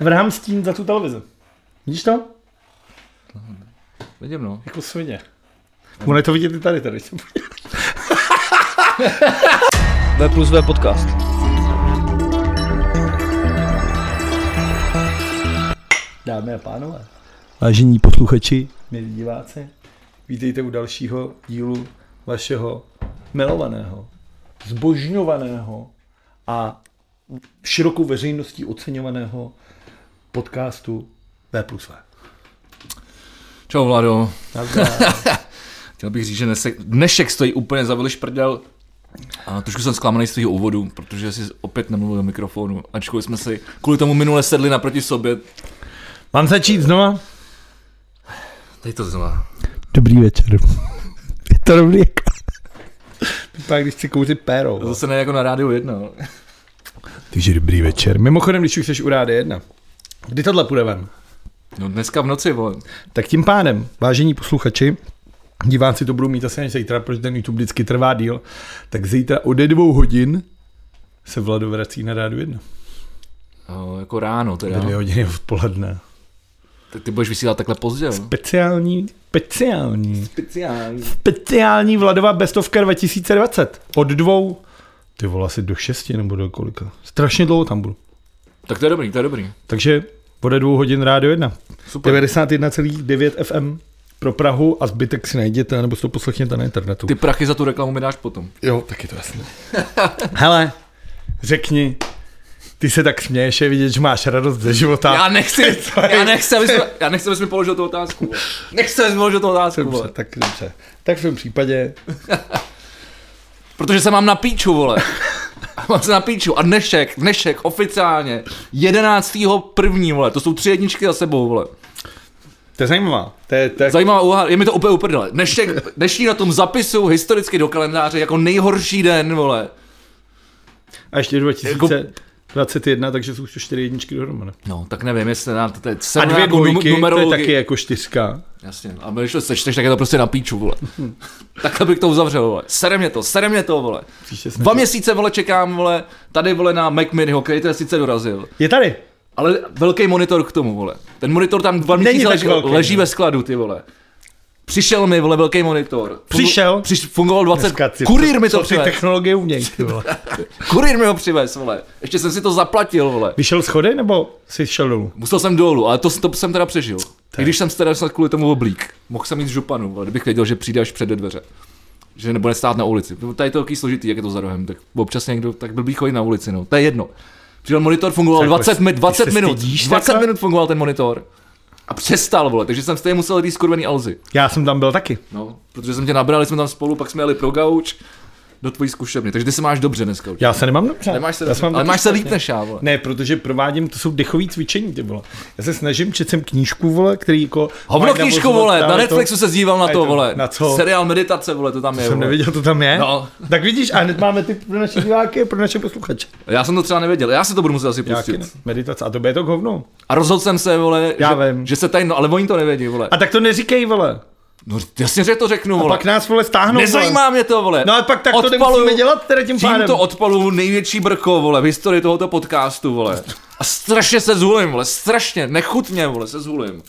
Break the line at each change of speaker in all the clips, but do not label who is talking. vrhám stín za tu televizi. Vidíš to?
Vidím, no.
Jako svině. Ono je to vidět i tady, tady.
V plus V podcast.
Dámy a pánové,
Vážení posluchači,
milí diváci, vítejte u dalšího dílu vašeho milovaného, zbožňovaného a širokou veřejností oceňovaného podcastu V plus V.
Čau, Vlado.
Nazdar.
Chtěl bych říct, že dnešek, dnešek stojí úplně za veliš prdel. A trošku jsem zklamaný z tvého úvodu, protože jsi opět nemluvil do mikrofonu. Ačkoliv jsme si kvůli tomu minule sedli naproti sobě.
Mám začít znova?
Teď to znova.
dobrý večer. Je to dobrý jako...
Tak když chci kouřit péro.
To Zase ne jako na rádiu jedna. no.
Takže dobrý večer.
Mimochodem, když už jsi u rády jedna, kdy tohle půjde ven?
No dneska v noci, vole.
Tak tím pádem, vážení posluchači, diváci to budou mít asi až zítra, protože ten YouTube vždycky trvá díl, tak zítra ode dvou hodin se Vlado vrací na rádu jedna.
No, jako ráno
Ve
teda.
dvě hodiny odpoledne.
Tak ty budeš vysílat takhle pozdě, jo?
Speciální, speciální,
Speciální.
speciální Vladova bestovka 2020. Od dvou, ty vole, asi do šesti nebo do kolika. Strašně dlouho tam budu.
Tak to je dobrý, to je dobrý.
Takže ode dvou hodin rádio jedna.
Super.
91,9 FM pro Prahu a zbytek si najděte, nebo si to poslechněte na internetu.
Ty prachy za tu reklamu mi dáš potom.
Jo, taky to jasné. Hele, řekni, ty se tak směješ, je vidět, že máš radost ze života.
Já nechci,
Co je?
já nechci, abys, mi- já nechci, abys mi položil tu otázku. vole. Nechci, abys mi položil tu otázku,
Dobře,
vole.
tak dobře. Tak v tom případě,
Protože se mám na píču, vole. Mám se na píču. A dnešek, dnešek, oficiálně. 11. první, vole. To jsou tři jedničky za sebou, vole.
to je zajímavá. To je, to je,
Zajímavá úha, je mi to úplně uprdele. Dnešek, dnešní na tom zapisu historicky do kalendáře jako nejhorší den, vole.
a ještě 2021, takže jsou Jako- to jako čtyři jedničky dohromady.
No, tak nevím, jestli nám to teď
A
jsem
dvě dvojky, to je taky jako čtyřka.
Jasně, no. a když to sečteš, tak je to prostě na píču, vole. Takhle bych to uzavřel, vole. Sere mě to, sere mě to, vole.
Příště snad-
Dva měsíce, vole, čekám, vole, tady, vole, na Mac Miniho, který teda sice dorazil.
Je tady.
Ale velký monitor k tomu, vole. Ten monitor tam dva
Není
měsíce
tak
leží,
velký,
leží
ne.
ve skladu, ty vole. Přišel mi, vole, velký monitor. Fungu-
Přišel?
Přiš, fungoval 20.
Dneska ty-
Kurýr mi
co
to
ty
přivez.
technologie umějí, ty vole.
Kurýr mi ho přivez, vole. Ještě jsem si to zaplatil, vole.
Vyšel schody nebo jsi šel dolů?
Musel jsem dolů, ale to, to jsem teda přežil. I když jsem teda snad kvůli tomu oblík. Mohl jsem jít z županu, ale kdybych věděl, že přijde až před dveře. Že nebude stát na ulici. Tady je to taky složitý, jak je to za rohem. Tak občas někdo tak blbý chodí na ulici, no. To je jedno. Přijel monitor, fungoval
Tak
20,
prostě,
mi,
ty
20
se
minut.
stydíš
20
takhle?
minut fungoval ten monitor. A přestal, vole, takže jsem stejně musel jít skurvený Alzy.
Já jsem tam byl taky.
No, protože jsem tě nabrali, jsme tam spolu, pak jsme jeli pro gauč do tvojí zkušebny. Takže ty se máš dobře dneska.
Já se nemám dobře.
Nemáš se,
Já se
dobře,
mám
ale
taky
máš se
špatně.
líp než já, vole.
Ne, protože provádím, to jsou dechové cvičení, ty vole. Já se snažím, čet jsem knížku, vole, který jako...
Hovno
mají
knížku,
navozovat
vole, na
právě
Netflixu se zdíval na
A je
to,
to-
vole.
na co?
Seriál Meditace, vole, to tam je.
To, jsem
vole.
nevěděl, to tam je.
No.
Tak vidíš, a hned máme ty pro naše diváky, pro naše posluchače.
Já jsem to třeba nevěděl, já si to budu muset asi
Nějaký
pustit.
meditace. A to bude to hovno.
A rozhodl jsem se, vole,
Já
že,
vím.
že se tady, no, ale oni to nevědí, vole.
A tak to neříkej, vole.
No jasně, že to řeknu, vole.
Pak nás, vole, stáhnou, Vole.
Nezajímá mě to, vole.
No a pak tak to nemusíme dělat teda tím pádem.
Tímto odpalu největší brko, vole, v historii tohoto podcastu, vole. A strašně se zhulím, vole, strašně, nechutně, vole, se zhulím.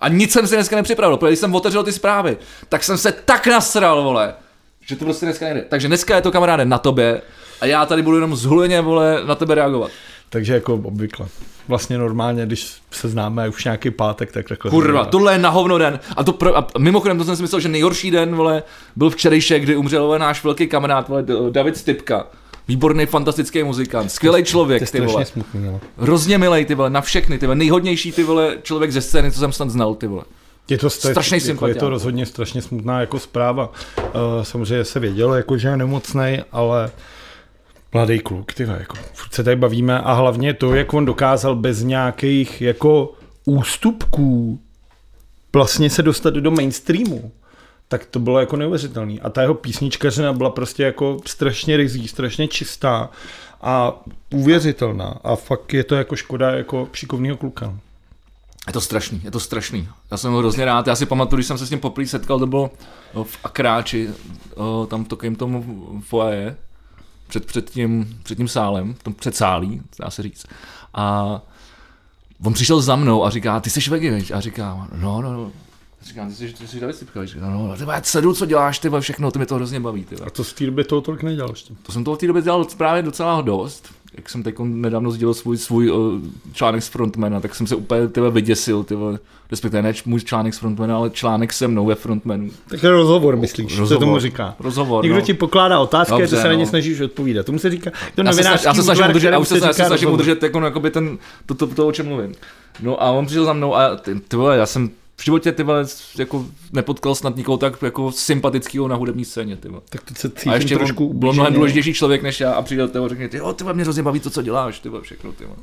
A nic jsem si dneska nepřipravil, protože když jsem otevřel ty zprávy, tak jsem se tak nasral, vole, že to prostě dneska nejde. Takže dneska je to, kamaráde, na tobě a já tady budu jenom zhuleně, vole, na tebe reagovat.
Takže jako obvykle. Vlastně normálně, když se známe už nějaký pátek, tak takhle.
Kurva, tohle je na hovno den. A, to pro, a mimochodem, to jsem si myslel, že nejhorší den vole, byl včerejšek, kdy umřel vole, náš velký kamarád, vole, D- David Stypka. Výborný, fantastický muzikant, skvělý
To je
člověk, ty vole.
strašně smutný, no. ale.
Hrozně milej, ty vole, na všechny, ty vole, nejhodnější, ty vole, člověk ze scény, co jsem snad znal, ty vole.
Je to, stra-
Strašnej
jako, je
sympatiák.
to rozhodně strašně smutná jako zpráva. Uh, samozřejmě se vědělo, jako, že je nemocný, ale mladý kluk, ty vole, jako, furt se tady bavíme a hlavně to, jak on dokázal bez nějakých jako ústupků vlastně se dostat do mainstreamu, tak to bylo jako neuvěřitelný. A ta jeho písničkařina byla prostě jako strašně rizí, strašně čistá a uvěřitelná. A fakt je to jako škoda jako šikovného kluka.
Je to strašný, je to strašný. Já jsem ho hrozně rád, já si pamatuju, když jsem se s ním poprvé setkal, to bylo o, v Akráči, o, tam v takovém tomu foaje, před, před, tím, před tím sálem, v tom předsálí, dá se říct. A on přišel za mnou a říká, ty jsi vegy, viď? A říkám, no, no, no. Říkám, ty jsi, ty jsi David Cipka, viď? Říkám, no, no, ty vole, já sedu, co děláš, ty vole, všechno, ty mi to hrozně baví, ty vole.
A to z té doby toho tolik nedělal ještě.
To jsem toho v té době dělal právě docela dost. Jak jsem teď nedávno sdělil svůj, svůj uh, článek z frontmana, tak jsem se úplně tyhle vyděsil, tyhle, respektive ne č- můj článek z frontmana, ale článek se mnou ve frontmanu.
Tak rozhovor myslíš, rozhovor.
Rozhovor.
co tomu říká.
Rozhovor,
Někdo
no.
ti pokládá otázky, Dobře,
Dobře,
ty se na ně
no.
snažíš odpovídat. Tomu se říká, to
Já se, sna-
novinářský
já se snažím
útvar,
udržet, já
kterému
už se, já se snažím
rozhovor.
udržet jako, jakoby ten, to, to, to, o čem mluvím. No a on přišel za mnou a ty, ty vole, já jsem v životě ty vole, jako nepotkal snad nikoho tak jako sympatického na hudební scéně. Ty vole.
Tak to se
A
cítím
ještě
trošku no.
trošku byl mnohem
ublíženě.
důležitější člověk než já a přijde toho a řekne, ty jo, ty vole, mě hrozně baví to, co děláš, ty vole, všechno, ty vole.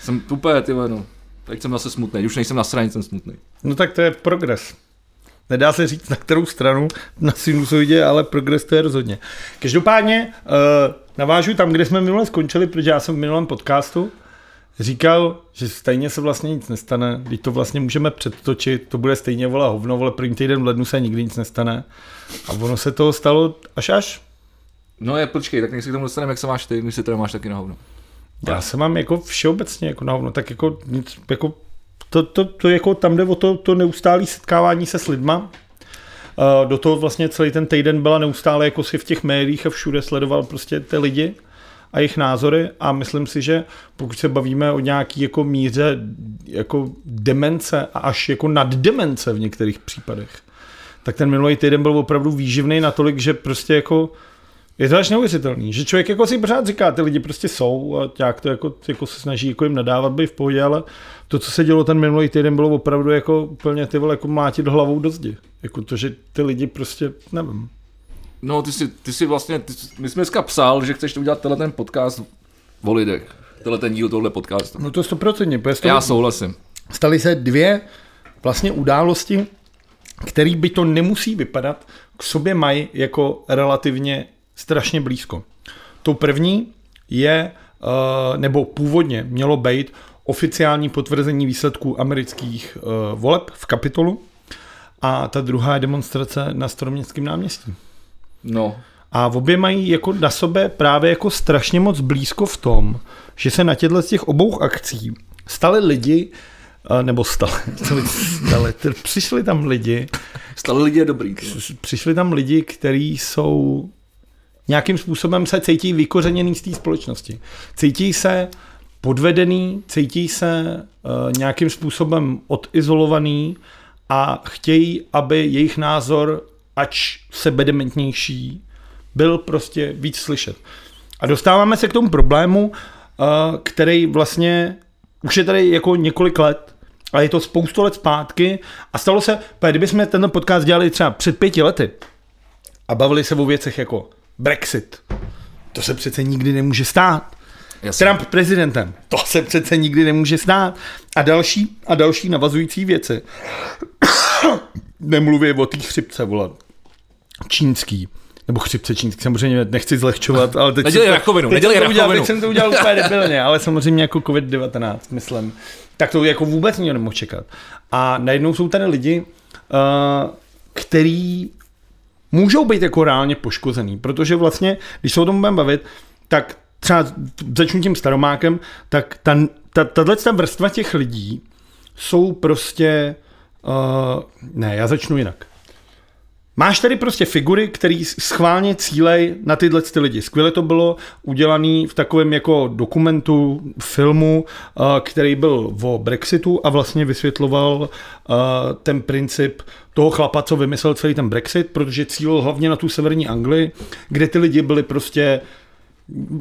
Jsem úplně, ty vole, no. Teď jsem zase smutný, už nejsem na straně, jsem smutný.
No tak to je progres. Nedá se říct, na kterou stranu na sinusoidě, ale progres to je rozhodně. Každopádně eh, navážu tam, kde jsme minule skončili, protože já jsem v minulém podcastu říkal, že stejně se vlastně nic nestane, když to vlastně můžeme předtočit, to bude stejně vole hovno, vole první týden v lednu se nikdy nic nestane. A ono se toho stalo až až.
No je, počkej, tak než se k tomu dostaneme, jak se máš ty, když se teda máš taky no. na hovno.
Já se mám jako všeobecně jako na hovno, tak jako nic, jako to, to, to jako tam jde o to, to neustálé setkávání se s lidma. Eh, Do toho vlastně celý ten týden byla neustále jako si v těch médiích a všude sledoval prostě ty lidi a jejich názory a myslím si, že pokud se bavíme o nějaký jako míře jako demence a až jako naddemence v některých případech, tak ten minulý týden byl opravdu výživný natolik, že prostě jako je to až neuvěřitelný, že člověk jako si pořád říká, ty lidi prostě jsou a nějak to jako, jako se snaží jako jim nadávat, být v pohodě, ale to, co se dělo ten minulý týden, bylo opravdu jako úplně ty vole jako mlátit hlavou do zdi. Jako to, že ty lidi prostě, nevím.
No, ty jsi, ty jsi vlastně, ty, jsi- my jsme dneska psal, že chceš udělat tenhle ten podcast o lidech. Tenhle ten díl tohle podcastu.
No to stoprocentně, protože z toho
Já souhlasím.
staly se dvě vlastně události, které by to nemusí vypadat, k sobě mají jako relativně strašně blízko. To první je, eh, nebo původně mělo být oficiální potvrzení výsledků amerických eh, voleb v kapitolu a ta druhá je demonstrace na Staroměstském náměstí.
No,
A obě mají jako na sobě právě jako strašně moc blízko v tom, že se na těchto z těch obou akcí stali lidi, eh, nebo stali, stali, stali t- přišli tam lidi,
stále lidi je dobrý. ty vole.
s- přišli tam lidi, kteří jsou nějakým způsobem se cítí vykořeněný z té společnosti. Cítí se podvedený, cítí se uh, nějakým způsobem odizolovaný a chtějí, aby jejich názor, ač sebedementnější, byl prostě víc slyšet. A dostáváme se k tomu problému, eh, který vlastně už je tady jako několik let, ale je to spoustu let zpátky a stalo se, protože kdybychom tenhle podcast dělali třeba před pěti lety a bavili se o věcech jako Brexit, to se přece nikdy nemůže stát.
Jasně.
Trump prezidentem, to se přece nikdy nemůže stát. A další a další navazující věci. Nemluvě o té chřipce, volat. Čínský. Nebo chřipce čínský, samozřejmě nechci zlehčovat, ale teď...
Nedělej
jsem to-
rakovinu,
teď
nedělej
jsem to udělal-
rakovinu.
Teď jsem to udělal úplně debilně, ale samozřejmě jako COVID-19, myslím. Tak to jako vůbec nikdo nemohl čekat. A najednou jsou tady lidi, eh, který můžou být jako reálně poškozený, protože vlastně, když se o tom budeme bavit, tak třeba začnu tím staromákem, tak ta, ta, tahle vrstva těch lidí jsou prostě, uh, ne, já začnu jinak. Máš tady prostě figury, který schválně cílej na tyhle ty lidi. Skvěle to bylo udělané v takovém jako dokumentu, filmu, eh, který byl o Brexitu a vlastně vysvětloval eh, ten princip toho chlapa, co vymyslel celý ten Brexit, protože cílil hlavně na tu severní Anglii, kde ty lidi byli prostě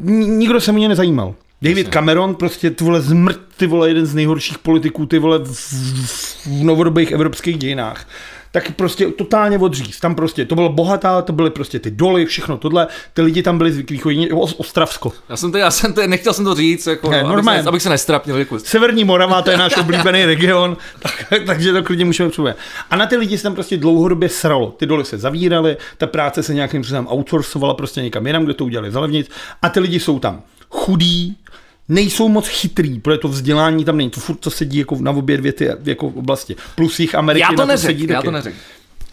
Ni- nikdo se mě nezajímal. David Cameron, prostě ty vole zmrt, ty vole jeden z nejhorších politiků, ty vole v, v, v novodobých evropských dějinách. Tak prostě totálně odříz. Tam prostě, to bylo bohatá, to byly prostě ty doly, všechno tohle. Ty lidi tam byli zvyklí chodit, o- Ostravsko.
Já jsem to, já jsem to, nechtěl jsem to říct, jako,
Ne,
ne, abych,
normálně.
se, abych se nestrapnil, jako,
Severní Morava, to je náš oblíbený region, tak, takže to klidně můžeme přijít. A na ty lidi se tam prostě dlouhodobě sralo. Ty doly se zavíraly, ta práce se nějakým způsobem outsourcovala prostě někam jinam, kde to udělali za levnic. A ty lidi jsou tam chudí, nejsou moc chytrý, protože to vzdělání tam není. To furt to sedí jako na obě dvě ty jako oblasti. Plus jich Ameriky
já
na
to neřekl,
sedí
já
taky.
to neřekl.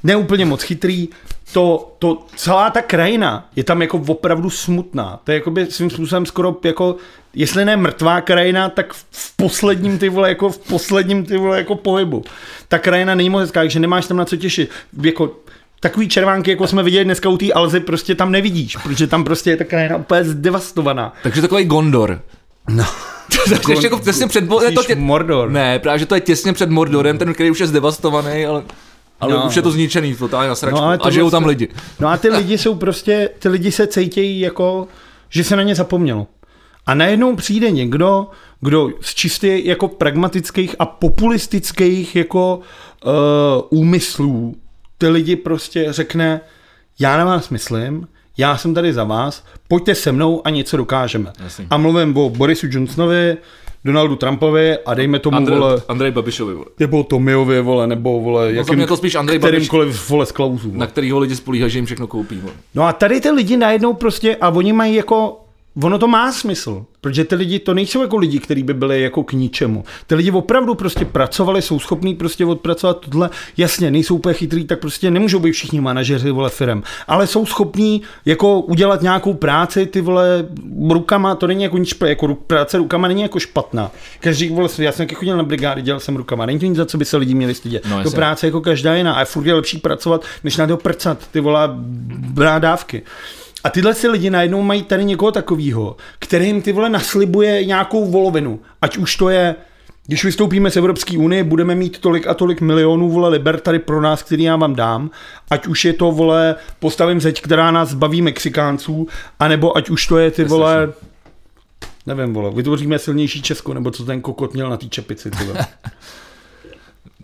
neúplně moc chytrý, to, to, celá ta krajina je tam jako opravdu smutná. To je jakoby svým způsobem skoro jako, jestli ne mrtvá krajina, tak v- v posledním ty vole, jako v posledním ty vole, jako pohybu. Ta krajina není moc hezká, takže nemáš tam na co těšit. Jako, takový červánky, jako jsme viděli dneska u té Alzy, prostě tam nevidíš, protože tam prostě je ta krajina úplně zdevastovaná.
Takže takový Gondor. No. to je ještě jako těsně před... Mo- ne, to
Vidíš
tě...
Mordor.
Ne, právě, že to je těsně před Mordorem, ten, který už je zdevastovaný, ale... Ale
No.
no. už je to zničený, totálně na sračku.
No,
No,
ale
a
tohle
žijou tam
se-
lidi.
No a ty lidi jsou prostě, ty lidi se cítějí jako, že se na ně zapomnělo. A najednou přijde někdo, kdo z čistě jako pragmatických a populistických jako uh, úmyslů ty lidi prostě řekne, já na vás myslím, já jsem tady za vás, pojďte se mnou a něco dokážeme.
Jasně.
A mluvím o Borisu Johnsonovi, Donaldu Trumpovi a dejme tomu,
Andrej,
vole,
Andrej Babišovi, vole,
nebo Tomiovi, vole, nebo vole,
No, za
jakým,
mě to spíš Andrej Babiš.
kterýmkoliv, vole, z klauzů.
na kterýho lidi spolíhají, že jim všechno koupí. Vole.
No a tady ty lidi najednou prostě, a oni mají jako, ono to má smysl, protože ty lidi to nejsou jako lidi, kteří by byli jako k ničemu. Ty lidi opravdu prostě pracovali, jsou schopní prostě odpracovat tohle, jasně, nejsou úplně chytrý, tak prostě nemůžou být všichni manažeři vole firem, ale jsou schopní jako udělat nějakou práci, ty vole rukama, to není jako nic špatné, jako ru- práce rukama není jako špatná. Každý vole, já jsem taky chodil na brigády, dělal jsem rukama, není to nic, za co by se lidi měli stydět.
No,
to
jasně.
prá- práce jako každá jiná. A furt je lepší pracovat, než na to prcat, ty volá brát dávky. A tyhle si lidi najednou mají tady někoho takového, který jim ty vole naslibuje nějakou volovinu. Ať už to je, když vystoupíme z Evropské unie, budeme mít tolik a tolik milionů vole liber tady pro nás, který já vám dám. Ať už je to vole, postavím zeď, která nás zbaví Mexikánců, anebo ať už to je ty vole, nevím vole, vytvoříme silnější Česko, nebo co ten kokot měl na té čepici. Ty vole.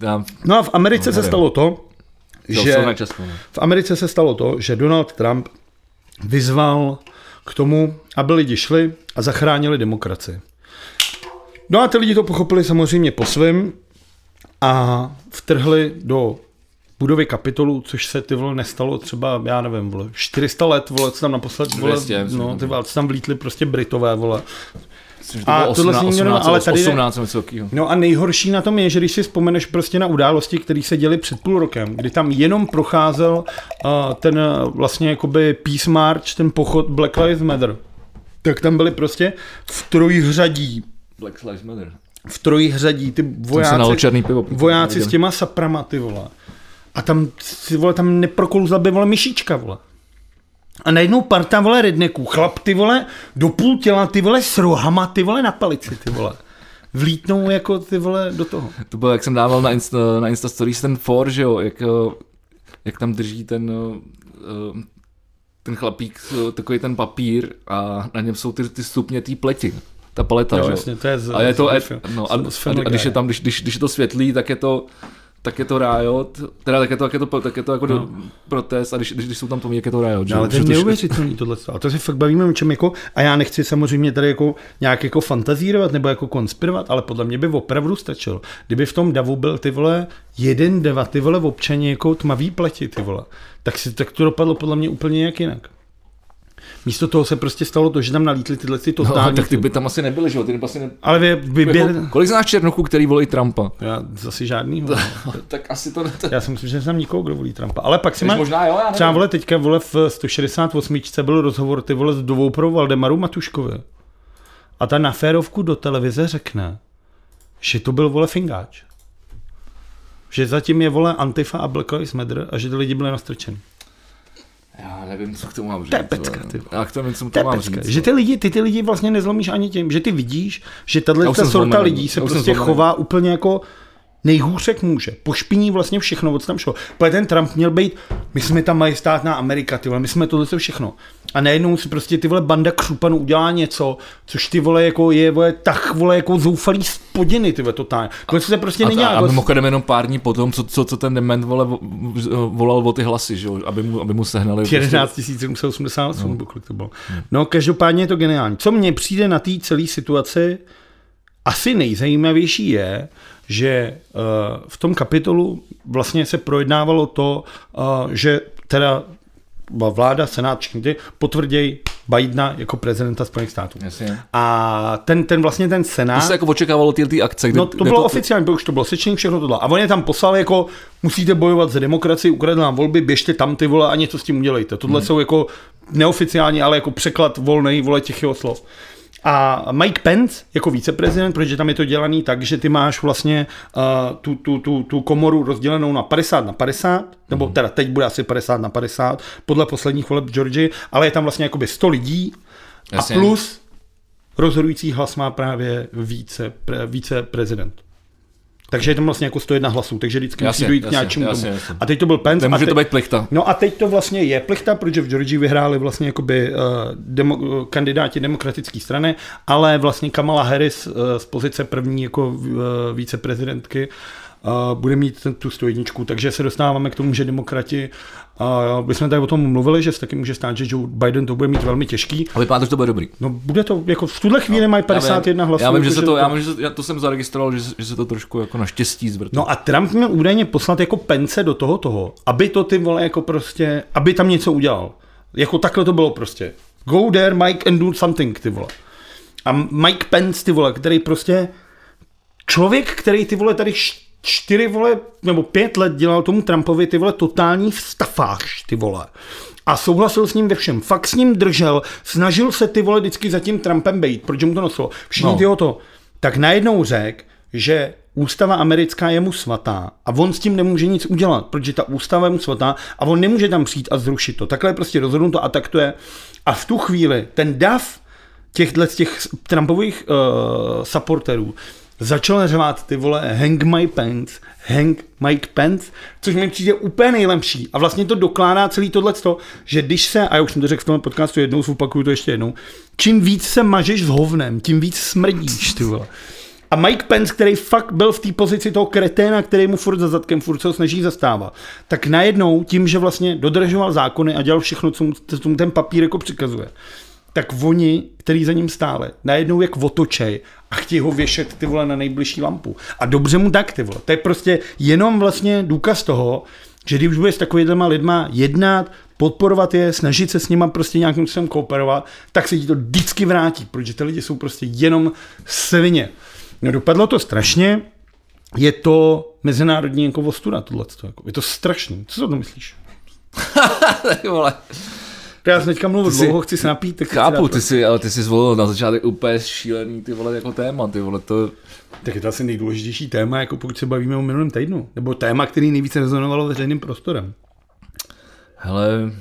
Já,
No a v Americe no, se
nevím.
stalo to,
že...
že...
Na Česku, no.
V Americe se stalo to, že Donald Trump vyzval k tomu, aby lidi šli a zachránili demokracii. No a ty lidi to pochopili samozřejmě po svém a vtrhli do budovy kapitolu, což se ty vole nestalo třeba, já nevím, vole, 400 let, vole, co tam naposled, vole,
200,
no, ty vole, co tam vlítli prostě Britové, vole.
Myslím, že
A tohle
osmná-
jsem nikdo ne-
osmnáct-
ale tady je-
18 něco takového.
No a nejhorší na tom je, že když si vzpomeneš prostě na události, které se děly před půl rokem, kdy tam jenom procházel uh, ten uh, vlastně jakoby Peace March, ten pochod Black Lives Matter, tak tam byli prostě v trojhřadí,
Black Lives Matter.
v trojhřadí ty
Jsem se nalil
vojáci,
černý pivo. protože
vojáci
jsem
s těma saprama, ty vole. A tam, ty vole, tam neprokouzla by, vole, myšička, vole. A najednou parta, vole, redneků, chlap, ty vole, do půl těla, ty vole, s rohama, ty vole, na palici, ty vole. Vlítnou jako ty vole do toho.
neviděl. To bylo, jak jsem dával na Insta, na Insta Stories ten for, že jo, jak, eh, jak tam drží ten, eh, ten chlapík, eh, takový ten papír a na něm jsou ty, ty stupně té pleti. Ta paleta,
Jo,
že jo.
jasně, to je z,
A je to,
z-
e,
z-
no, a,
z
a,
Family
a když je
Guye.
tam, když, když, když je to světlý, tak je to, tak je to riot, teda tak je to, tak je to, tak je to jako no. protest a když, když, když jsou tam to jak je to riot, že?
No, ale
jo?
to je
Že to-
neuvěřitelný tohle. A to si fakt bavíme o čem jako, a já nechci samozřejmě tady jako nějak jako fantazírovat nebo jako konspirovat, ale podle mě by opravdu stačilo, kdyby v tom davu byl ty vole jeden deva, ty vole občani jako tmavý pleti, ty vole. Tak, si, tak to dopadlo podle mě úplně nějak jinak. Místo toho se prostě stalo to, že tam nalítli tyhle ty
No, ale
totální...
tak ty by tam asi nebyly, že jo, ty by asi ne...
Ale vy, vy, vy,
Jako, kolik znáš Černochů, který volí Trumpa?
Já zase no. žádný.
tak asi to ne...
Já si myslím, že znám nikoho, kdo volí Trumpa. Ale pak si má...
možná jo, já nevím.
Třeba vole teďka vole v 168. byl rozhovor ty vole s dovou pro Valdemaru Matuškovi. A ta na férovku do televize řekne, že to byl vole fingáč. Že zatím je vole Antifa a Black Lives Matter a že ty lidi byli nastrčený.
Já nevím, co k tomu mám říct.
To je pecka,
vole.
ty vole.
Já k tomu, co k
To je
tomu mám
pecka.
říct.
Že ty lidi, ty, ty lidi vlastně nezlomíš ani tím, že ty vidíš, že
Já
tahle
už jsem
ta sorta
zlomený.
lidí se
Já už jsem
prostě
zlomený.
chová úplně jako nejhůř, jak může. Pošpiní vlastně všechno, od tam šlo. Protože ten Trump měl být, my jsme ta majestátná Amerika, ty vole, my jsme tohle všechno. A najednou si prostě ty vole banda křupanů udělá něco, což ty vole jako je vole, tak vole jako zoufalý spodiny, ty vole totálně. To se prostě
A,
není
to, a
jako-
mimochodem jenom pár dní potom, co, co, co ten dement vole, vo- vo- volal o ty hlasy, že jo? Aby mu, aby mu sehnali. Prostě-
11 788, nebo kolik to bylo.
Hm.
No, každopádně je to geniální. Co mně přijde na té celé situaci, asi nejzajímavější je, že eh, v tom kapitolu vlastně se projednávalo to, eh, že teda vláda, senát, všichni ty potvrdějí Bidena jako prezidenta Spojených států.
Jasně.
A ten, ten vlastně ten senát...
To se jako očekávalo ty, ty akce. Kde,
No to
kde
bylo to... oficiální, už to bylo sečení, všechno tohle. A on je tam poslal jako, musíte bojovat za demokracii, ukradl nám volby, běžte tam ty vole a něco s tím udělejte. Tohle hmm. jsou jako neoficiální, ale jako překlad volnej vole těch jeho slov. A Mike Pence jako viceprezident, protože tam je to dělaný tak, že ty máš vlastně uh, tu, tu, tu, tu komoru rozdělenou na 50 na 50, nebo teda teď bude asi 50 na 50, podle posledních voleb Georgie, ale je tam vlastně jakoby 100 lidí
Jasně.
a plus rozhodující hlas má právě více, pre, více prezident. Takže je tam vlastně jako 101 hlasů, takže vždycky
Jasně,
musí dojít k
jasně,
nějakému
jasně,
tomu.
jasně.
A teď to byl Pence.
Nemůže
a teď,
to být plichta.
No a teď to vlastně je plechta, protože v Georgii vyhráli vlastně jakoby uh, demo, eh, kandidáti demokratické strany, ale vlastně Kamala Harris uh, z pozice první jako uh, víceprezidentky uh, bude mít ten, tu 101, takže se dostáváme k tomu, že demokrati, uh, my jsme tady o tom mluvili, že se taky může stát, že Joe Biden to bude mít velmi těžký.
A vypadá to, že to bude dobrý.
No bude to, jako v tuhle chvíli mají 51
No, já vím,
hlasů. jako
Já vím, že
takže
se to, já vím, že se, já to jsem zaregistroval, že, se- že se to trošku jako naštěstí zvrtlo.
No a Trump měl údajně poslat jako pence do toho toho, aby to ty vole jako prostě, aby tam něco udělal. Jako takhle to bylo prostě. Go there, Mike, and do something, ty vole. A Mike Pence, ty vole, který prostě, člověk, který ty vole tady š- čtyři vole, nebo pět let dělal tomu Trumpovi ty vole totální vstafáž, ty vole. A souhlasil s ním ve všem. Fakt s ním držel, snažil se ty vole vždycky za tím Trumpem bejt, protože mu to nosilo. Všichni
No.
no. tyho to. Tak najednou řekl, že ústava americká je mu svatá a on s tím nemůže nic udělat, protože ta ústava je mu svatá a on nemůže tam přijít a zrušit to. Takhle je prostě rozhodnuto a tak to je. A v tu chvíli ten dav těchhle z těch Trumpových uh, supporterů začal řvát ty vole hang my pants, hang Mike Pence, což mi přijde úplně nejlepší. A vlastně to dokládá celý tohle to, že když se, a já už jsem to řekl v tom podcastu jednou, zopakuju to ještě jednou, čím víc se mažeš s hovnem, tím víc smrdíš, ty vole. A Mike Pence, který fakt byl v té pozici toho kreténa, který mu furt za zadkem furt se ho snaží zastávat, tak najednou tím, že vlastně dodržoval zákony a dělal všechno, co mu, co mu ten papír jako přikazuje, tak oni, který za ním stále, najednou jak otočej a chtějí ho věšet ty vole na nejbližší lampu. A dobře mu tak ty vole. To je prostě jenom vlastně důkaz toho, že když budeš s takovýma lidma jednat, podporovat je, snažit se s nima prostě nějakým způsobem kooperovat, tak se ti to vždycky vrátí, protože ty lidi jsou prostě jenom svině. No dopadlo to strašně, je to mezinárodní jako ostuda tohleto, jako. je to strašný. Co si o tom myslíš?
Ty vole.
Já jsem teďka mluvil
Ty jsi-
dlouho, chci se napít, tak chci
Chápu,
dát-
ty jsi, ale ty jsi zvolil na začátek úplně šílený ty vole jako téma, ty vole, to...
Tak je to asi nejdůležitější téma, jako pokud se bavíme o minulém týdnu. Nebo téma, který nejvíce rezonovalo veřejným prostorem.
Hele,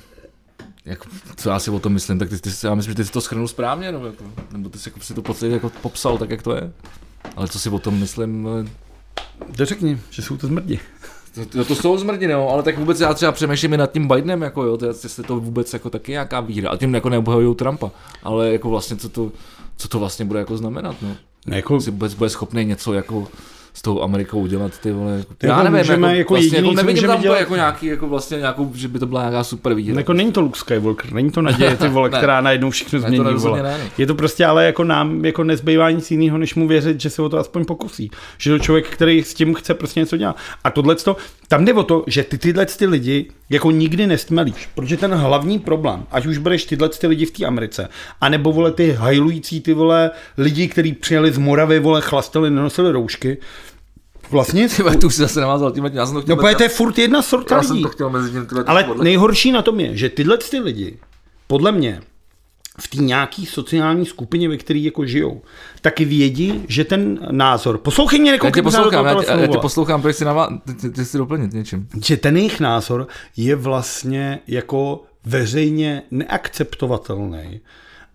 jak, co já si o tom myslím, tak ty, ty, já myslím, že ty jsi to schrnul správně, nebo, jako, nebo ty jsi jako, si to pocit jako popsal tak, jak to je. Ale co si o tom myslím, eh,
To řekni, že jsou to zmrdi.
to, to, to jsou zmrdi, no, ale tak vůbec já třeba přemýšlím i nad tím Bidenem, jako jo, to je- jestli to vůbec jako taky nějaká výhra, a tím jako neobhajují Trumpa, ale jako vlastně co to, co to vlastně bude jako znamenat, no.
No, jako,
si vůbec bude schopný něco jako s tou Amerikou udělat ty vole.
Ty jako můžeme jako
vlastně,
jediný,
jako
co
nevidím
můžeme dělat-
tam dělat... jako nějaký, jako vlastně nějakou, že by to byla nějaká super výhra.
jako není to Luke Skywalker, není to naděje, ty vole,
Ne.
která najednou všechno
to
změní.
rozhodně
vole.
ne.
Je to prostě ale jako nám jako nezbývá nic jiného, než mu věřit, že se o to aspoň pokusí. Že to člověk, který s tím chce prostě něco dělat. A tohle, tam jde o to, že ty tyhle ty lidi jako nikdy nestmelíš, protože ten hlavní problém, ať už bereš tyhle ty lidi v té Americe, anebo vole ty hajlující ty vole lidi, kteří přijeli z Moravy, vole chlastili, nenosili roušky, vlastně
Ty vole, tu už si zase navázal tím, já jsem to chtěl...
No, protože to je furt jedna sorta
já
lidí.
jsem to chtěl mezi tím tyhle
Ale
podle-
nejhorší na tom je, že tyhle ty lidi, podle mě, v té nějaký sociální skupině, ve které jako žijou, taky vědí, že ten názor, poslouchej mě,
Já tě
nekoukej pořád do
poslouchám,
toho
já tě,
telefonu,
já tě
vole.
poslouchám, protože si navá... ty, ty, ty jsi doplnit něčím.
že ten jejich názor je vlastně jako veřejně neakceptovatelný.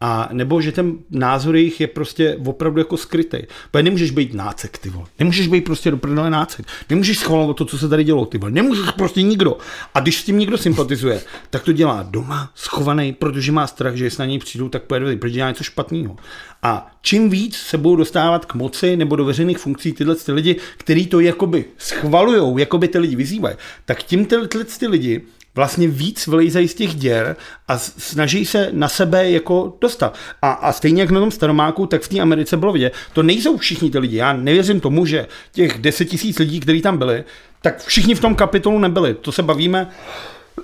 A nebo že ten názor jejich je prostě opravdu jako skrytý. Protože nemůžeš být nácek, ty vole. Nemůžeš být prostě do prdele nácek. Nemůžeš schvalovat to, co se tady dělo, ty vole. Nemůžeš prostě nikdo. A když s tím nikdo sympatizuje, tak to dělá doma, schovaný, protože má strach, že jestli na něj přijdou, tak pojede, protože dělá něco špatného. A čím víc se budou dostávat k moci nebo do veřejných funkcí tyhle ty lidi, který to jakoby schvalujou, jakoby ty lidi vyzývají, tak tím tyhle ty lidi vlastně víc vylejzají z těch děr a s- snaží se na sebe jako dostat. A, a stejně jak na tom staromáku, tak v té Americe bylo vidět, to nejsou všichni ty lidi. Já nevěřím tomu, že těch 10 tisíc lidí, kteří tam byli, tak všichni v tom kapitolu nebyli. To se bavíme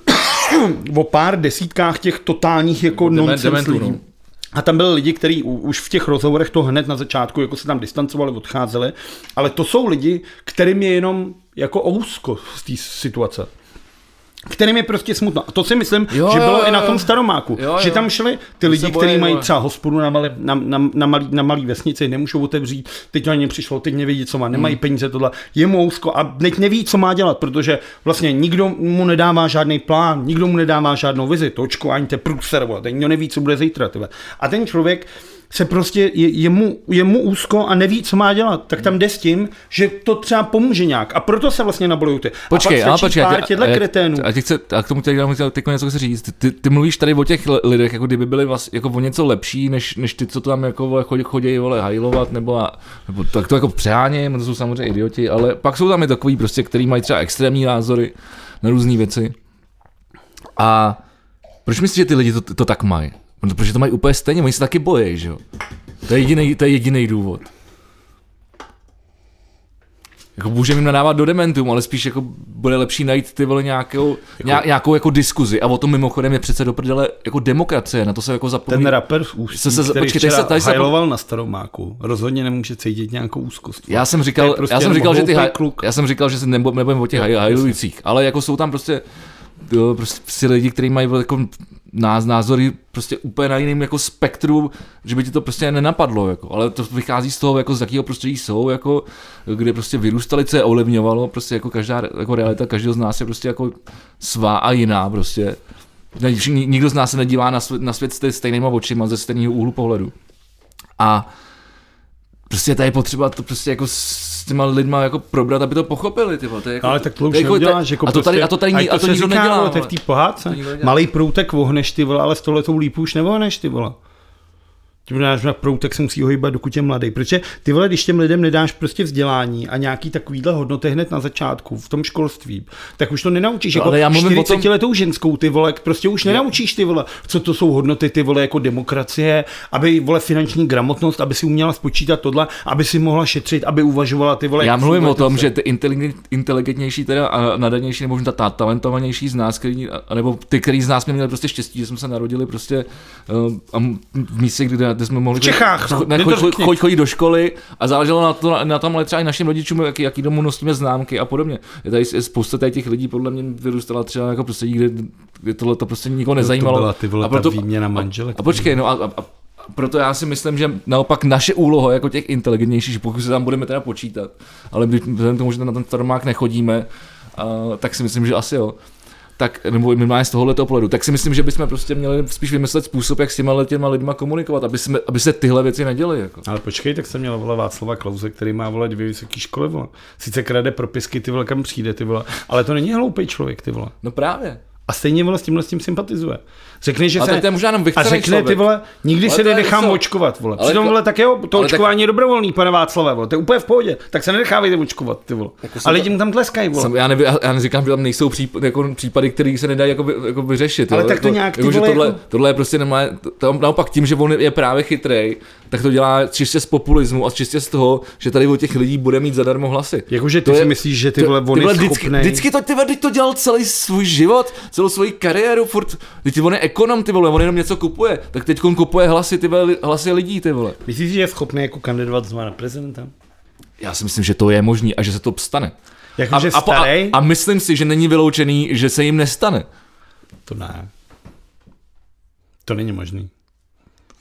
o pár desítkách těch totálních jako
Demen-
nonsense
dementů,
lidí.
no.
A tam byli lidi, kteří u- už v těch rozhovorech to hned na začátku jako se tam distancovali, odcházeli, ale to jsou lidi, kterým je jenom jako ousko z té situace. Kterým je prostě smutno. A to si myslím,
Jo,
jo, že
jo,
bylo
jo,
jo, i na
jo.
tom staromáku.
Jo,
Jo, že
jo.
tam šli ty
se
lidi,
bojí,
kteří mají
vole.
třeba hospodu na malé na, na, na, malý, na malý vesnici, nemůžou otevřít, teď na ně přišlo, teď nevědí, co má,
Hmm.
nemají peníze, tohle, je mu úzko a teď neví, co má dělat, protože vlastně nikdo mu nedává žádný plán, nikdo mu nedává žádnou vizi, to očkování, to je průser, vole, teď nikdo neví, co bude zítra. Tyhle. A ten člověk se prostě, je, je, mu, je mu úzko a neví, co má dělat, tak tam jde s tím, že to třeba pomůže nějak. A proto se vlastně nabolují ty.
Počkej,
a
ale
pak stačí
počkej.
pár těchto kreténů.
A, chce, a k tomu teď chtěl teď něco chci říct. Ty, ty, mluvíš tady o těch l- lidech, jako kdyby byli vlast, jako o něco lepší, než, než ty, co to tam jako vole, chodí, chodí vole, hajlovat, nebo, a, nebo tak to jako přeháním, to jsou samozřejmě idioti, ale pak jsou tam i takový prostě, který mají třeba extrémní názory na různé věci. A proč myslíš, že ty lidi to, to tak mají? No, Protože to mají úplně stejně, oni se taky bojí, že jo? To je jediný, to je jediný důvod. Jako můžeme jim nadávat do dementům, ale spíš jako bude lepší najít ty vole nějakou, nějak, nějakou jako diskuzi. A o tom mimochodem je přece do prdele jako demokracie, na to se jako
Ten
zapomíná.
rapper v ústí,
Se- se-
který
počkej, tady
včera
se- tady se-
hajloval na staromáku, rozhodně nemůže cítit nějakou úzkost.
Já jsem
To
říkal,
je prostě
já jsem
jenom
říkal, že ty
hloupý
haj,
kluk.
já jsem říkal, že se nebo, nebudeme o těch haj, hajlujících, ale jako jsou tam prostě, jo, prostě, prostě lidi, kteří mají jako nás názory prostě úplně na jiném jako spektru, že by ti to prostě nenapadlo, jako. ale to vychází z toho, jako z jakého prostředí jsou, jako, kde prostě vyrůstali, co je ovlivňovalo, prostě jako každá jako realita každého z nás je prostě jako svá a jiná prostě. Ne- všichni- Nikdo z nás se nedívá na svět, na svět se stejnýma očima, ze stejného úhlu pohledu. A prostě tady je potřeba to prostě jako s těma lidma jako probrat, aby to pochopili, ty vole. To je jako,
No, ale tak to už
je jako-
neuděláš, jako
a to tady,
prostě-
a to tady,
ale
ni- a to,
se
nikdo
říká,
nedělá, no.
vole, To je v
vole.
té pohádce.
nikdo nedělá.
Malý proutek vohneš ty vole, ale s tohletou lípu už nevohneš ty vole. Tím dáš na proutek, se musí ho hýbat, dokud je mladý. Protože ty vole, když těm lidem nedáš prostě vzdělání a nějaký takovýhle hodnoty hned na začátku, v tom školství, tak už to nenaučíš.
No,
Jako
ale já mluvím o tom-
40 letou ženskou ty vole, prostě už nenaučíš ty vole, co to jsou hodnoty ty vole jako demokracie, aby vole finanční gramotnost, aby si uměla spočítat tohle, aby si mohla šetřit, aby uvažovala ty vole.
Já
jak si
mluvím
vole
o tom,
to-
že ty inteligent, inteligentnější teda a nadanější, nebo možná ta talentovanější z nás, který, a- nebo ty, který z nás jsme měli prostě štěstí, že jsme se narodili prostě uh, a m- v místě, kde, kde jsme mohli... jako,
V Čechách, no,
ne,
kde to
chodit, chodit,
řekni.
chodit, chodit do školy a záleželo na, to, na tom, ale třeba i našim rodičům, jaký, jaký domů nosíme známky a podobně. Je tady je spousta tady těch lidí, podle mě vyrůstala třeba jako prostě kde, kde tohle to prostě nikoho nezajímalo.
byla ty vole
a
ta výměna manželek.
A, a počkej, no a, a, a proto já si myslím, že naopak naše úloha jako těch inteligentnějších, že pokud se tam budeme teda počítat, ale když vzhledem k tomu, že na ten staromák nechodíme, a, tak si myslím, že asi jo. Tak, nebo minimálně z tohohle pohledu, tak si myslím, že bychom prostě měli spíš vymyslet způsob, jak s těma těma lidma komunikovat, aby, jsme, aby se tyhle věci neděly. Jako.
Ale počkej, tak jsem měl vole Václava Klauze, který má vole dvě vysoké školy, vole. Sice krade propisky, ty vole, kam přijde, ty vole, ale to není hloupý člověk, ty vole.
No právě.
A stejně vole s tímhle s tím sympatizuje. Řekne, že
Ale
se...
tak to je možná jenom
a
vychcený
řekne,
člověk.
ty vole, nikdy
Ale
se
to je
nenechám
něco.
očkovat, vole.
Ale
Přitom,
to-
vole, tak jo, to
ale tak-
očkování je dobrovolný, pane Václave, vole, to je úplně v pohodě. Tak se nenechávejte očkovat, ty vole.
Jako
A lidi mu tam tleskají, vole.
Sam, já, nevím, já- já neříkám, že tam nejsou případy, jako, případy které se nedají jako, vy- jako vyřešit.
Ale
jo.
tak to
jako,
nějak, ty
jako, že
vole,
tohle,
jako-
tohle je prostě nemá, to, naopak tím, že on je právě chytrej, tak to dělá čistě z populismu a čistě z toho, že tady od těch lidí bude mít zadarmo hlasy.
Jakože ty
To
si myslíš, že ty vole, on je
vždycky,
schopnej-
vždycky to, ty vole, teď to dělal celý svůj život, celou svoji kariéru, furt, teď on je ekonom, ty vole, on jenom něco kupuje, tak teď on kupuje hlasy, ty vole, hlasy lidí, ty vole.
Myslíš, že je schopný jako kandidovat znovu na prezidenta?
Já si myslím, že to je možný a že se to stane.
Jakože
a, a, po- a,
Jako, starý?
a myslím si, že není vyloučený, že se jim nestane.
To ne. To není možný.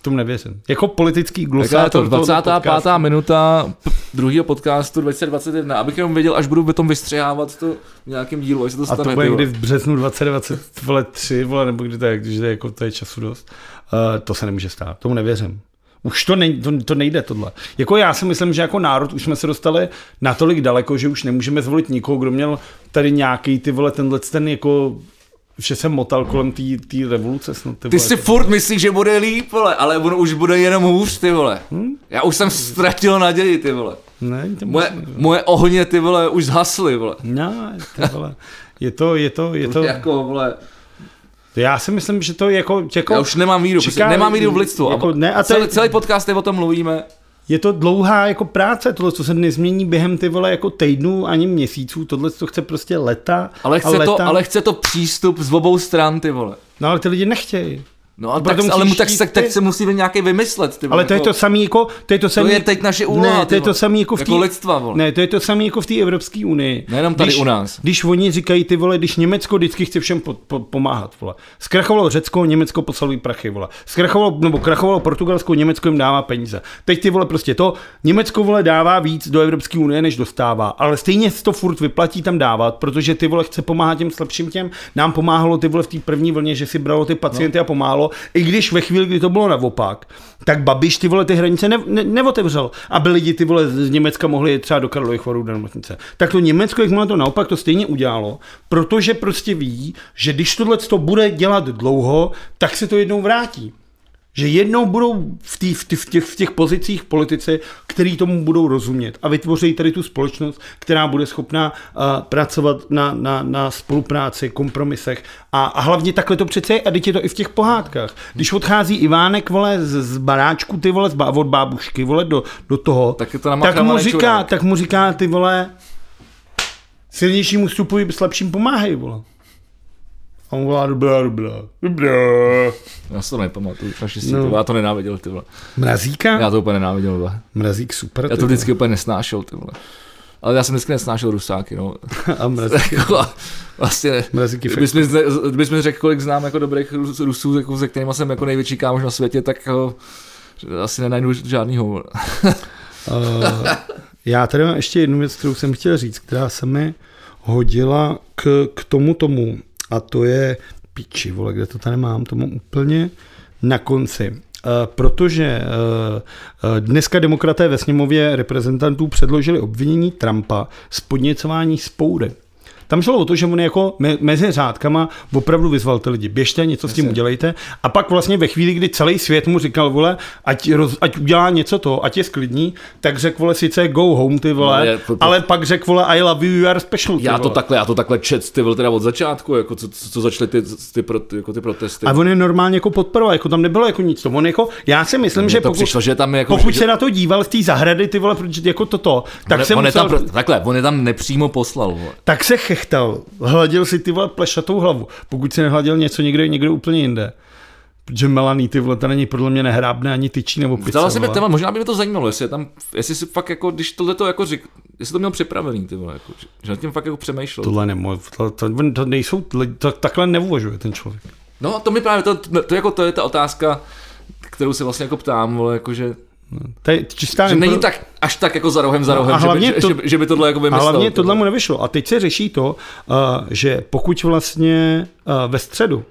Tomu nevěřím. Jako politický
Tak to
glosátor. tohoto
25.
podcastu.
minuta p- druhého podcastu 2021, abych jenom věděl, až budu potom vystřihávat to v nějakém dílu, až se to
A
stane.
to bude
ty
někdy
vole.
v březnu 2023, vole, tři, vole, nebo kdy to je, když to je, jako, to je času dost. Uh, to se nemůže stát, tomu nevěřím. Už to, ne, to, to nejde tohle. Jako já si myslím, že jako národ už jsme se dostali natolik daleko, že už nemůžeme zvolit nikoho, kdo měl tady nějaký ty vole, tenhle ten jako že jsem motal kolem té revoluce snad. Ty,
Ty
vole,
si furt myslíš, že bude líp, vole, ale ono už bude jenom hůř, ty vole.
Hm?
Já už jsem ztratil naději, ty vole.
Ne, to
Moje, moje ohně, ty vole, už zhasly, vole.
Ne, ty vole. No, Je to, je to, je to.
To... Jako, vole,
Já si myslím, že to je jako, jako
já už nemám víru,
Čeká-
prostě nemám víru v lidstvu.
jako ne, a to je-
celý, celý podcast je o tom mluvíme.
je to dlouhá jako práce, tohle co se nezmění během ty vole jako týdnů ani měsíců, tohle to chce prostě leta
Ale
a
chce,
leta.
to, ale chce to přístup z obou stran, ty vole.
No ale ty lidi nechtějí.
No a
Proto
tak,
musíš
ale mu tak,
jít
tak, tak
ty.
se musí nějaký vymyslet, ty vole,
Ale to je
jako-
to samý jako, to je to samý,
je teď naše úloha,
ne, to
ty
je to
vole.
samý jako v
Jako
té-
lidstva, vole.
Ne, to je to samý jako v té Evropské unii.
Nejenom tady
když,
u nás.
Když oni říkají ty vole, když Německo vždycky chce všem po, po, pomáhat, vole. Zkrachovalo Řecko, Německo poslalo jí prachy, vole. Zkrachovalo, nebo krachovalo Portugalsko, Německo jim dává peníze. Teď ty vole prostě to, Německo vole dává víc do Evropské unie, než dostává, ale stejně se to furt vyplatí tam dávat, protože ty vole chce pomáhat těm slabším těm. Nám pomáhalo ty vole v té první vlně, že si bralo ty pacienty no. a pomáhalo, i když ve chvíli, kdy to bylo naopak, tak Babiš ty vole ty hranice ne, ne, neotevřel, aby lidi ty vole z Německa mohli jet třeba do Karlových varů do nemocnice. Tak to Německo, jak má to naopak, to stejně udělalo, protože prostě ví, že když tohle to bude dělat dlouho, tak se to jednou vrátí. Že jednou budou v, tý, v, tý, v, těch, v těch pozicích politici, který tomu budou rozumět a vytvoří tady tu společnost, která bude schopná uh, pracovat na, na, na spolupráci, kompromisech a, a hlavně takhle to přece je a teď je to i v těch pohádkách. Když odchází Ivánek, vole, z, z baráčku, ty vole, z ba, od bábušky, vole, do, do toho,
Tak je to namakaný
tak, mu říká,
čurák.
tak mu říká, ty vole, silnějšímu vstupuj, slabším pomáhej, vole. A on volá, dobrá, dobrá, dobrá.
Já si to nepamatuju, fašisti,
No.
no. já to nenáviděl, ty vole.
Mrazíka?
Já to úplně nenáviděl, vole.
Mrazík super.
Já
ty
to vždycky úplně nesnášel, ty vole. Ale já jsem vždycky nesnášel rusáky, no.
vole. A mrazík.
Jako a vlastně,
Mrazíky fakt.
kdybys mi, zne- kdybys mi řekl, kolik znám jako dobrých Rus- Rusů, jako, se kterýma jsem jako největší kámoš na světě, tak jako, asi nenajdu žádnýho. vole.
Uh, já tady mám ještě jednu věc, kterou jsem chtěl říct, která se mi hodila k, k tomu tomu. A to je piči, vole, kde to tady mám, to mám úplně na konci. Eh, Protože eh, eh, dneska demokraté ve sněmově reprezentantů předložili obvinění Trumpa z podněcování spoury. Tam šlo o to, že on jako me- mezi řádkama opravdu vyzval ty lidi, běžte, něco s tím udělejte. A pak vlastně ve chvíli, kdy celý svět mu říkal, vole, ať, roz, ať udělá něco to, ať je sklidní, tak řekl, vole, sice go home, ty vole,
No, je- to- to-
ale pak řekl, vole, I love you, you are special, ty
Já to
vole.
takhle, já to takhle čet, ty vole, teda od začátku, jako co, co co začaly ty, ty, pro, ty, jako ty protesty.
A on je normálně jako podporoval, jako tam nebylo jako nic to. On jako, já si myslím, že
Mně to
pokud,
přišlo, že tam je jako...
pokud
že-
se na to díval z té zahrady, ty vole, protože jako toto, tak
on,
se
on je
musel...
tam, pro- takhle, on je tam nepřímo poslal, vole.
Tak se chechtal, hladil si ty vole plešatou hlavu, pokud si nehladil něco někde, někde úplně jinde. Protože Melaný ty vole, ta není podle mě nehrábne ani tyčí nebo pizza.
Ptala se mě
vole.
téma, možná by mě to zajímalo, jestli je tam, jestli si fakt jako, když tohle to jako řík, jestli to měl připravený, ty vole, jako, že- že nad tím fakt jako přemýšlel.
Tohle nemo, to, to, to, to nejsou, to, takhle neuvažuje ten člověk.
No a to mi právě, to, to, to, jako, to je ta otázka, kterou se vlastně jako ptám, vole, jako, že,
To je čistá
že
impro-
není tak, až tak jako za rohem, za rohem,
No, a
že, by,
hlavně
že,
to-
že, by- že, by tohle jako
A
vymyslel.
hlavně
ty
tohle
vole.
mu nevyšlo. A teď se řeší to, uh, že pokud vlastně uh, ve středu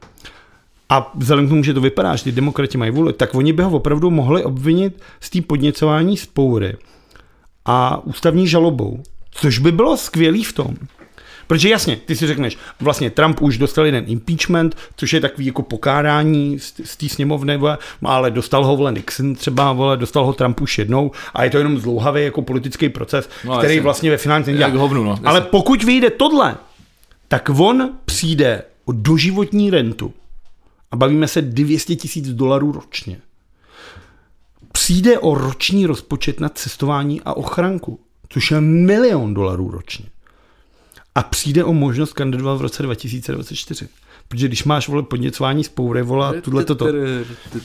a vzhledem k tomu, že to vypadá, že ty demokrati mají vůli, tak oni by ho opravdu mohli obvinit z té podněcování spoury a ústavní žalobou. Což by bylo skvělý v tom, Protože jasně, ty si řekneš, vlastně Trump už dostal jeden impeachment, což je takový jako pokárání z z té sněmovny, vole, ale dostal ho vole Nixon třeba, vole, dostal ho Trump už jednou a je to jenom zlouhavý jako politický proces, no,
No,
který
jasně.
vlastně ve finálně
Jak hovnu, no, jasně.
Ale pokud vyjde tohle, tak on přijde o doživotní rentu a bavíme se 200 tisíc dolarů ročně. Přijde o roční rozpočet na cestování a ochranku, což je milion dolarů ročně a přijde o možnost kandidovat v roce 2024. Protože když máš vole podněcování spoury, vole, tuhle toto.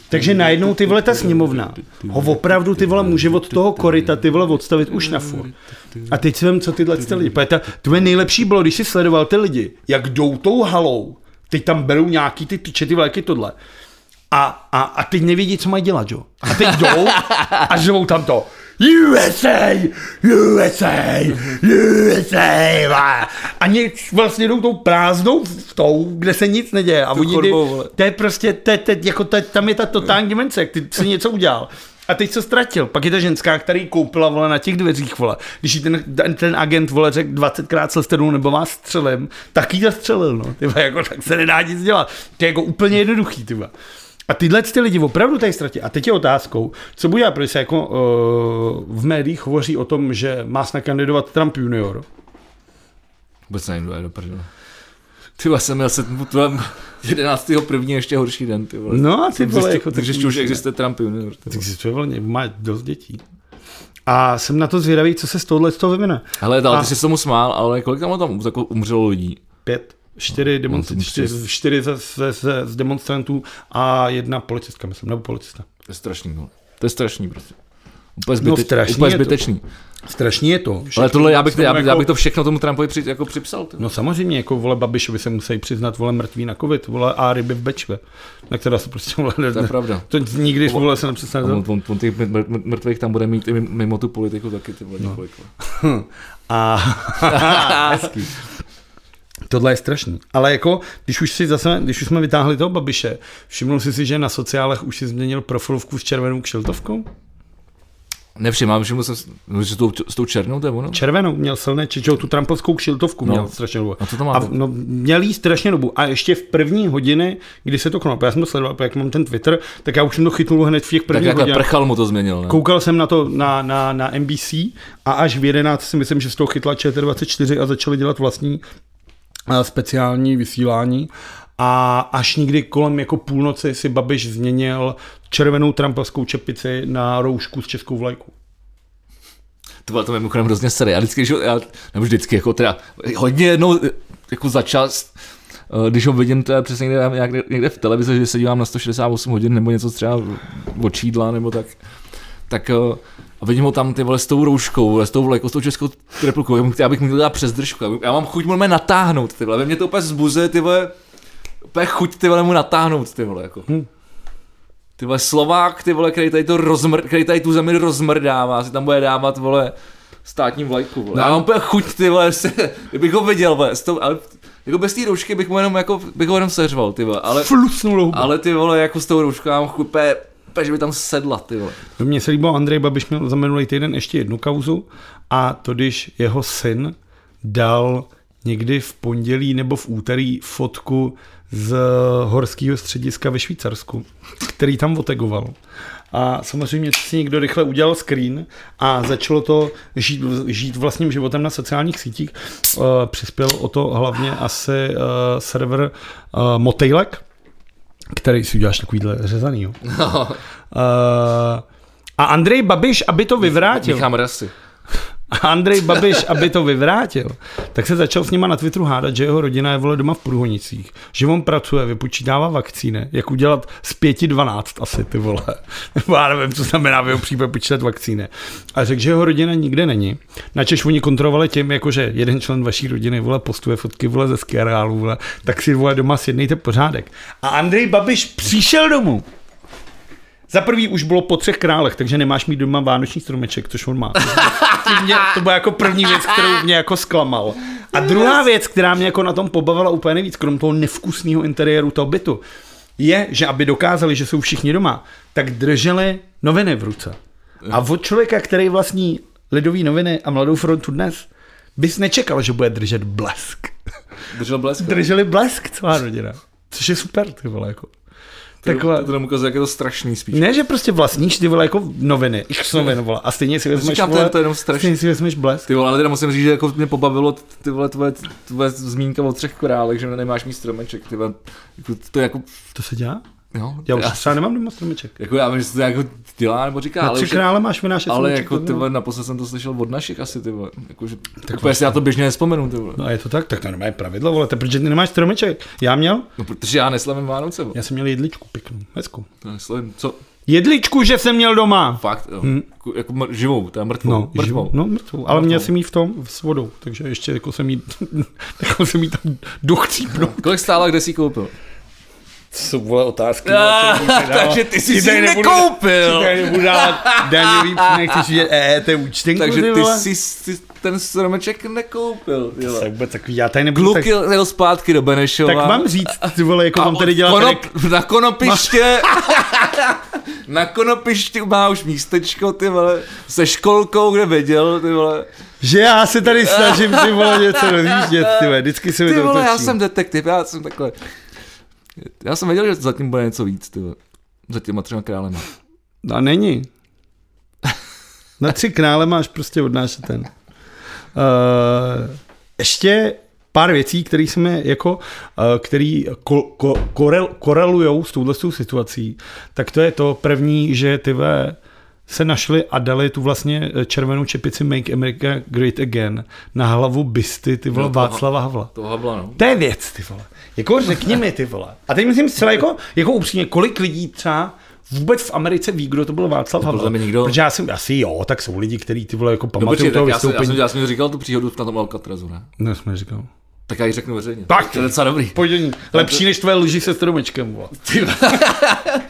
Takže najednou ty vole ta sněmovna ho opravdu ty vole může od toho korita ty vole odstavit už na furt. A teď si vem, co tyhle ty lidi. Protože ta, tvoje nejlepší bylo, když jsi sledoval ty lidi, jak jdou tou halou, teď tam berou nějaký ty tyče, ty vlaky, tohle. A, a, a teď nevědí, co mají dělat, jo. A teď jdou a živou tam to. USA, USA, USA. vá. A nic, vlastně jdou tou prázdnou v tou, kde se nic neděje. A oni jde,
chodbou, vole.
to je prostě, to, je- to, je- jako to, je- tam je ta totální dimenze, jak ty si něco udělal. A teď co ztratil. Pak je ta ženská, který koupila vole na těch dveřích vole. Když jí ten, ten, ten agent vole řekl 20krát se dolů nebo vás střelem, tak jí zastřelil, no. Ty vole, jako tak se nedá nic dělat. To je jako úplně jednoduchý, ty vole. A tyhle ty lidi opravdu tady ztratí. A teď je otázkou, co bude, protože se jako uh, v médiích hovoří o tom, že má snad kandidovat Trump junior.
Vůbec nevím, kdo je do prdele. Ty vole, jsem měl se 11. první ještě horší den, ty vole.
No a ty vole, jako
takže ještě už existuje Trump junior. ty vole.
Existuje volně, má dost dětí.
A jsem na to zvědavý, co se z tohohle z toho vyvine.
Hele, ale
A-
ty jsi se tomu smál, ale kolik tam tam jako umřelo lidí?
Pět, čtyři,
No,
demonstr-
to
čtyři, čtyři ze, ze, ze, z demonstrantů a jedna policistka, myslím, nebo policista.
To je strašný, vole. To je strašný prostě.
No,
Úplně, zbyteč,
strašný
úplně
je to.
zbytečný.
Strašný je to.
Ale tohle já bych,
Všechno
já, bych,
jako-
já bych to všechno tomu Trumpovi při, jako připsal. Ty.
No samozřejmě, jako vole Babišovi se musí přiznat vole mrtví na covid, vole a ryby v bečve. Na která se prostě vole,
To je pravda.
To nikdy vole se nepřestane.
No, On, on, on těch mr- mr- mrtvých tam bude mít i mimo tu politiku taky ty vole několik. vole.
A
Hezký.
tohle je strašný. Ale jako, když už si zase, když už jsme vytáhli toho Babiše, všimnul jsi si, že na sociálech už si změnil profilovku s červenou kšiltovkou?
Nevšimám, všiml jsem, s- no, že s tou, s tou černou to je ono?
Červenou, měl silné, či čo, tu trampovskou kšiltovku
No.
no. měl strašně dobu.
A co to má
A,
být?
v- no, měl jí strašně dobu. A ještě v první hodiny, kdy se to konalo, já jsem to sledoval, jak mám ten Twitter, tak já už jsem to chytnul hned v těch
Tak jako
prvních
takhle
hodinách.
prchal mu to změnil, ne?
Koukal jsem na to na, na, na NBC a až v 11 si myslím, že z toho chytla ČT24 a začali dělat vlastní eh, speciální vysílání a až někdy kolem jako půlnoci si Babiš změnil červenou trampovskou čepici na roušku s českou vlajkou.
To bylo to je mimochodem hrozně sere. Já vždycky, když ho, já, nebo vždycky, jako teda hodně jednou jako za čas, eh, když ho vidím teda přesně někde, nějak- někde v televizi, že se dívám na 168 hodin nebo něco třeba od čídla nebo tak, tak eh, a vidím ho tam ty vole s tou rouškou, vole, s tou vlajkou, s tou českou republikou, já bych- já bych mu to dal přes držku, já bych- já mám chuť mu natáhnout, ty vole, ve mě to úplně zbuzuje, ty vole, úplně chuť ty vole mu natáhnout, ty vole, jako. Ty vole Slovák, ty vole, který tady, to rozmr, který tady tu zemi rozmrdává, si tam bude dávat, vole, státní vlajku, vole. Já mám úplně chuť, ty vole, se, kdybych ho viděl, vole, s tou, ale jako bez té roušky bych mu jenom, jako, bych ho jenom seřval, ty vole, ale,
Flusnul hubu.
ale ty vole, jako s tou rouškou, já mám chuť, úplně, úplně, že by tam sedla, ty vole.
No mně se líbilo, Andrej Babiš měl za minulý týden ještě jednu kauzu a to když jeho syn dal někdy v pondělí nebo v úterý fotku z horského střediska ve Švýcarsku, který tam otegoval. A samozřejmě si někdo rychle udělal screen a začalo to žít, žít vlastním životem na sociálních sítích. Eh, Přispěl o to hlavně asi eh, server eh, Motejlek, který si uděláš takovýhle řezanýho. Uh, a Andrej Babiš, aby to vyvrátil.
Míchám rasy.
A Andrej Babiš, aby to vyvrátil, tak se začal s nima na Twitteru hádat, že jeho rodina je vole doma v Průhonicích, že on pracuje, vypočítává vakcíny, jak udělat z pěti 12 asi ty vole. Nebo já nevím, co znamená v jeho případě počítat vakcíny. A řekl, že jeho rodina nikde není. Načež oni kontrolovali tím, jakože jeden člen vaší rodiny vole postuje fotky vole ze skiareálu, vole, tak si vole doma sjednejte pořádek. A Andrej Babiš přišel domů. Za prvý už bylo po třech králech, takže nemáš mít doma vánoční stromeček, což on má ty mě, to byla jako první věc, kterou mě jako zklamal. A druhá věc, která mě jako na tom pobavila úplně nejvíc, krom toho nevkusného interiéru toho bytu, je, že aby dokázali, že jsou všichni doma, tak drželi noviny v ruce. A od člověka, který vlastní Lidový noviny a Mladou frontu dnes, bys nečekal, že bude držet blesk.
Držel blesk.
Drželi blesk celá rodina. Což je super, ty vole, jako. Taková,
To, to, to nám ukazuje, jak je to strašný spíš.
ne, že prostě vlastníš ty vole jako noviny, x novin, vole, a stejně si vezmeš,
Říkám, to je-
vole,
to je jenom strašný.
stejně si vezmeš blesk.
Ty vole, ale teda musím říct, že jako mě pobavilo t- ty vole tvoje, tvoje zmínka o třech korálech, že nemáš mít stromeček, ty vole, jako, to je jako,
To se dělá?
jo,
Já už třeba nemám doma stromeček.
jako já vím, že se to jako dělá nebo říká,
Na
ale,
tři
už, je-
krále máš vynášet
ale
stromeček,
jako
to no.
ty
vím.
vole, naposled jsem to slyšel od našich asi, ty vole, jako, že, tak úplně si
vlastně.
já to běžně nespomenu, ty vole.
No a je to tak? Tak to normálně pravidlo, vole, to protože ty nemáš stromeček. Já měl?
No, protože já neslavím Vánoce, vole.
Já jsem měl jedličku pěknou, hezkou.
Já neslavím, co,
Jedličku, že jsem měl doma!
fakt, jo. Jako, jako mr- živou, teda mrtvou,
Hm. No,
mrtvou.
mrtvou. no mrtvou, ale měl jsem jí v tom s vodou, takže ještě jako jsem jí, jako jsem jí tam dochcípnul.
Kolik stála, kde jsi ji koupil?
To jsou vole otázky.
takže ty jsi
Ti
si
tady
ji
nebudu-
nekoupil.
Tady nebudu dávat daňový příjmek, což je EET účtenku,
Takže
ty
ty
vole.
jsi ty ten stromeček nekoupil, ty vole.
Tak vůbec takový, já tady nebudu
Kluk
tak,
jel jel zpátky do Benešova.
tak mám říct, ty vole, jako mám tady dělat
konop,
rek-
Na konopiště... na konopišti má už místečko, ty vole, se školkou, kde věděl, ty vole.
Že já se tady snažím ty vole něco rozjíždět, ty vole, vždycky se mi
Ty
to
vole, já
otočí.
jsem detektiv, já jsem takhle. Já jsem věděl, že zatím bude něco víc, ty vole. Za těma třema králema.
No a není. Na tři krále máš prostě odnášet ten. Uh, ještě pár věcí, které se mi jako, uh, který ko, ko, korel, korelujou s touhle s tou situací, tak to je to první, že ty ve se našli a dali tu vlastně eh, červenou čepici Make America Great Again na hlavu bysty, ty vole,
No to-
Václava Havla.
To habla, no.
To je věc, ty vole. Jako řekni mi, ty vole. A teď myslím zcela jako, jako upřímně, kolik lidí třeba vůbec v Americe ví, kdo to byl Václav Havel.
podle mě nikdo.
Protože já jsem, asi jo, tak jsou lidi, kteří ty vole jako
No
pamatují
počkej,
toho
tak já jsem, já, jsem,
vystoupení.
já jsem říkal tu příhodu na tom Alcatrazu, ne?
Ne, jsem neříkal.
Tak já ji řeknu veřejně.
Tak.
To je docela dobrý.
Pojď do ní. Lepší než tvoje lži se stromečkem, vole.
Ale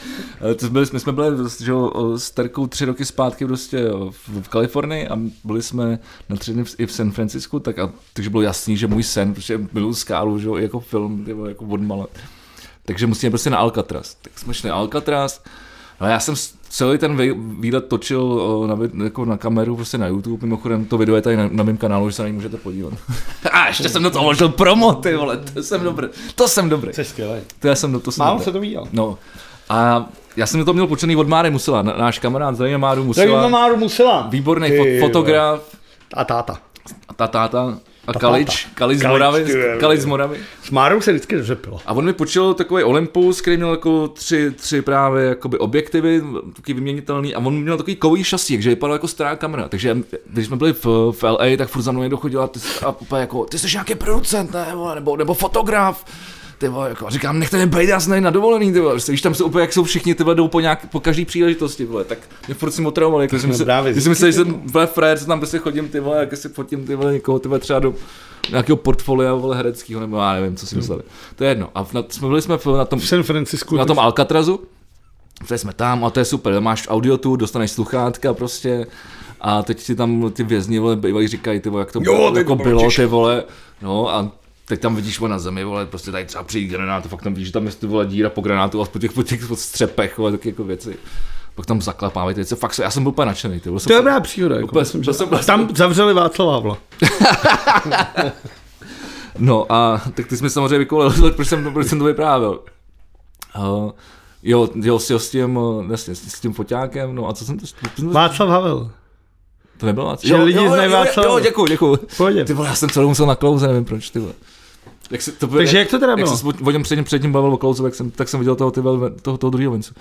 Eh, to byli, my jsme byli prostě, že, jo, eh, s Terkou tři roky zpátky prostě jo, v, v Kalifornii a byli jsme na tři dny v, i v San Francisku, tak a, takže bylo jasný, že můj sen, prostě byl skálu, že jo, i jako film, ty vole, jako odmala. Takže musíme prostě na Alcatraz. Tak jsme šli na Alcatraz, ale já jsem s- celý ten vý- výlet točil o, na, vid- jako na kameru, prostě na YouTube, mimochodem to video je tady na, na mém kanálu, že se na něj můžete podívat. A ještě jsem do toho vložil promo, ty vole, to jsem dobrý, to jsem dobrý,
To je skvělé.
to já jsem do toho jsem
Málo
dobrý.
se to viděl.
No. A já jsem to měl počený od Máry Musela, na- náš kamarád, zdravíme Máru
Zajímá
Musela,
Máru musela.
výborný
Ty
fo-
vole.
fotograf,
A táta.
a ta táta, a Kalič, Kalič z
Kalič,
Moravy,
ty vole.
Kalič z Moravy.
S Márou se vždycky dobře pilo.
A on mi počil takový Olympus, který měl jako tři, tři právě jakoby objektivy, taky vyměnitelný, a on měl takový kový šastík, že vypadal jako stará kamera. Takže když jsme byli v, v LA, tak furt za mnou někdo chodil a, ty, jsi- a úplně jako, ty jsi nějaký producent, ne, vole, nebo, nebo fotograf. Ty vole, jako, a říkám, nechte mě být, já jsem tady na dovolený, ty vole. Prostě, Víš, tam jsou úplně, jak jsou všichni, ty vole, jdou po, nějak, po každý příležitosti, vole. Tak mě furt si otravovali, jako, jsem
jsme
si,
právě
že jsem myslel, že jsem vole, frajer, co tam prostě chodím, ty vole, jak si fotím, ty vole, někoho, ty vole, třeba do nějakého portfolia, vole, hereckého, nebo já nevím,
Hmm.
co si mysleli. To je jedno. A na, jsme byli jsme v- na tom,
V San Francisku.
na tom Alcatrazu, teď jsme tam a to je super, tam máš audio tu, dostaneš sluchátka prostě a teď ti tam ty vězni vole bývají říkají, ty vole, jak to
Jo, ty
jako
to
bylo,
protiš.
ty vole, no a teď tam vidíš vole, na zemi, vole, prostě tady třeba přijít granát, fakt tam vidíš, že tam je ty vole díra po granátu a po těch, po těch po střepech, vole, taky jako věci. Pak tam zaklapávají ty věci, fakt se, já jsem byl úplně nadšený, ty vole,
To je
jsem-
dobrá příhoda. Jako,
Úplně
myslím,
jsem-
že...
jsem-
Tam zavřeli Václava Havla.
No a tak ty jsi mi samozřejmě vykolil, proč jsem, proč jsem to vyprávěl. Uh, jo, jo, s, jo, s tím, eh, jasně, s s tím foťákem, no a co jsem to, co jsem to,
Václav Havel.
to nebylo Václav.
Že
Jo,
lidi
jo,
znají
jo, jo,
Václava.
jo, děkuju, děkuju.
Pohodě.
Ty vole, já jsem celou musel na klouze, nevím proč, ty vole. Jak se, to,
Takže jak to teda
Jak
bylo?
jsem se o něm předtím, předtím bavil o klouze, tak jsem, tak jsem viděl toho, ty vole, toho, toho druhého vencu.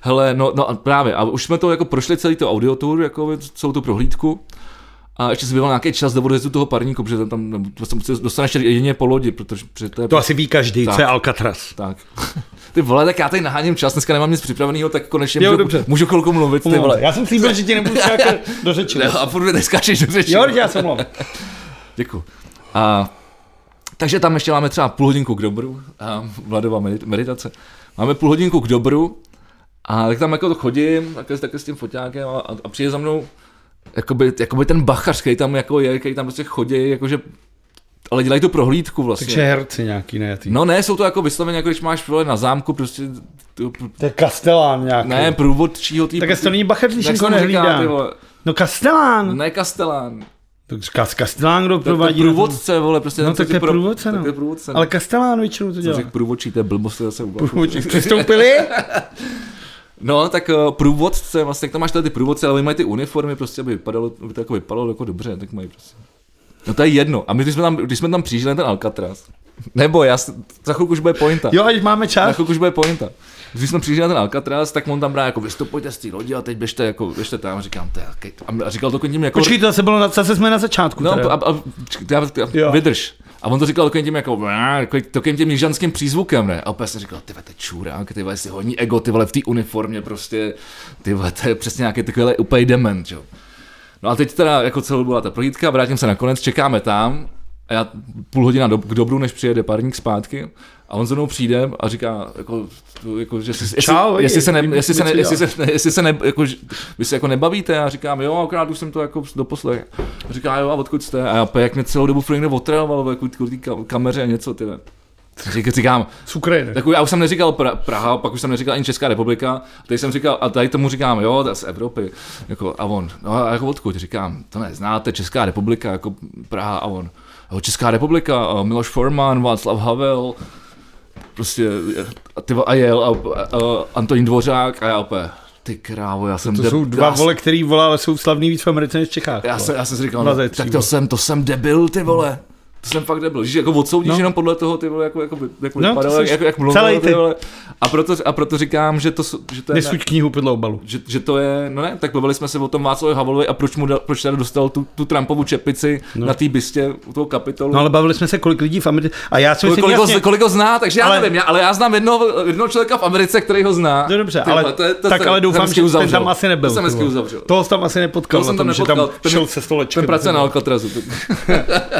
Hele, no, no a právě, a už jsme to jako prošli celý to audiotour, jako celou tu prohlídku. A ještě zbýval nějaký čas do odjezdu toho parníku, protože tam, tam nebo prostě musíš- dostaneš jedině po lodi, protože, protože to je
To asi ví každý,
Tak.
co je Alcatraz.
tak. Ty vole, tak já tady naháním čas, dneska nemám nic připraveného, tak konečně
Jo,
můžu,
dobře.
můžu chvilku mluvit, ty vole.
Já jsem slíbil, že ti nebudu nějaké dořečit.
jako Ne, a furt mi neskáčeš do řeči.
Jo, teď já jsem mluvil.
Děkuju. A, takže tam ještě máme třeba půl hodinku k dobru, a Vladová medit- meditace. Máme půl hodinku k dobru a tak tam jako to chodím, také, také s tím foťákem a, a, a přijde za mnou jakoby, jakoby ten bachař, který tam jako je, který tam prostě chodí, jakože, ale dělají tu prohlídku vlastně.
Takže herci nějaký nejatý.
No ne, jsou to jako vysloveně, jako když máš vole, na zámku prostě tu,
To je Kastelán nějaký.
Ne, průvodčího tý...
Jako- Tak jestli to není Bacha, když
Jak
jako
jsem říká,
nehlídá.
ty vole.
No Kastelán.
Ne Kastelán.
Tak říká Kastelán, kdo
To je
provádí.
průvodce, vole, prostě.
No
ten, co
tak
ti
to je průvodce,
tak
no.
to je průvodce.
Ale Kastelán většinou to
Jsem
dělá.
řekl průvodčí, to je blbost, to je zase uvažuji.
Průvodčí. Přistoupili?
No, tak eh, průvodce, vlastně, jak tam máš tady ty průvodce, ale oni mají ty uniformy, prostě, aby, vypadalo, aby to jako vypadalo jako dobře, tak mají prostě. No to je jedno. A my, když jsme tam, když jsme tam přijížděli na ten Alcatraz, nebo já, s- za chvilku už bude pointa.
Jo, ať máme
Na
čas.
chvilku už bude pointa. Když jsme přišli na ten Alcatraz, tak on tam brá jako vystupujte z té lodi a teď běžte, jako, běžte tam, říkám, to je jaký- a říkal to tím jako...
Počkej, to zase bylo, na- zase jsme na začátku.
No,
teda.
a, a, ček- já, já,
Jo.
vydrž. A on to říkal takovým tím jako, "Bá", takový- takovým tím jižanským přízvukem, ne? A opět jsem říkal, ty vole, to je čurák, ty vole, si hodní ego, ty vole, v té uniformě prostě, ty vole, to je přesně nějaký takovýhle úplně dement, jo. No a teď teda jako celou byla ta prohlídka, vrátím se nakonec, čekáme tam a já půl hodina do, k dobru, než přijede parník zpátky a on za mnou přijde a říká, jako, tu- jako že si, jestli,
Čau,
jestli, se ne,
jak-
jestli, se ne,
jak-
jestli, se, ne, jestli se ne, jako, že- vy se jako nebavíte a říkám, jo, akorát už jsem to jako doposlech. A Říká, jo, a odkud jste? A já, pe, jak mě celou dobu furt někdo otravoval, jako k té ka- kameře a něco, ty ne. Řík- Říkám,
Z Ukrajiny.
tak já už jsem neříkal pra- Praha, pak už jsem neříkal ani Česká republika, tady jsem říkal, a tady tomu říkám, jo, to je z Evropy, jako, a on, no a jako odkud, říkám, to neznáte, Česká republika, jako Praha, a on, jo, Česká republika, a Miloš Forman, Václav Havel, prostě, a, ty, a jel, a, a, a Antonín Dvořák, a já opět, ty krávo, já jsem
To
deb-
jsou dva
já jsem-
vole, který volá, ale jsou slavný víc v Americe než v Čechách.
já
vole.
jsem, já jsem si říkal,
Dva
no,
ze
tak
tří,
to
vole.
jsem, to jsem debil, ty vole. To jsem fakt nebyl. Že jako odsoudíš
No.
no. jenom podle toho, ty vole, jako, jako, by- jak
No,
vypadal,
to
jak,
jsi
jak, jak mluvil,
celý
ty
ty.
vole. A proto, a proto říkám, že to, jsou- že to je...
Nesuď knihu podle obalu.
že, že to je, no ne, tak bavili jsme se o tom Václavu Havlovi a proč mu dal, proč tady dostal tu, tu Trumpovu čepici no. na té bystě u toho kapitolu.
No ale bavili jsme se, kolik lidí v Americe. A já si
Kolik,
myslím,
kolik, ho,
jasně,
kolik ho zná, takže já ale,
Ale-
nevím, já, ale já znám jednoho, jednoho člověka v Americe, který ho zná.
No dobře,
Ty
ale,
vole,
to je, to tak
jsem-
ale
to jsem
doufám,
hezky
že ten
uzavřel.
tam asi nebyl.
To jsem
ty
hezky
vole.
uzavřel.
Toho jsem tam asi nepotkal,
Toho jsem
na
tam
tom, že
nepotkal.
tam
Ten-
šel se stolečkem.
Ten pracuje
ty
na
vole.
Alcatrazu. ty-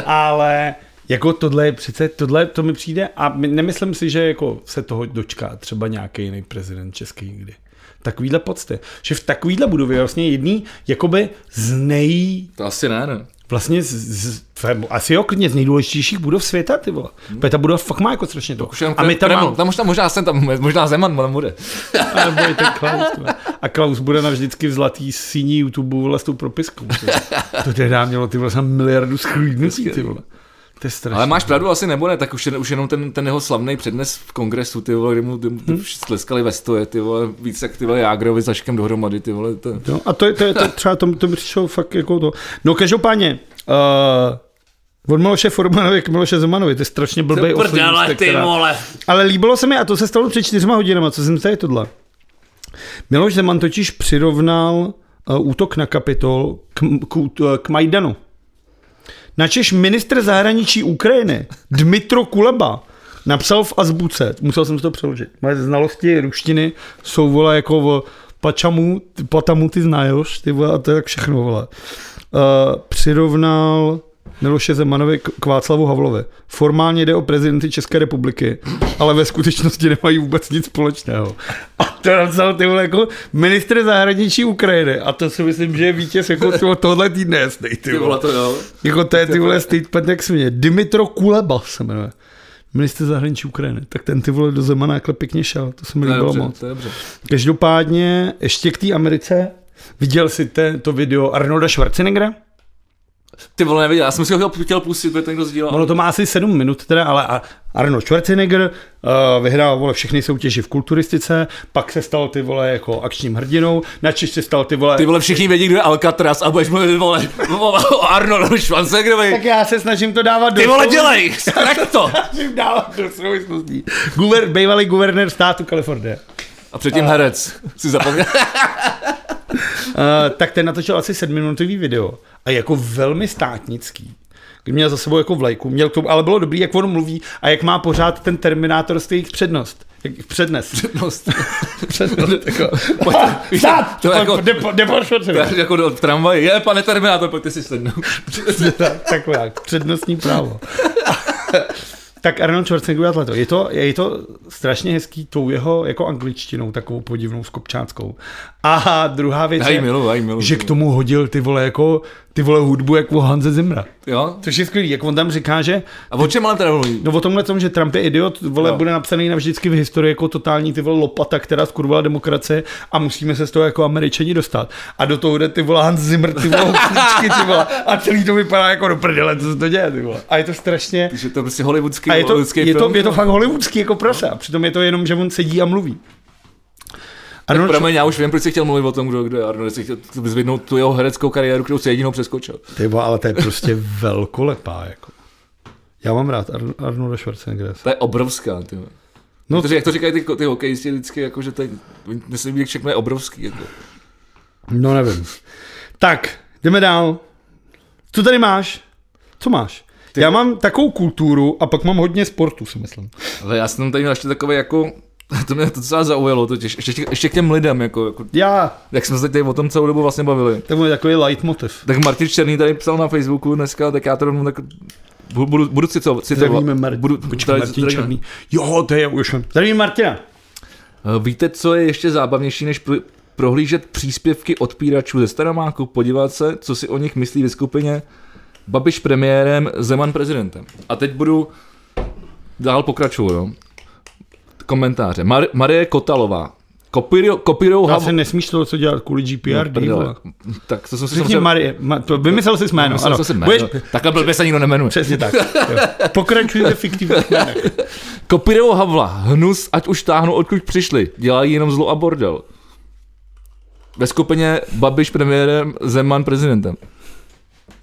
Ale jako tohle je přece, tohle to mi přijde a my, nemyslím si, že jako se toho dočká třeba nějaký jiný prezident český nikdy. Takovýhle pocty. Že v takovýhle budově je vlastně jedný jakoby z nej,
To asi ne, ne.
vlastně z, z, z- asi jo, klidně z nejdůležitějších budov světa, ty vole. Hmm. ta budova fakt má jako strašně to.
Už jenom
A my tam
Kreml.
máme,
tam možná, možná jsem tam, možná Zeman tam bude.
a nebo je ten Klaus, ty vole. A Klaus bude navždycky v zlatý síní YouTube vole s tou propiskou. ty vole. To teda mělo ty vole za miliardu schlídnutí, ty vole. To je strašné.
Ale máš pravdu, asi nebo ne, tak už, jen- už jenom ten, ten jeho slavný přednes v kongresu, ty vole, kdy mu, kdy mu hmm. sleskali ve stoje, ty vole, víc jak ty vole Jágrovi s Aškem dohromady, ty vole, to...
No, a to je, to je to třeba, to, to mi přišlo fakt jako to. No každopádně, uh, od Miloše Formanovi k Miloše Zemanovi, to je strašně blbej oslý ústek, teda.
vole.
Ale líbilo se mi, a to se stalo před čtyřma hodinama, co jsem tady tohle. Miloš Zeman totiž přirovnal uh, útok na kapitol k, k, út- k Majdanu. Načež ministr zahraničí Ukrajiny Dmitro Kuleba napsal v azbuce, musel jsem si to přeložit, moje znalosti ruštiny jsou vole jako v pačamu, ty- patamu ty znáš, ty vole, a to je tak všechno vole. Uh, přirovnal Miloše Zemanovi k k Václavu Havlovi. Formálně jde o prezidenty České republiky, ale ve skutečnosti nemají vůbec nic společného. A to napsal ty vole jako ministr zahraničí Ukrajiny. A to si myslím, že je vítěz jako toho- tohle týdne jasný,
Ty vole, to jo.
jako to je ty vole statement, jak směje. Dimitro Kuleba se jmenuje. Minister zahraničí Ukrajiny. Tak ten ty vole do Zemana jakhle pěkně šel. To se mi
To je
líbilo
dobře,
moc.
to je dobře.
Každopádně ještě k té Americe. Viděl jsi ten, to video Arnolda Schwarzeneggera?
Ty vole, neviděl, já jsem si ho chtěl- chtěl pustit, protože to někdo sdílel.
Ono to má asi 7 minut teda, ale a- Arnold Schwarzenegger uh, vyhrál vole všechny soutěži v kulturistice, pak se stal ty vole jako akčním hrdinou, načež se stal ty vole...
Ty vole, všichni vědí, kdo je Alcatraz a budeš mluvit, vole, o Arnoldu
Tak
Schwarzeneggerovi.
já se snažím to dávat do
Ty vole,
souvis-
dělej, zkrať to.
snažím dávat do souvislostí. Guver, bývalý guvernér státu Kalifornie.
A předtím herec, si zapomněl.
Uh, tak ten natočil asi sedmiminutový video a jako velmi státnický. Kdy Měl za sebou jako vlajku, měl k tomu, ale bylo dobrý, jak on mluví a jak má pořád ten Terminátor z jejich přednost. Jak přednes.
Přednost.
Přednost. jako.
víš,
Stát!
to je jako-
Depo- deportovat se.
To je jako do tramvaje, je pane Terminátor, pojďte si sednout.
Takhle jak, přednostní právo. tak Arnold Schwarzenegger dělá to. Je to, je to strašně hezký tou jeho jako angličtinou, takovou podivnou skopčáckou. A druhá věc
Já ji
je,
miluji, já ji miluji.
že k tomu hodil ty vole jako, ty vole hudbu jako Hanze Zimra.
Jo?
Což je skvělý, jak on tam říká, že
A o čem ale teda mluví?
no o tomhle tom, že Trump je idiot, vole,
No.
no. bude napsaný navždycky v historii jako totální ty vole lopata, která skurvala demokracie a musíme se z toho jako američani dostat. A do toho jde ty vole Hans Zimmer, ty vole houslíčky, ty vole, a celý to vypadá jako do prdele, co se to děje, ty vole. A je to strašně,
Že to je prostě hollywoodský,
a je to,
hollywoodský
je to,
film.
je to fakt hollywoodský jako prasa, a přitom je to jenom, že on sedí a mluví. Arnold,
Promiň, já už vím, proč jsi chtěl mluvit o tom, kdo, kdo je Arnold, jsi chtěl vyzvednout tu jeho hereckou kariéru, kterou si jedinou přeskočil.
ty vole, ale to je prostě velkolepá, jako. Já mám rád Ar- Arnolda Schwarzeneggera.
To je obrovská, ty. vole.
No,
Protože jak to říkají ty, ty hokejisti vždycky, jako, že to je, oni- myslím, že všechno je obrovský. Jako.
No nevím. Tak, jdeme dál. Co tady máš? Co máš? Ty... Já mám takovou kulturu a pak mám hodně sportu, si myslím.
Ale já jsem tady měl ještě takové jako, to mě to docela zaujalo totiž, ještě, ještě k těm lidem, jako, jako,
Já,
jak jsme se tady o tom celou dobu vlastně bavili.
to je takový leitmotiv.
Tak Martin Černý tady psal na Facebooku dneska, tak já to rovnou tak bu- budu, budu citovat. citovat.
Zdravíme Mar-
budu,
Počkej,
tady-
Martin
tady-
Černý. Jo, to je už. Zdravím Martina.
Eh, Víte, co je ještě zábavnější, než pro- prohlížet příspěvky odpíračů ze Staromáku, podívat se, co si o nich myslí ve skupině Babiš premiérem, Zeman prezidentem. A teď budu dál pokračovat. No. Komentáře. Mar- Marie Kotalová. Kopíru- Kopírou
Já se
Havl...
nesmíš to, co dělat kvůli GPR.
prdele.
No,
tak to jsem si
Řekni
samozřejmě-
Marie, ma, to vymyslel jsi jméno.
Myslel
ano.
jsem si jméno.
Budeš-
Takhle blbě se nikdo nemenuje.
Přesně tak. Jo. Pokračujte fiktivně.
Kopírou Havla. Hnus, ať už táhnou, odkud přišli. Dělají jenom zlo a bordel. Ve skupině Babiš premiérem, Zeman prezidentem.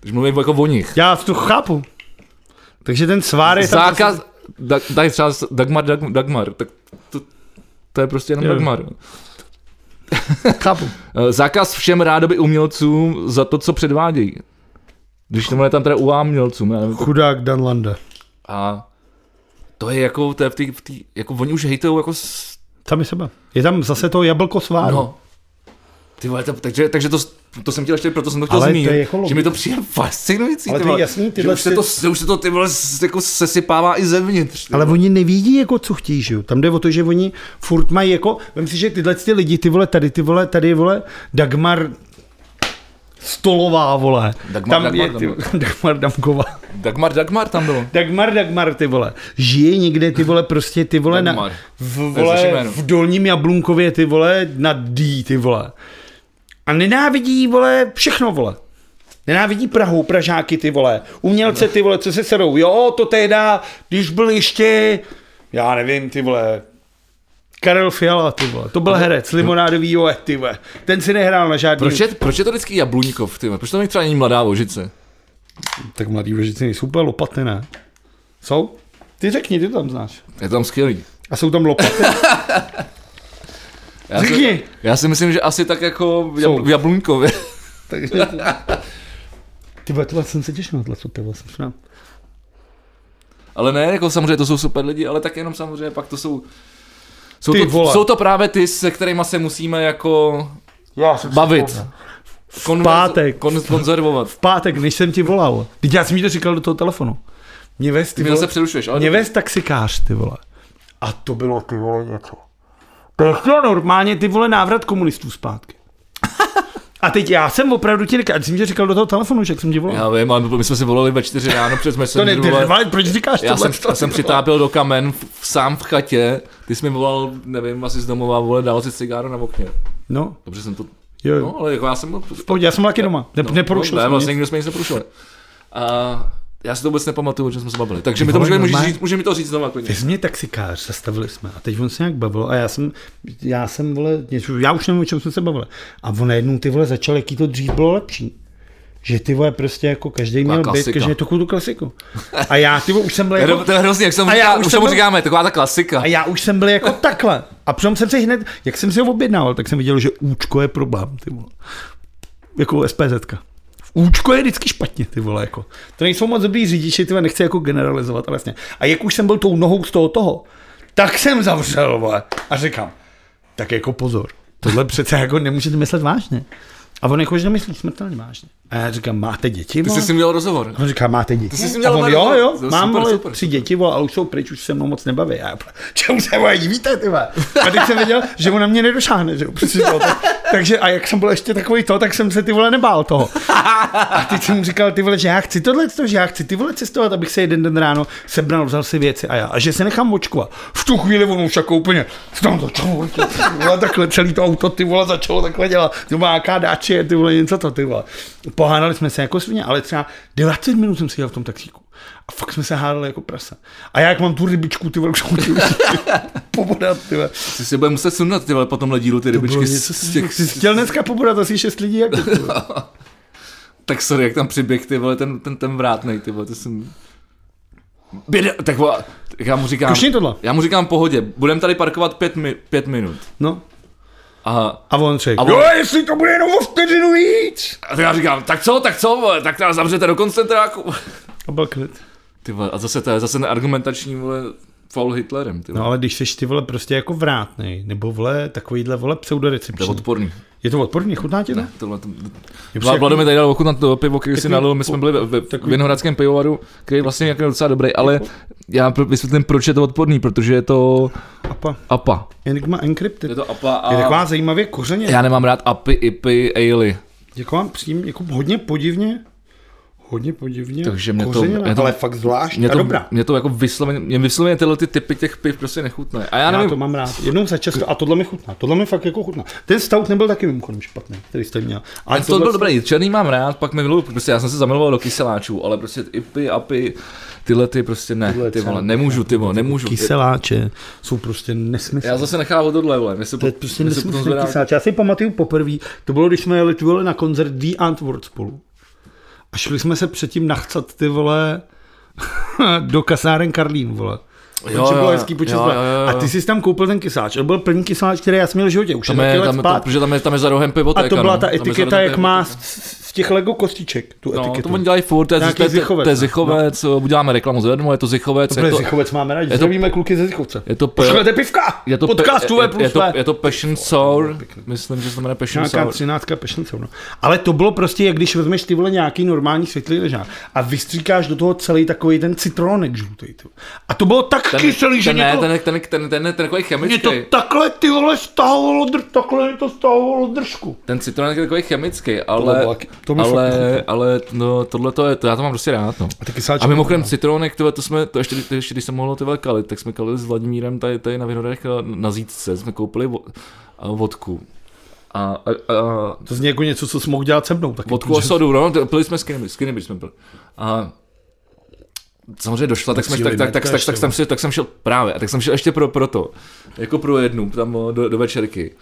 Když mluvím jako o nich.
Já to chápu. Takže ten svár je tam... prostě-
Zákaz, da, daj třeba s- Dagmar, Dag, Dagmar, tak to, to je prostě jenom
Jo.
Dagmar.
Chápu.
Eh, Zákaz všem rádoby umělcům za to, co předvádějí. Když to je tam teda u umělcům, já nevím,
Chudák Dan Landa.
A to je jako, to je v té, v té jako oni už hejtujou jako, s,
Sami sebe. Je tam zase to jablko sváru. No.
no. Ty vole, to, takže, takže to, to jsem chtěl ještě, proto jsem to chtěl
Ale to je
zmínit,
jako
že
logicky.
mi to přijde fascinující,
Ale
ty
to je
vole,
jasný,
že
tyhle
už, se
ty-
to, že už se to ty vole s- jako sesypává i zevnitř. ty
Ale
vole.
oni nevidí, jako co chtějí, že jo. Tam jde o to, že oni furt mají jako, vem si, že tyhle ty lidi, ty vole, tady, ty vole, tady, vole, Dagmar Stolová, vole.
Dagmar, Dagmar,
ty,
Dagmar.
vole, Dagmar Damková.
Dagmar, Dagmar tam bylo.
Dagmar, Dagmar, ty vole. Žije někde, ty vole, prostě, ty vole, na,
Dagmar.
v,
To je zase
vole,
jméno.
v dolním Jablunkově, ty vole, na D, ty vole. A nenávidí, vole, všechno, vole. Nenávidí Prahu, Pražáky, ty vole. Umělce, ty vole, co se serou. Jo, to tehda, když byl ještě, já nevím, ty vole, Karel Fiala, ty vole. To byl herec, limonádový joet, ty vole. Ten si nehrál na žádný...
Proč je, proč je to vždycky Jabluňkov, ty vole? Proč to není třeba není mladá vožice?
Tak mladý vožici nejsou úplně lopaty, ne? Jsou? Ty řekni, ty to tam znáš.
Je to tam skvělý.
A jsou tam lopaty?
Já si,
Řekni!
já si myslím, že asi tak jako v Jab-
Jsou.
v Jabluňkově.
Takže... Ty vole, tohle jsem se těšil na tohle, co ty vole, jsem šel.
Ale ne, jako samozřejmě to jsou super lidi, ale tak jenom samozřejmě pak to jsou... Jsou,
Ty
to,
vole.
jsou to právě ty, se kterými se musíme jako
Já jsem
bavit. Konver-
pátek.
Kon- konzervovat.
V pátek, než jsem ti volal. Teď já jsem mi to říkal do toho telefonu. Mě vez, ty
Ty mě
vole,
se přerušuješ, ale
mě vez taxikář, ty vole. A to bylo, ty vole, něco. To je chtěl normálně, ty vole, návrat komunistů zpátky. A teď já jsem opravdu ti říkal, ať jsi mi to říkal do toho telefonu, že jak jsem ti volal.
já vím, ale my jsme si volali ve čtyři ráno přes
to
Messenger.
ne, ty,
vole.
vole, proč říkáš
já
tohle?
jsem, já jsem přitápěl do kamen v, v, sám v chatě, ty jsi mi volal, nevím, asi z domova, vole, dal si cigáro na okně.
No,
Dobře jsem to,
jo,
no,
jo.
ale jako já jsem to,
V pohodě, já jsem byl taky doma. Ne,
no,
neporušil
no, ne,
jsem
vlastně
vlastně...
nikdo jsme nic neporušili. A já si to vůbec nepamatuju, o čem jsme se bavili. Takže mi to
vole,
můžeme, můžeš
normálně.
říct, může mi to říct znovu. klidně.
Vez mě taxikář, zastavili jsme a teď on se nějak bavil a já jsem, já jsem, vole, něco, já už nevím, o čem jsme se bavili. A on najednou ty vole začal, jaký to dřív bylo lepší. Že ty vole prostě jako každý měl být,
klasika.
každý měl takovou tu klasiku. A já ty vole, už jsem byl
To je-
jako,
To je hrozně, jak se mu
A já
říká,
už
už se
jsem
mu
byl-
říkáme, taková ta klasika.
a já už jsem byl jako takhle. A přitom jsem si hned, jak jsem si ho objednával, tak jsem viděl, že účko je problém, ty vole. Jako SPZka. Účko je vždycky špatně, ty vole, jako. To nejsou moc dobrý řidiči, ty vole, nechci jako generalizovat, ale vlastně. A jak už jsem byl tou nohou z toho toho, tak jsem zavřel, vole, a říkám, tak jako pozor, tohle přece jako nemůžete myslet vážně. A on jako, že nemyslí smrtelně vážně. A já říkám, máte děti,
Ty
vole?
jsi si měl rozhovor.
A On říká, máte děti.
jsi si
a
měl
on,
mladou-
jo, jo,
super,
mám super,
super,
super, tři děti, vole, ale už jsou pryč, už se mnou moc nebaví. Já, čemu se moje divíte, ty vole? A teď jsem věděl, že ona mě nedošáhne, že jo, přesně to. Tak, takže a jak jsem byl ještě takový to, tak jsem se ty vole nebál toho. A teď jsem mu říkal, ty vole, že já chci tohle, že já chci ty vole cestovat, abych se jeden den ráno sebral, vzal si věci a já, a že se nechám očkovat. V tu chvíli on už jako úplně, tam začalo, ty vole, takhle celý to auto, ty vole, začalo takhle dělat, to má jaká dáče, ty vole, něco to, ty vole. Pohádali jsme se jako svině, ale třeba 20 minut jsem seděl v tom taxíku. A fakt jsme se hádali jako prase. A já jak mám tu rybičku, ty vole, už jsem chtěl pobodat, ty vole.
Ty si bude muset sundat ty vole po tomhle dílu ty rybičky z, z těch...
Jsi chtěl dneska pobodat asi šest lidí, jak to, ty vole.
Tak sorry, jak tam přiběh ty vole, ten, ten, ten vrátnej ty vole, to jsem... Běda, tak vole, tak já mu říkám...
Kušni tohle.
Já mu říkám pohodě, budem tady parkovat pět, mi, pět minut.
No.
Aha.
A on řekl,
A on-
jo, jestli to bude jenom o vteřinu víc.
A tak já říkám, tak co, tak co, vole, tak nás zavřete do koncentráku.
A byl klid.
Ty vole, a zase to je zase ten argumentační vole, foul Hitlerem, ty vole.
No ale když seš ty vole prostě jako vrátnej, nebo vole takovýhle vole
To je
pseudorecepční.
odporný.
Je to odporný, chutná ti to?
Ne, tohle, to,
přijde
Vla, Vlado mi tady dal ochutnat to pivo, který si
Takový-
nalil, my jsme byli ve, ve takový, Vinohradském pivovaru, který je vlastně jako docela dobrý, ale já pro- vysvětlím, proč je to odporný, protože je to
Apa.
APA.
Enigma Encrypted.
Je to jako APA
Je
a
taková zajímavě kořeně.
já nemám rád API, IPy, EILy.
Jako vám přijím, jako hodně podivně, hodně podivně
Takže mě to-
kořeněná,
mě to-
ale fakt zvláštní
Mě
a
to,
dobrá.
mě to jako vysloveně, mě vysloveně tyhle ty typy těch piv prostě nechutné. A já
Já
nevím,
to mám rád. Jednou za často a tohle mi chutná. Tohle mi fakt jako chutná. Ten stout nebyl taky mimochodem špatný, který jste měl. Ale
to byl dobrý, černý mám rád, pak mi miluju, prostě já jsem se zamiloval do kyseláčů, ale prostě IPy, API, tyhle ty prostě ne,
Tyhle
ty vole,
třeba-
nemůžu, ty vole, nemůžu.
Kyseláče jsou prostě nesmysl.
Já zase nechávám tohle, vole, mě se,
To je
po-
prostě
mě se potom
nesmyslný
zvedá-
kysáč. Já si pamatuju poprvé, to bylo, když jsme jeli ty vole na koncert The Antwoord spolu. A šli jsme se předtím nachcat ty vole do kasáren Karlín, vole.
Jo,
Jo,
jo,
bylo
jo.
hezký počet
Jo,
let.
jo, jo, jo.
A ty jsi tam koupil ten kysáč. To byl první kysáč, který já jsem měl v životě, už
Tam
je,
je,
let
tam, to,
zpátky.
protože tam je, tam je za rohem pivotéka.
A to byla
no.
ta
Tam je za
etiketa,
rohem
jak
pivotéka.
má z z těch Lego kostiček, tu
No, to
etiketu.
oni dělají furt, to je, to je,
Nějaký no.
to je, to je
Zichovec.
Zichovec, uděláme reklamu zadarmo, je to Zichovec, je
Protože
to,
Zichovec máme rádi.
to-
Zdravíme kluky ze Zichovce.
je to, pe-
Pošlete pivka!
je to, pe-
Podcast
je,
UV
je,
E plus
je, to,
V.
je to Passion Sour, myslím, že se to jmenuje Passion
Nějaká
Sour.
třináctka pešnice, no. Ale to bylo prostě, jak když vezmeš ty vole nějaký normální světlý ležák a vystříkáš do toho celý takový ten citronek žlutý. Ty. vole. A to bylo tak ten, kyselý, že
ten,
mě
ne,
to,
ten, ten, ten, ten, ten, takový
mě
chemický.
to takhle ty vole stahovalo, dr, takhle mě to stahovalo držku.
Ten citronek je takový chemický,
Tohle
ale,
bylo taky- to mi fakt
ale,
nechutnalo.
ale no, tohle to je, to já to mám prostě rád. No.
A ty kysáčky.
A mimochodem citronek, tyhle, to jsme, to ještě, to ještě když jsem mohlo tyhle kalit, tak jsme kalili s Vladimírem tady, tady na Vinohradech eh, na Zítce, jsme koupili vo, a vodku. A, a, a
To zní jako něco, co jsi mohl dělat se mnou. Taky,
vodku a sodu, no, to- pili jsme skinny, skinny beer jsme pili. A samozřejmě došla, tak, jsme, tak, tak, tak, tak, tak, jsem si, tak jsem šel právě, a tak jsem šel ještě pro, pro to, jako pro jednu, tam o, do, do večerky.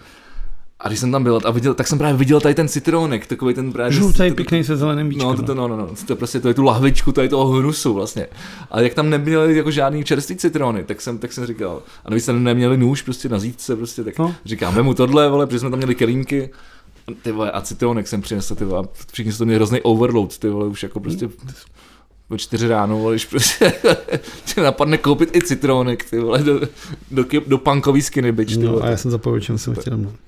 A když jsem tam byl a viděl, tak jsem právě viděl tady ten citronek, takový ten právě...
Žlutý,
ten-
pěkný se zeleným víčkem.
No, to, to, no, no, no, to je prostě to je tu lahvičku tady toho hnusu vlastně. A jak tam neměli jako žádný čerstvý citrony, tak jsem, tak jsem říkal, a navíc tam neměli nůž prostě na zítce, prostě, tak no.
No.
říkáme mu tohle, vole, protože jsme tam měli kelímky, ty vole, a citronek jsem přinesl, ty vole, a všichni se to měli hrozný overload, ty vole, už jako prostě ve čtyři ráno, vole, když prostě tě napadne koupit i citronek, ty vole, do, do, do, do punkový skinny, bitch, ty
No,
vole.
a já jsem zapomněl, o čem jsem chtěl mluvit.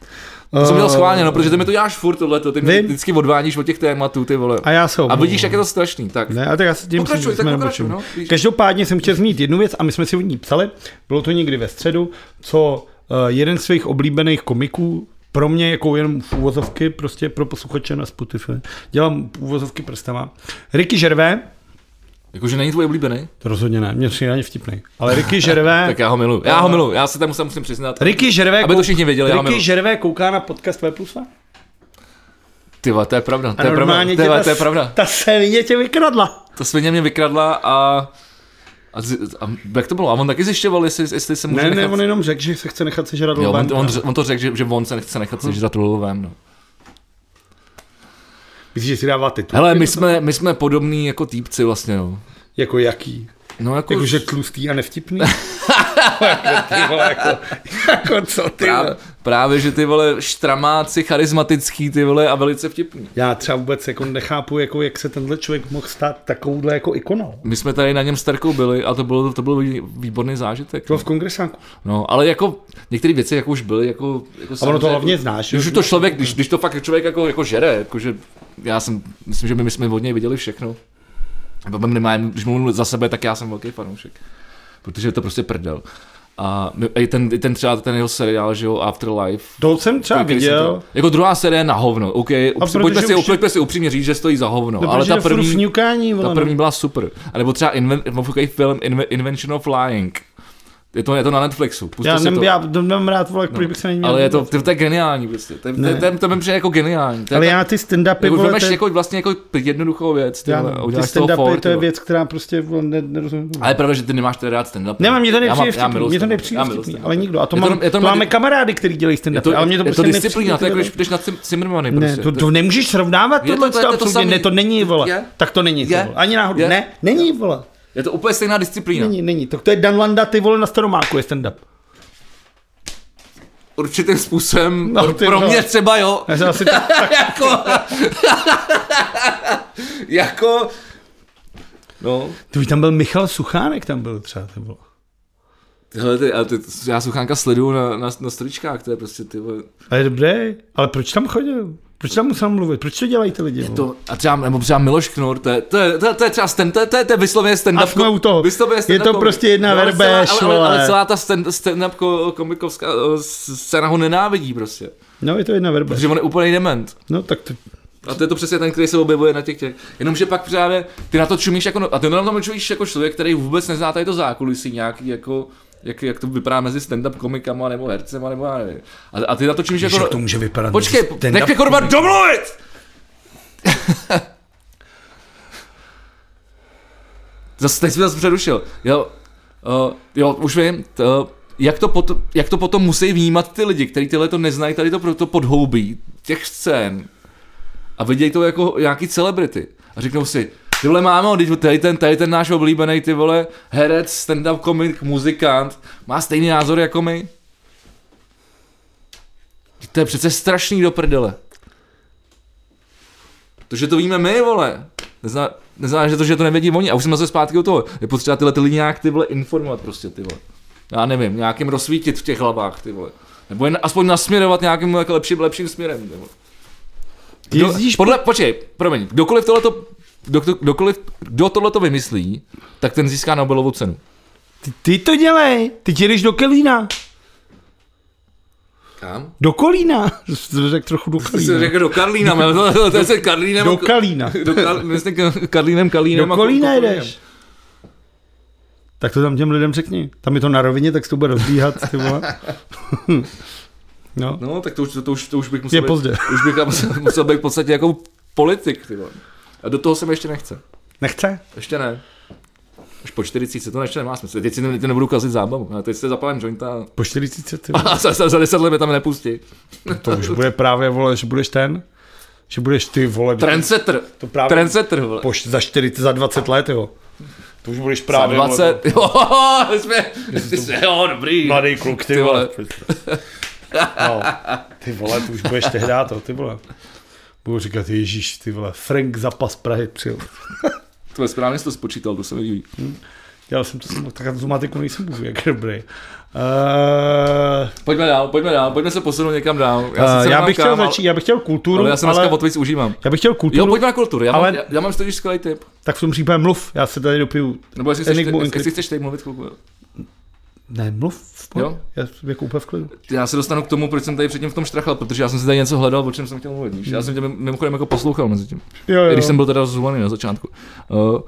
Eh,
To jsem měl schválně, no, protože ty mi to děláš furt tohleto, ty mě
Vím.
vždycky odváníš od těch tématů, ty vole.
A já se
A
omlouvám.
vidíš, jak je to strašný, tak.
Ne, a tak já se tím
Pokračuj,
myslím, že
tak
jsme
pokračuj,
nemočili.
no, víš.
Každopádně jsem chtěl zmínit jednu věc a my jsme si o ní psali. Bylo to někdy ve středu, co eh, jeden z svých oblíbených komiků, pro mě jako jenom v úvozovky, prostě pro posluchače na Spotify, dělám úvozovky prstama. Ricky Žervé,
Jakože není tvůj oblíbený?
to rozhodně ne, mě přijde ani vtipnej, ale Ricky Žervé,
Tak já ho miluju. Já ho miluju, já se tam musím, musím přiznat.
Ricky Žervé,
Aby to
kou-
všichni věděli, já
Ricky
miluju.
Žervé kouká na podcast V plus V.
Ty vole, to je pravda, to
A
je pravda,
normálně
ty
tě
vole,
ta,
to je pravda.
ta svině tě vykradla.
Ta svině mě vykradla a... A, z- a jak to bylo? A on taky zjišťoval, jestli, jestli se může
Ne, ne,
nechat...
on jenom řekl, že se chce nechat sežrat
jo, on,
lvem.
on, on, to řekl, že, že on se nechce nechat sežrat lovem, no.
Myslíš, že si dává titul?
Hele, my jsme, my jsme podobní jako týpci vlastně, no.
Jako jaký?
No jako...
Jakože tlustý a nevtipný? jako, ty vole, jako, jako co ty
právě,
vole?
právě, že ty vole štramáci, charismatický ty vole a velice vtipný.
Já třeba vůbec jako nechápu, jako, jak se tenhle člověk mohl stát takovouhle jako ikonou.
My jsme tady na něm s Terkou byli a to bylo, to byl výborný zážitek.
To v kongresáku.
No, ale jako některé věci jako už byly, jako... jako
A ono
samozřejmě-
to hlavně znáš.
Když
jo?
už to člověk, když, když to fakt člověk jako, jako žere, jakože já jsem, myslím, že my, my jsme od něj viděli všechno. Nebo nemá, když mluvím za sebe, tak já jsem velký fanoušek. Protože je to prostě prdel. A my- i ten, i ten třeba ten jeho seriál, že jo, Afterlife,
To jsem třeba
který jsem
viděl.
to- Jako druhá série na hovno, OK, upři,
protože
pojďme, si,
už-
pojďme si upřímně říct, že stojí za hovno,
No,
ale ta první,
Fňukání,
ta
vole,
první byla super. A nebo třeba inven, takový film Inve- Invention of Lying. Je to, je to na Netflixu,
no.
puste
Já,
si
nem,
prostě to. No.
já nemám rád, vole, proč bych se neměl.
Ale je to, to, to je geniální prostě. To, je- to, je-
Ne.
to, je- to mi přijde jako geniální. To je
ale
tak-
já ty stand-upy,
jako,
vole,
vemeš
to je-
jako vlastně jako jednoduchou věc, ty,
já-
vole, a
ty
uděláš z toho for,
stand-upy, to je
vole.
věc, která prostě vole, ne- nerozumím.
Ale je pravda, že ty nemáš teda rád stand-up.
Nemám, mě to
Já mám-
nepřijde
já miluji
vtipný, mě to
stand-up.
nepřijde
Já miluji
vtipný,
stand-up.
ale nikdo. A to,
Je to-
mám,
je
to,
to-
máme kamarády, který dělají stand
Je to,
ale mě to
je to
prostě
disciplína, to je jako
nepřijde.
když jdeš na Cim- Zimmermany
Ne,
prostě.
to, to nemůžeš srovnávat
Je to-
tohle
to
to,
je to
to, to,
samý.
ne, to není, vole.
Je?
Tak to není, ty
Je?
vole. Ani náhodou.
Je?
Ne, není, vole.
Je to úplně stejná disciplína.
Není, není. Tak to je Dan Landa, ty vole, na staromáku je stand-up.
Určitým způsobem,
No,
pro-
ty
pro
vole.
mě třeba jo,
Já jsem asi tak,
jako, jako, no,
ty už tam byl Michal Suchánek, tam byl třeba, ty vole.
Hele, ty, ale ty, já Suchánka sleduju na, na, na stričkách, to je prostě ty vole.
Ale dobré, ale proč tam chodil? Proč tam musel mluvit? Proč to dělají ty lidi? vole?
To, a třeba, nebo třeba Miloš Knur, to je, to je, to je, to je třeba stand, to je, to je, to je vysloveně stand-up.
A jsme u toho.
Vysloveně
Je
stand-up
to
komik. No,
prostě jedna
ale
verbež,
celá, ale, ale, ale
vole.
celá ta stand, stand-up ko- komikovská eh, scéna ho nenávidí prostě.
No, je to jedna verba.
Protože jako- on je úplný dement.
No, tak to...
A to je to přesně ten, který se objevuje na těch těch. Jenomže pak právě ty na to čumíš jako, no- a ty na to čumíš jako člověk, který vůbec nezná tady to zákulisí nějaký jako, jak, jak to vypadá mezi stand-up komikama nebo hercema nebo já nevím. A, a ty na to čumíš jako...
jak to může vypadat
Počkej, jako
mezi stand-up
nech mě kurva domluvit! Zase teď jsem zase přerušil. Jo, uh, jo už vím, to, jak, to pot, jak to potom musí vnímat ty lidi, kteří tyhle to neznají, tady to, pro- to podhoubí těch scén a vidějí to jako nějaký celebrity a řeknou si, Ty vole, mámo, teď tady ten, tady ten náš oblíbený, ty vole, herec, stand-up komik, muzikant, má stejný názor jako my. Vždyť To je přece strašný do prdele. To, že to víme my, vole. Nezná, neznamená, že to, že to nevědí oni. A už jsme zase zpátky u toho. Je potřeba tyhle ty lidi nějak ty vole informovat prostě, ty vole. Já nevím, nějakým rozsvítit v těch hlavách, ty vole. Nebo jen aspoň nasměrovat nějakým jako lepším, lepším směrem, ty vole. Kdo,
Jezdíš-
podle, počkej, promiň, kdokoliv tohleto, kdo, kdokoliv, kdo tohleto vymyslí, tak ten získá Nobelovu cenu.
Ty, ty to dělej, ty jedeš do Kelína.
Kam?
Do Kolína. Řekl trochu do
Ty jsi
Kolína.
řekl do Karlína, ale to, to, to je se Karlínem.
Do Kalína.
do Kal, myslím, Ka- Karlínem, Karlínem. jako-
Do
a Ko-
Kolína
Kokolínem.
jdeš. Tak to tam těm lidem řekni. Tam je to na rovině, tak se to bude rozbíhat, ty vole. No,
No, tak to už, to, už, to už bych musel
je
být-
pozdě.
Už bych tam musel, musel být v podstatě jako politik, ty vole. A do toho se mi ještě nechce.
Nechce?
Ještě ne. Už po 40 to ještě nemá smysl. Teď si ne, teď nebudu kazit zábavu. Já teď se zapalím jointa
Po 40, ty
a za, za, za 10 let mě tam nepustí.
To už bude právě, vole, že budeš ten, že budeš ty, vole,
Trendsetter.
To právě-
Trendsetter, vole.
po, š- za 40, za 20 let, jo. To už budeš
Za
právě, vole,
20. Jo, my jsme, ty jsme, jo, dobrý.
mladý kluk, ty,
Ty
vole.
vole.
No, ty vole, to už budeš tehdy to, ty vole. Budu říkat, Ježíš, ty vole, Frank zapas Prahy přijel.
To je správně jsi to spočítal, to se mi líbí.
Dělal jsem to, s- tak na tu matiku nejsem bůh, jak dobrý. Uh,
Pojďme dál, pojďme dál, pojďme se posunout někam dál. Já, sice
já, Eh, já
nemám
bych chtěl
kam, ale-
začít, já bych chtěl kulturu,
Ale já se
ale,
dneska o to víc užívám.
já bych chtěl
Jo,
kulturu,
pojďme na kulturu, já,
Ale-
mám, já, já mám totiž skvělý tip.
tak v tom případě mluv, já se tady dopiju.
Nebo jestli chceš,
Enigmu
ty,
Encrypt-
jestli chceš teď mluvit chvilku. jo.
Ne, mluv, v pohodě.
Jo.
já jsem jako úplně v klidu.
Já se dostanu k tomu, proč jsem tady předtím v tom štrachal, protože já jsem si tady něco hledal, o čem jsem chtěl mluvit. Víš? Já jsem tě mim- mimochodem jako poslouchal mezi tím.
Hmm. Jo,
I
jo.
když jsem byl teda zvolený na začátku. Uh,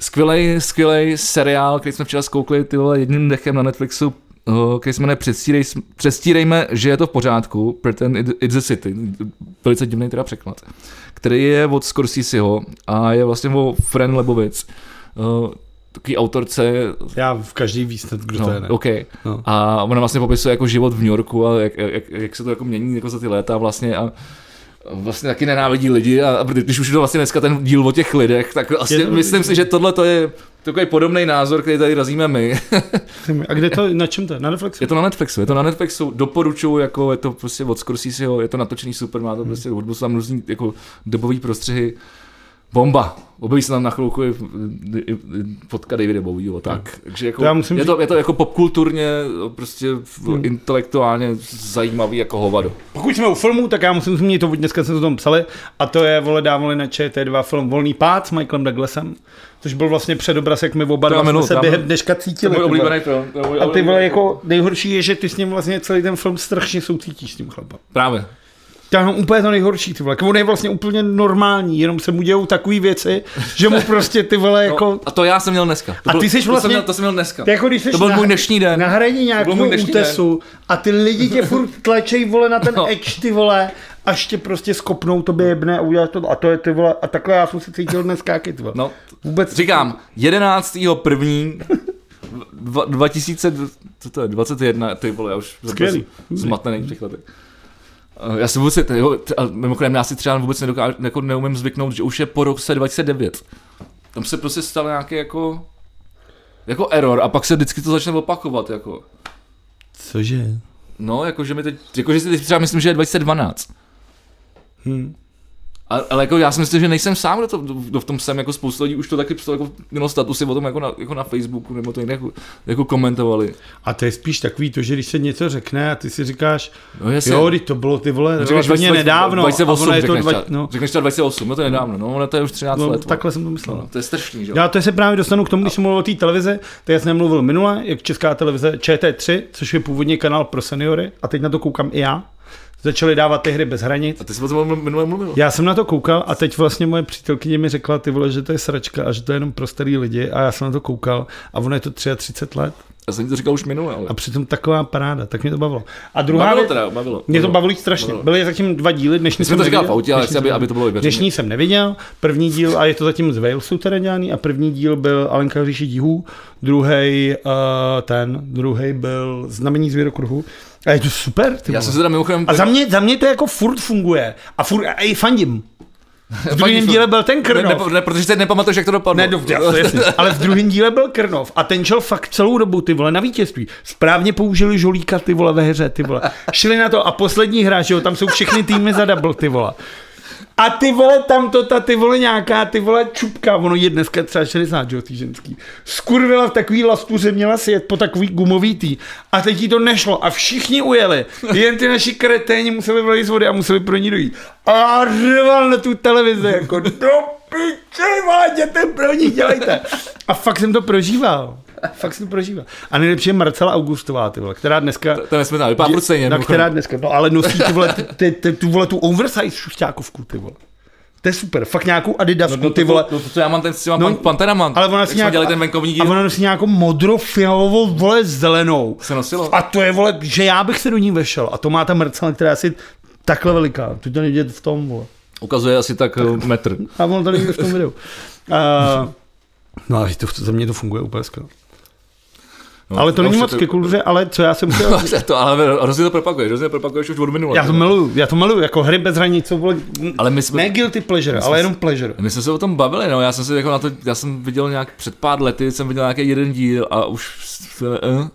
skvělej, skvělej seriál, který jsme včera zkoukli ty vole, jedním dechem na Netflixu, uh, který se jmenuje Předstírej, Přestírejme, že je to v pořádku, Pretend it- It's a City, velice divný teda překlad, který je od Scorseseho a je vlastně o Fran Lebovic, uh, takový autorce
Já v každý víc, kdo
No,
to je, ne.
OK.
No.
No. A ona vlastně popisuje jako život v New Yorku a jak, jak, jak se to jako mění jako za ty léta vlastně a vlastně taky nenávidí lidi a, a když už je to vlastně dneska ten díl o těch lidech, tak vlastně
Je to-
myslím si, že tohle to je takový podobný názor, který tady razíme my.
A kde to, na čem to je? Na Netflixu?
je to na Netflixu, je to na Netflixu, doporučuju, jako je to prostě od Scorseseho, je to natočený super, má to prostě hudbu, jsou tam různý jako dobový prostřehy, bomba. Objeví se tam na chvilku i, i, i fotka Davida Bowieho, tak. Takže jako,
No. To já musím Hmm.
je, to, je to jako popkulturně, prostě v, intelektuálně zajímavý jako hovado.
Pokud jsme u filmů, tak já musím zmínit to, dneska jsme to tam psali, a to je, vole, dávali na ČT2 film Volný pád s Michaelem Douglasem, což byl vlastně předobraz, jak my oba
To já
dva jsme
miluju,
se
to já
během
miluju.
dneška
To je
cítili.
můj
ty vole.
oblíbený film. to je můj
A ty vole,
oblíbený film.
jako nejhorší je, že ty s ním vlastně celý ten film strašně soucítíš s tím chlapem.
Právě.
To je úplně to nejhorší, ty vole. On je vlastně úplně normální, jenom se mu dějou takové věci, že mu prostě ty vole, jako...
No, a to já jsem měl dneska. To
A ty jsi
to
vlastně-
jsem měl, to jsem měl dneska.
To je jako když jsi
to byl
na-
můj dnešní den.
na hraně
byl
nějakého
můj dnešní
útesu a ty lidi tě furt tlačej vole na ten
No.
edge ty vole, až tě prostě skopnou, tobě jebne a uděláš to a to je ty vole a takhle já jsem se cítil dneska jaký ty vole.
No,
Vůbec.
Říkám, 11. první dva- 2000, co to je, 21, ty vole, já už jsem
Skvělý.
z- zmatený v těch letech. Eh, Já si vůbec, jo, t- a mimochodem já si třeba vůbec nedokážu, jako neumím zvyknout, že už je po roce 29. Tam se prostě stal nějaký jako, jako error a pak se vždycky to začne opakovat, jako.
Cože?
No, jakože mi teď, jakože si teď třeba myslím, že je 2012. Hmm.
Hm.
A, ale jako já si myslím, že nejsem sám, kdo, to, kdo v tom jsem, jako spousta lidí už to taky psalo, jako jenom statusy o tom jako na, jako na Facebooku, nebo to jinak jako, jako komentovali.
A to je spíš takový to, že když se něco řekne a ty si říkáš,
No jasně.
jo, teď to bylo ty vole
Řekneš
relativně
20
nedávno a
2008,
ono je to
řekneš,
dva,
třeba,
no,
řekneš třeba 2008, no to je nedávno, no ono to je už 13
no,
let.
takhle jsem to myslel.
vole. No. To je strašný, že jo?
Já to se právě dostanu k tomu, když jsem mluvil o té televize, to já jsem mluvil minule, jak česká televize ČT3, což je původně kanál pro seniory, a teď na to koukám i já, začali dávat ty hry bez hranic.
A ty jsi o tom minule mluvil.
Já jsem na to koukal a teď vlastně moje přítelkyně mi řekla, ty vole, že to je sračka a že to je jenom pro starý lidi a já jsem na to koukal a ono je to 33 let
Já jsem ti to říkal už minule, ale...
a přitom taková paráda, tak mě to bavilo. A druhá
Bavilo
věc,
teda, bavilo.
mě to bavilo strašně.
Bavilo.
Byly zatím dva díly, dnešní
My jsme to říkali v
neviděl.
autě, ale
Dnešní
chci, aby,
jsem-
aby to bylo
Dnešní
vyveřejně.
jsem neviděl, první díl, a je to zatím z Walesu teda dělaný, a první díl byl Alenka v říši dihů, druhý uh, ten, druhý byl Znamení zvěrokruhu. A je to super, ty
Já
vole.
jsem se teda mimochodem...
A za mě, za mě to jako furt funguje. A furt, a i fandím. V druhém díle byl ten
ne, ne,
Krnov.
ne, protože teď nepamatuješ, jak to dopadlo.
Ne, no, jasně. ale v druhém díle byl Krnov a ten šel fakt celou dobu ty vole na vítězství. Správně použili žolíka ty vole ve hře, ty vole. Šli na to a poslední hra, že jo, tam jsou všechny týmy za double, ty vole. A ty vole, tam to ta ty vole nějaká, ty vole čupka, ono je dneska třeba 60, že jo, tý ženský. Skurvila v takový lastuře, měla si jet po takový gumový tý. A teď jí to nešlo a všichni ujeli. Jen ty naši kreténi museli vlejt z vody a museli pro ní dojít. A rval na tu televizi, jako do piče, vole, jděte pro ní, dělejte. A fakt jsem to prožíval. Fakt jsem to prožíval. A nejlepší je Marcela Augustová, ty vole, která dneska...
To nesmyslná, vypadá
Je-
prudce
Na která dneska, no ale nosí ty vole, ty, ty, ty, tu, vole tu oversize šušťákovku, ty vole. To je super, fakt nějakou adidasku, no, ty vole.
To, to, to, já mám ten s těma
No,
no, Panteramant.
Ale ona
Jak
si
jsme
nějak,
dělali ten venkovní díl.
a ona nosí nějakou modrofialovou, vole, zelenou.
Se nosilo.
A to je, vole, že já bych se do ní vešel. A to má ta mrcela, která je asi takhle veliká. Tu to nejde v tom, vole.
Ukazuje asi tak eh, metr.
A ono to nejde v tom videu. Uh, no a to, za mě to funguje úplně skvěle.
No,
Ale to
no,
není
už
moc
to-
ke kultuře, ale co já jsem chtěl...
to, ale hrozně to propaguješ, hrozně propaguješ už od minule.
Já to miluju, já to miluju, jako hry bez hranic, co vole,
Ale my jsme-
ne guilty pleasure, ale jenom pleasure.
My jsme se o tom bavili, no, já jsem se jako na to, já jsem viděl nějak před pár lety, jsem viděl nějaký jeden díl a už, eh,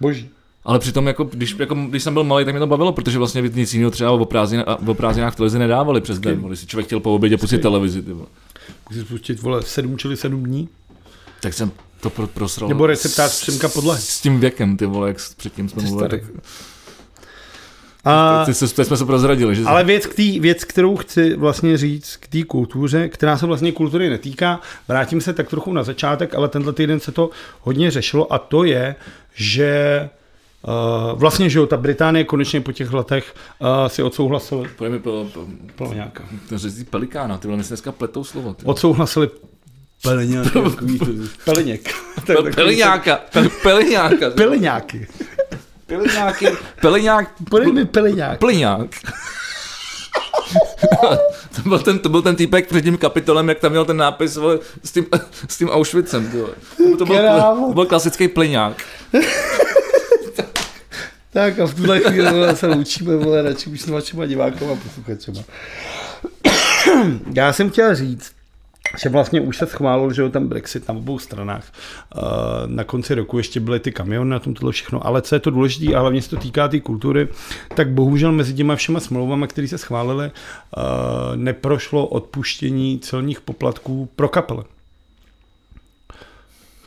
Boží.
ale přitom jako, když, jako, když jsem byl malý, tak mě to bavilo, protože vlastně nic jiného třeba o, prázdnin, a- o prázdninách v televizi nedávali přes den, když si člověk chtěl po obědě pustit televizi, ty vole.
Můžeš pustit, vole, sedm čili sedm dní?
tak jsem to pro, prosral.
Nebo receptář Přemka Podlahy.
S, s tím věkem, ty vole, jak s- předtím jsme mluvili. Tak,
starý. A,
ty, se, teď jsme se prozradili, že?
ale věc, k tý, věc, kterou chci vlastně říct k té kultuře, která se vlastně kultury netýká, vrátím se tak trochu na začátek, ale tenhle týden se to hodně řešilo a to je, že Uh, vlastně, že jo, ta Británie konečně po těch letech uh, si odsouhlasili,
Pojď mi po, po,
Plňáka.
ten řezí pelikána, ty vole, my se dneska pletou slovo. Ty.
odsouhlasili
Peleňák.
Peliněk.
Pe- Peliňáka, peliňáka,
Peliňáky.
peliňáky, peliňák,
Podej mi peliňák.
peliňák. to byl ten, to byl ten týpek před tím kapitolem, jak tam měl ten nápis vole, s, tím, s tím Auschwitzem. ty vole. To byl,
Krávo.
to byl klasický plyňák.
Tak a v tuhle chvíli vole, se loučíme, vole, radši už s vašima divákama a posluchačema. Já jsem chtěl říct, že vlastně už se schválil, že jo, ten Brexit na obou stranách. Eh, Na konci roku ještě byly ty kamiony na tom tohle všechno, ale co je to důležité a hlavně se to týká té kultury, tak bohužel mezi těma všema smlouvama, které se schválily, eh, neprošlo odpuštění celních poplatků pro kapely.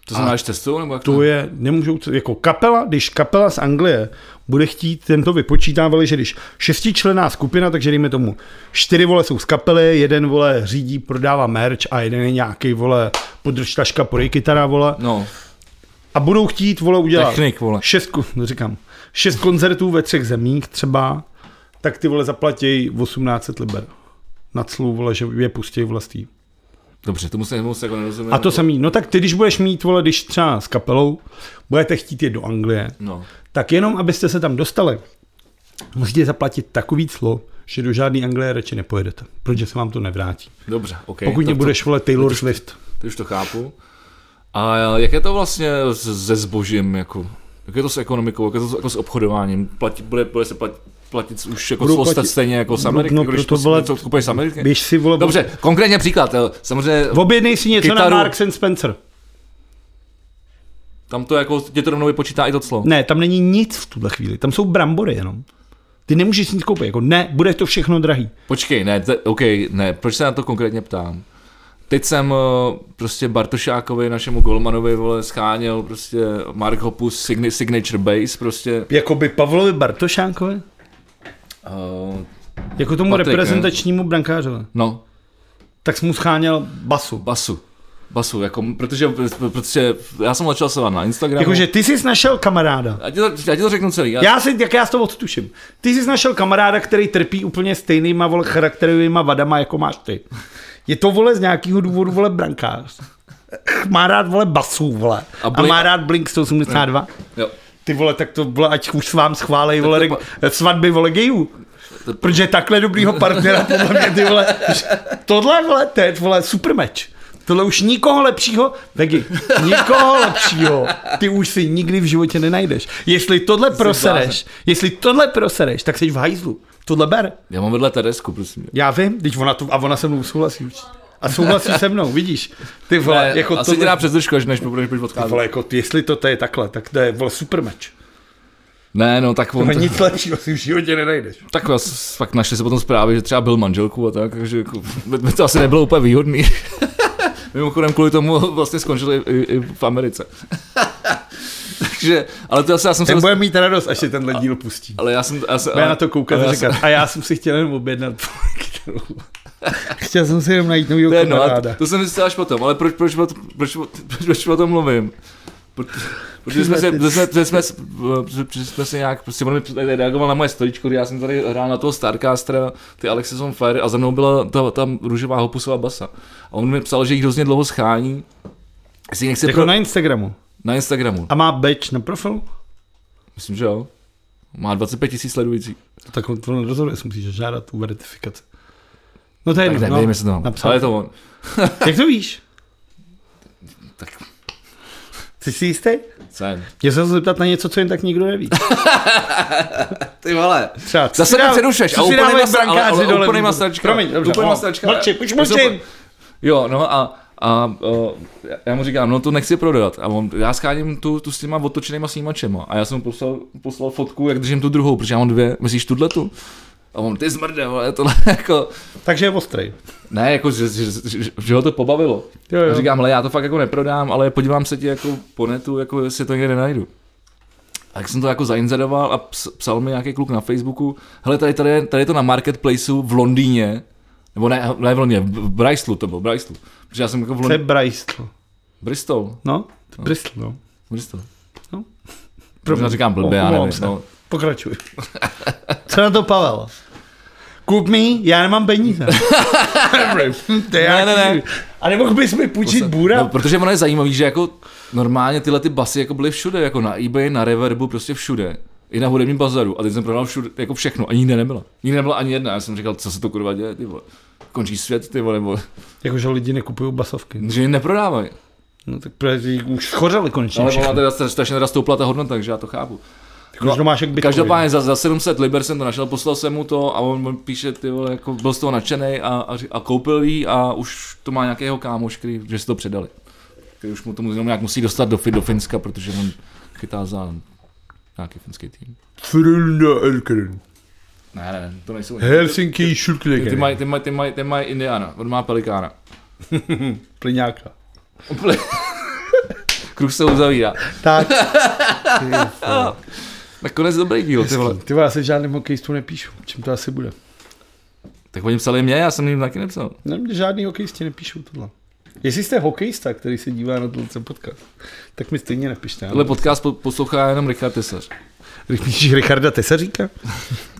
To znamená, že testou, nebo jak
To
to?
je, nemůžou, jako kapela, když kapela z Anglie bude chtít, tento vypočítávali, že když šestičlená skupina, takže dejme tomu, čtyři vole jsou z kapely, jeden vole řídí, prodává merch a jeden je nějaký vole podržtaška, podej kytara vole
No,
a budou chtít vole udělat
technik, vole.
šest, kon- no říkám, šest koncertů ve třech zemích třeba, tak ty vole zaplatí 1800 liber na clu, vole, že je pustí vlastní.
Dobře, tomu se, tomu se jako nerozumím.
A to samý, no tak ty, když budeš mít, vole, když třeba s kapelou, budete chtít jít do Anglie,
No.
tak jenom, abyste se tam dostali, musíte zaplatit takový clo, že do žádné Anglie radši nepojedete, protože se vám to nevrátí.
Dobře, OK.
Pokud
tak
mě budeš volet Taylor Swift.
To, to už to chápu. A jak je to vlastně s- se zbožím, jako, jak je to s ekonomikou, jak je to s- jako s obchodováním? Platí, bude, bude se platit, platit už jako
Budou
slosta
platit-
stejně jako z
No,
Ameriky,
no,
když
proto,
to,
vole,
co kupuješ z Ameriky?
Běž si vole...
Dobře, konkrétně příklad, jo, samozřejmě
Objednej si něco
Kytaru.
na Marks and Spencer.
tam to jako tě to rovnou vypočítá i to clo.
Ne, tam není nic v tuhle chvíli, tam jsou brambory jenom. Ty nemůžeš nic koupit, jako ne, bude to všechno drahý.
Počkej, ne, te, OK, ne, proč se na to konkrétně ptám? Teď jsem eh, prostě Bartošákovi, našemu golmanovi, vole, scháněl prostě Mark Hopus signi- signature base, prostě.
Jako
Jakoby Pavlovi Bartošánkovi?
Uh,
Jako tomu
Patrik, ne?
reprezentačnímu brankářovi.
no,
Tak jsi mu scháněl basu.
basu. Basu, jako, protože, protože já jsem začal se na Instagramu.
Jakože ty jsi našel kamaráda.
Já ti, to, já ti to řeknu celý. Já,
Jako, Já si, jak já to odtuším. Ty jsi našel kamaráda, který trpí úplně stejnýma vole, charakterovýma vadama, jako máš ty. Je to vole z nějakého důvodu vole brankář. Má rád vole basů, vole.
A
A,
Blink-
a má rád Blink 182.
jo,
Ty vole, tak to vole, ať už s vám schválej vole,
to
reg- svatby vole gejů. Protože takhle dobrýho partnera podle mě ty vole. Tohle vole, to je vole super meč. Tohle už nikoho lepšího, Vegy, nikoho lepšího ty už si nikdy v životě nenajdeš. Jestli tohle prosereš, jestli tohle prosereš, tak jsi v hajzlu. Tohle ber.
Já mám vedle Teresku, prosím. tě.
Já vím, teď ona to, a ona se mnou souhlasí už. A souhlasí se mnou, vidíš. Ty vole,
Ne,
jako
Eh, asi
to,
ti dá přes držku, až než budeš
ty
podcast.
vole, jako, jestli to, to je takhle, tak to je vole, super meč.
Ne, no, tak on
To
to,
nic lepšího si v životě nenajdeš.
tak já s- fakt našli se potom zprávy, že třeba byl manželku a tak, takže jako, by- by to asi nebylo úplně výhodný. Mimochodem kvůli tomu vlastně skončili i, i v Americe. takže, ale to asi já jsem se...
Ten
dost-
bude mít radost, až se tenhle díl pustí.
Ale já jsem... Já jsem
Bude
ale-
na to koukat
ale já
a
jsem-
říkat. A já jsem si chtěl jenom objednat kterou. Chtěl jsem si jenom najít novýho
To je jedno, ale
kamaráda.
to, to jsem zjistil až potom, ale proč, proč, proč, proč, proč, proč o tom mluvím? Proto- Protože jsme se, protože jsme, protože jsme, s- protože- protože jsme se nějak, prostě on mi tady reagoval na moje storičko, kdy já jsem tady hrál na toho Starcastera, ty Alexis on Fire a za mnou byla ta, ta růžová hopusová basa. A on mi psal, že jich hrozně dlouho schání, jestli ji nechce
Jako
pro...
na Instagramu.
na Instagramu.
A má badge na profilu?
Myslím, že jo. Má 25 tisíc sledujících.
Tak to nerozhoduje, si musíš žádat u verifikace. No to je
Tak
jedno,
nevím,
no.
jestli to mám.
napsal.
Ale je to on.
Jak to víš?
Tak
Jsi si jistý?
jsem.
Mě se chci zeptat na něco, co jen tak nikdo neví.
Ty vole.
Třeba, co
Zase
si
mě
dá-
přerušeš
co
a
si
úplnýma
dávají
stra- ale-
brankáři
ale
dole
úplnýma
výboru?
sračka.
Promiň, dobře,
Úplnýma
no.
sračka.
Mlči, už
To jsou-
mlčím.
Jo, no a, a o, já- já mu říkám, no to nechci prodat. A on, já scháním tu, tu s těma otočenýma snímačema. A já jsem mu poslal, poslal fotku, jak držím tu druhou, protože já mám dvě. Myslíš tuhle tu? A on, ty zmrde, vole, tohle jako...
Takže je ostrý.
Ne, jako, že, že, že, že ho to pobavilo.
Jo, jo.
A říkám, ale já to fakt jako neprodám, ale podívám se ti jako po netu, jako jestli to někde nenajdu. A jak jsem to jako zainzeroval a ps- psal mi nějaký kluk na Facebooku, hele, tady, tady, je- tady je to na marketplaceu v Londýně, nebo ne, ne v Londýně, v- v Bristolu to bylo, Bristolu. Protože já jsem jako v
To je
Londýně,
Bristol.
Bristol,
No, Bristol, no.
Bristol.
No.
Možná říkám blbě, já
Omlouvám
nevím,
se.
no.
Pokračuj. Co na to Pavel? Kup mi, já nemám peníze. to je
Ne, ne,
jaký-
ne.
A nemohl bys mi půjčit
No,
bůra?
protože ono je zajímavý, že jako normálně tyhle ty basy jako byly všude, jako na eBay, na Reverbu, prostě všude. I na hudebním bazaru. A teď jsem prodal všude, jako všechno. A nikde nebyla. Nikde nebyla ani jedna. Já jsem říkal, co se to kurva děje, ty vole. Končí svět, ty vole, nebo...
Jakože lidi nekupují basovky.
Že ji neprodávají.
No tak protože jí už schořeli konečně
Ale ona
všechno.
teda stra- strašně teda stoupla ta hodnota, takže já to chápu.
Tak už to máš jak Bitcoin.
Každopádně za, za 700 liber jsem to našel, poslal jsem mu to a on on píše, ty vole, jako byl z toho nadšený a, a, ři- a, koupil jí a už to má nějakého kámoš, který, že si to předali. Který už mu to mu- jenom nějak musí dostat do, Fi- do Finska, protože on chytá za nějaký finský tým.
Frunda Elkren.
Ne, ne, ne, to nejsou oni.
Helsinki
Ty
Schulklegen.
mají, ty mají, ty mají, ty mají Indiana, on má pelikána.
Plyňáka.
Úplně. Kruh se uzavírá.
Tak,
Nakonec dobrý díl, ty vole.
ty vole, já se žádným hokejistům nepíšu. Čím to asi bude?
Tak oni psali mě, já jsem jim taky nepsal.
Ne, mě žádný hokejisti nepíšou tohle. Jestli jste hokejista, který se dívá na tenhle podcast, tak mi stejně nepište. já
Tenhle podcast po- poslouchá jenom Richard Tesař.
Když Píšíš Richarda Tesaříka?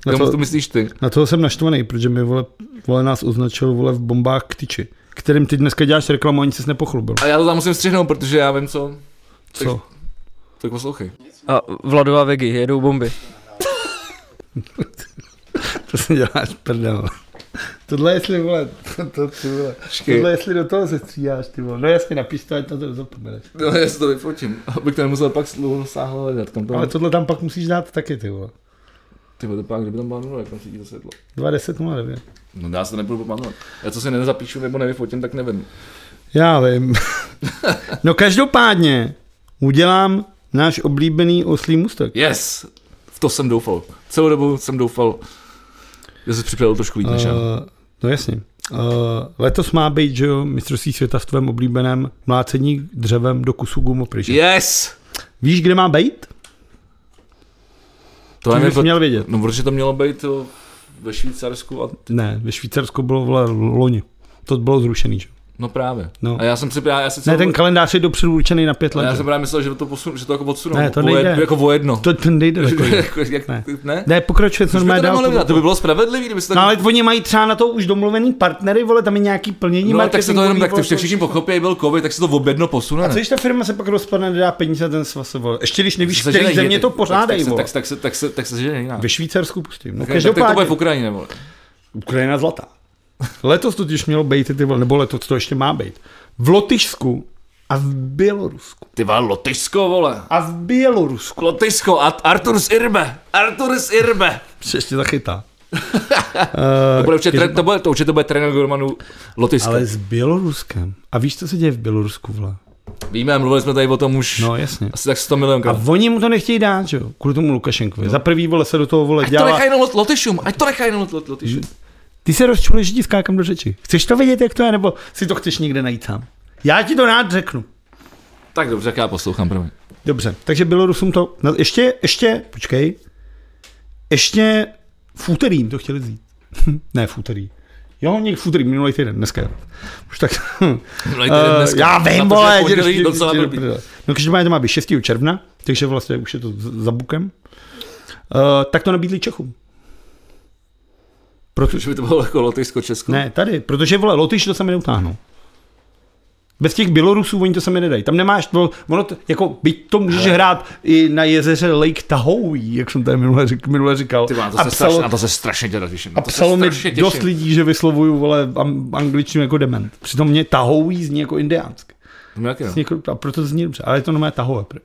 Na,
Komu
to,
to myslíš ty?
na toho jsem naštvaný, protože mi vole, vole nás označil vole v bombách k tyči, kterým ty dneska děláš reklamu a nic se nepochlubil.
A já to tam musím střihnout, protože já vím, co.
Co?
Tak poslouchej.
A Vladová Vegy, jedou bomby.
To se děláš prdel. Tohle jestli, vole, to, to, ty vole. Tohle jestli do toho se stříháš, ty vole. No jasně, napiš to, ať na to nezapomeneš.
No, já si to vyfotím, abych to nemusel pak dlouho sáhlo hledat. Tam to
Ale tohle tam pak musíš dát taky, ty vole.
Ty vole, to pak, kdyby tam byla nula, jak tam svítí to světlo.
2.10.09.
No já se to nebudu pamatovat. Já to si nezapíšu nebo nevyfotím, tak nevím.
Já vím. no každopádně udělám náš oblíbený oslý mustek.
Yes! V to jsem doufal. Celou dobu jsem doufal, že jsi připravil trošku líp než já.
Eh, no jasně. Uh, letos má být, že jo, mistrovství světa v tvém oblíbeném mlácení dřevem do kusu gumopryže.
Yes!
Víš, kde má být?
To
To
nevím,
bys
to-
měl vědět.
No, protože to mělo být to ve Švýcarsku a...
Ne, ve Švýcarsku bylo vole loni. To bylo zrušený, že? jo.
No právě.
No.
A já jsem si já, já si
Ne,
celou-
ten kalendář je dopředu určený na pět
a
let.
já
že jo.
jsem právě myslel, že to, posun, že to jako odsunou.
Ne, to
O jed-
nejde.
jako o jedno.
To ten nejde
Jako-
takový.
jako- jak,
Ne.
ne. ne?
Ne, pokračuje
Proč by
normálně
to
dál.
nemohli udělat? To by bylo spravedlivý, kdyby se tak...
No ale oni mají třeba na to už domluvený partnery, vole, tam je nějaký plnění
no, tak se to
marketingový,
jenom, tak to
vole,
všichni pochopí, byl covid, tak se to v jedno posune.
A co když ta firma se pak rozpadne, nedá peníze a ten svaz se vole. Ještě když nevíš,
Se
který
ženej,
země
tak-
to
tak-
pořádají,
tak, se-
vole.
tak, se- tak, se, tak, se, tak se žene jiná.
Ve Švýcarsku pustím. No,
Tak, tak to bude v
každopádně.
Ukrajině, vole.
Ukrajina zlatá. Letos totiž mělo být, ty vole, nebo letos to ještě má být. V Lotyšsku a v Bělorusku.
Ty vole, Lotyšsko, vole.
A v Bělorusku.
Lotyšsko a Artur z Irbe. Artur z Irbe.
Se ještě zachytá. Eh,
To, bude určitě, tre- to, bude, to určitě to bude trenér Gormanu Lotyska.
Ale
Ale...
s Běloruskem. A víš, co se děje v Bělorusku, vole?
Víme, mluvili jsme tady o tom už no.
No jasně.
asi tak 100 milionkrát.
A oni mu to nechtějí dát, že jo? Kvůli tomu
No.
Lukašenkovi.
Za
Za-
prvý vole se do toho vole
Ať to
dělá.
nechají na lot- Lotyšům, ať to nechají na lot- lot- Lotyšům.
Hmm.
Ty se rozčulíš, že ti skákám do řeči.
Chceš to vědět, jak to je, nebo si to chceš někde najít sám? Já ti to rád řeknu.
Tak dobře, tak já poslouchám první.
Dobře, takže Bělorusům to... No, ještě, ještě, počkej. Ještě v úterý jim to chtěli vzít. ne, v úterý. Jo, někdy v úterý, minulý týden, dneska. jo. Už tak... Eh, já vím, vole,
dělí
dědečky,
docela
dědečky,
blbý.
prdele. No každopádně to má být 6. června, takže vlastně už je to z- za bukem. Uh, tak to nabídli Čechům.
Protože by to bylo jako Lotyšsko, Česko.
Ne, tady, protože vole, Lotyš to sami neutáhnou. Bez těch Bělorusů oni to sami nedají. Tam nemáš, to, ono to, jako, byť to můžeš hrát i na jezeře Lake Tahoe, jak jsem tady minule, řík, minule říkal.
Ty vole, na to
A
se
psalo-
strašně, na to se strašně teda těším. na
a
to se
psalo mi
strašně
dost
těším.
lidí, že vyslovuju vole am- angličtinu jako dement. Přitom mě Tahoe zní jako indiánsk.
No, jak je, no?
Zní jako, a proto to zní dobře, ale je to normálně Tahoe. prý.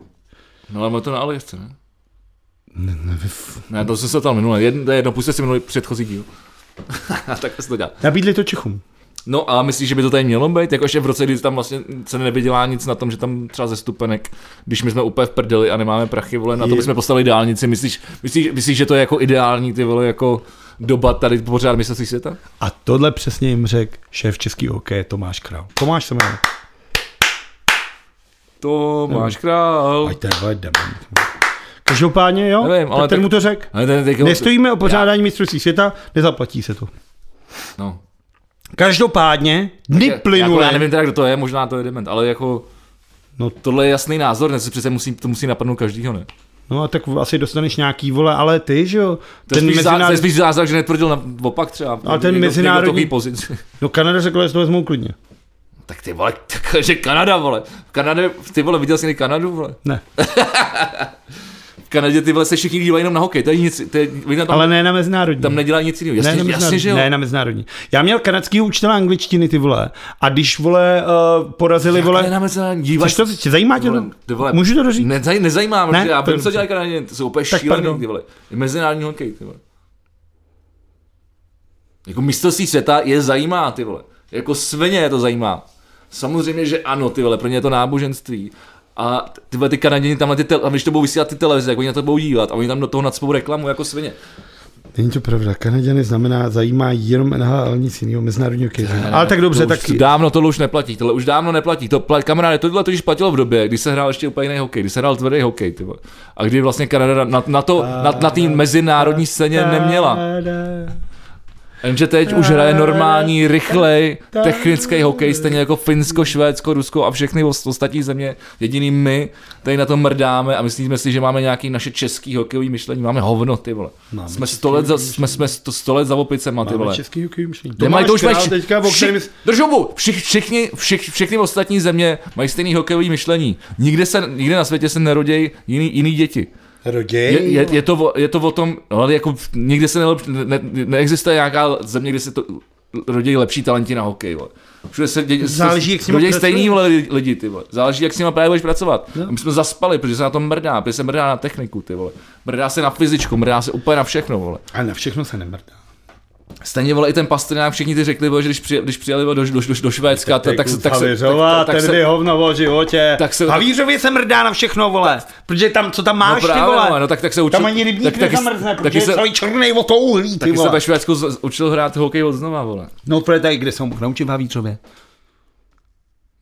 No ale má to na Aliasce, ne? Ne, ne, to jsem se tam minule, jedno, to je jedno, pusťte si minulý předchozí díl. tak se to dělá.
Nabídli to Čechům.
No a myslíš, že by to tady mělo být? Jako ještě v roce, kdy tam vlastně se nevydělá nic na tom, že tam třeba ze stupenek, když my jsme úplně v prdeli a nemáme prachy, vole, na to bychom postavili dálnici, myslíš, myslíš, myslíš, že to je jako ideální, ty vole, jako doba tady pořád mistrovství světa?
A tohle přesně jim řekl šéf český hokeje Tomáš Král.
Tomáš se jmenuje.
To máš král.
Ať to je vole dement.
Každopádně, jo,
Nevím,
Nevím,
ale
ale ten
tak-
mu to řekl.
Ale ten, jako- ty,
Nestojíme o pořádání mistrovství světa, nezaplatí se to.
No.
Každopádně, dny
Já- Jako, já
plynulé.
nevím teda, kdo to je, možná to je dement, ale jako...
No.
No. Tohle je jasný názor, ne, to přece musí, to musí napadnout každýho, ne?
No a tak asi dostaneš nějaký vole, ale ty, že jo?
To je
Ten
spíš, zá, to je
mezinárodní...
spíš zázrak, že netvrdil na, opak třeba.
Ale ten mezinárodní-
Někdo, pozici.
No Kanada řekla, že to vezmou klidně.
Tak ty vole, tak, že Kanada, vole. V Kanadě, ty vole, viděl jsi někdy Kanadu, vole?
Ne.
V Kanadě ty vole se všichni dívají jenom na hokej, to je nic, to je, oni tam,
Ale ne na mezinárodní.
tam nedělají nic jiného. Jasně,
ne, na
jasně,
mezinárodní.
že jo.
ne na mezinárodní. Já měl kanadskýho učitele angličtiny, ty vole. A když, vole, uh, porazili, Jak
Ne
vole...
na mezinárodní, díváš
Což to tě zajímá tě?
Vole,
to?
ty vole,
Můžu to doříct?
Nezaj, nezajímá,
Ne?
ne? já vím,
Dobře.
co dělají Kanaděni, to jsou úplně
Tak
šílený,
pardon.
ty vole. Mezinárodní hokej, ty vole. Jako mistrovství světa je zajímá, ty vole. Jako svině je to zajímá. Samozřejmě, že ano, ty vole, pro ně je to náboženství. A ty vole, ty Kanaděni tam na ty tel- a když to budou vysílat ty televize, jak oni na to budou dívat a oni tam do toho nadspou reklamu jako svině.
Není to pravda. Kanaděny znamená, zajímá jenom NHL, nic jiného, mezinárodní hokej. Ale tak dobře,
to
tak...
Už dávno tohle už neplatí, tohle už dávno neplatí. To pla- kamaráde, tohle to již platilo v době, kdy se hrál ještě úplně jiný hokej, kdy se hrál tvrdý hokej, ty vole. A kdy vlastně Kanada na, na to, na, na té mezinárodní scéně neměla. Jenže teď už hraje normální, rychlej, technický hokej, stejně jako Finsko, Švédsko, Rusko a všechny ost- ostatní země. Jediný my tady na to mrdáme a myslíme si, že máme nějaký naše český hokejový myšlení. Máme hovno, ty vole. jsme sto let za, jsme, jsme sto, sto let za opicema, ty vole.
Český hokej myšlení.
Nemají to už mají,
teďka, o kterém...
všich, drž hubu, všich, všichni, všich, všechny ostatní země mají stejný hokejový myšlení. Nikde, se, nikde na světě se nerodějí jiný, jiný děti.
Roděj.
Je, je, je, to, o- je to o tom, ale jako v- nikde se nelep, ne, ne, neexistuje nějaká země, kde se to rodí lepší talenti na hokej. Vole. Všude se dě,
Záleží, jak s nima
rodí
pracuješ.
stejný vole, lidi, ty vole. Záleží, jak s nima právě budeš pracovat. A My jsme zaspali, protože se na tom mrdá, protože se mrdá na techniku, ty vole. Mrdá se na fyzičku, mrdá se úplně na všechno, vole.
Ale na všechno se nemrdá.
Stejně vole i ten Pastrňák, všichni ty řekli, vole, že když, při, když přijeli vole, do, do, do, do Švédska, tak, tak, se, tak, se,
Havířová,
tak, tak,
ten
se, no
je hovno o životě.
tak se-
Havířově se mrdá na všechno, vole. Protože tam, co tam
No
máš, ty
právě,
vole.
vole, no tak, tak se učil.
Tam ani rybník
tak, taky,
nezamrzne,
taky
protože
se,
je celý černý o to uhlí, ty
taky se
vole.
ve Švédsku z- učil hrát hokej od znova, vole.
No to je tady, kde jsem mohl naučit v Havířově.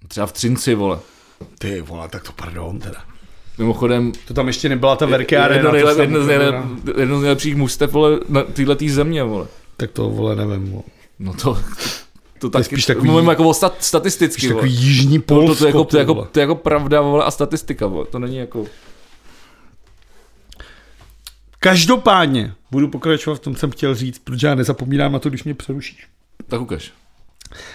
Třeba v Třinci, vole.
Ty vole, tak to pardon teda.
Mimochodem,
To tam ještě nebyla ta Verky
jedno,
Arena.
nejlep,
to
jedno, z
jsem-
nejlep, jedno z nejlepších mustev, vole, na této země, vole.
Tak to, vole, nevím. Vole.
No to, to, taky,
spíš takový-
mluvím jako o stat, statisticky,
Spíš
vole.
takový jižní
to,
Polsko.
to, je jako, to,
ty
je jako,
vole.
to je jako pravda, vole, a statistika, vole. To není jako...
Každopádně, budu pokračovat v tom, jsem chtěl říct, protože já nezapomínám na to, když mě přerušíš.
Tak ukaž.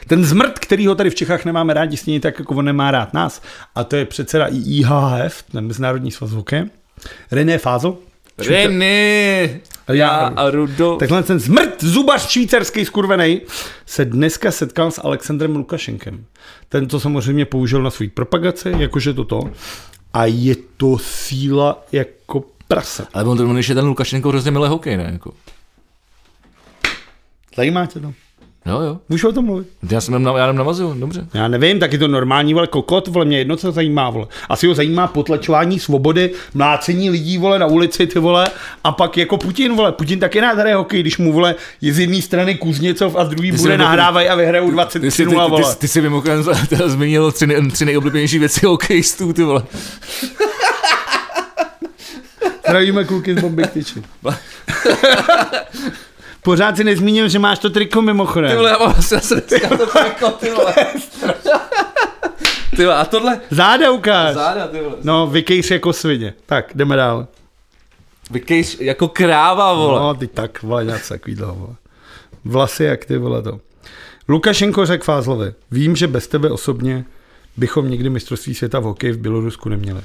Ten zmrt, který ho tady v Čechách nemáme rádi, stejně tak, jako on nemá rád nás, a to je předseda IIHF, ten Mezinárodní svaz hokeje, René Fázo.
Reny!
Já-
Já a Rudo.
Takhle ten zmrt zubař švýcarský skurvenej se dneska setkal s Alexandrem Lukašenkem. Ten to samozřejmě použil na svůj propagaci, jakože toto. A je to síla jako prase.
jako. Ale on, on je ten Lukašenko hrozně milé hokej, ne? Jako.
Zajímá tě to?
Jo, jo.
Můžu o tom mluvit?
Já jsem jenom, já jenom namazuju, dobře.
Já nevím, tak je to normální, vole, kokot, vole, mě jedno, co zajímá, vole. Asi ho zajímá potlačování svobody, mlácení lidí, vole, na ulici, ty vole, a pak jako Putin, vole, Putin taky rád hraje hokej, když mu, vole, je z jedné strany Kuzněcov a z druhé
jsi
bude
mimochodem-
nahrávají a vyhrajou
Ty
23
jsi, ty, ty,
0,
ty,
vole.
ty, ty jsi mimochodem z- teda zmínil tři, nej- tři nejoblíbenější věci hokejistů, ty vole.
Zdravíme kluky z Bomby Tyči. Pořád si nezmínil, že máš to triko
Ty
mimochodem.
vole, já mám asi asi dneska to piko, ty vole. Ty vole, a tohle?
Záda ukáž.
Záda, ty vole.
No, vykejš jako svině. Tak, jdeme dál.
Vykejš jako kráva, vole.
No, ty tak, vole, něco takovýhle, vole. Vlasy, jak ty, vole, to. Lukašenko řekl Fázlovi, vím, že bez tebe osobně bychom nikdy mistrovství světa v hokeji v Bělorusku neměli.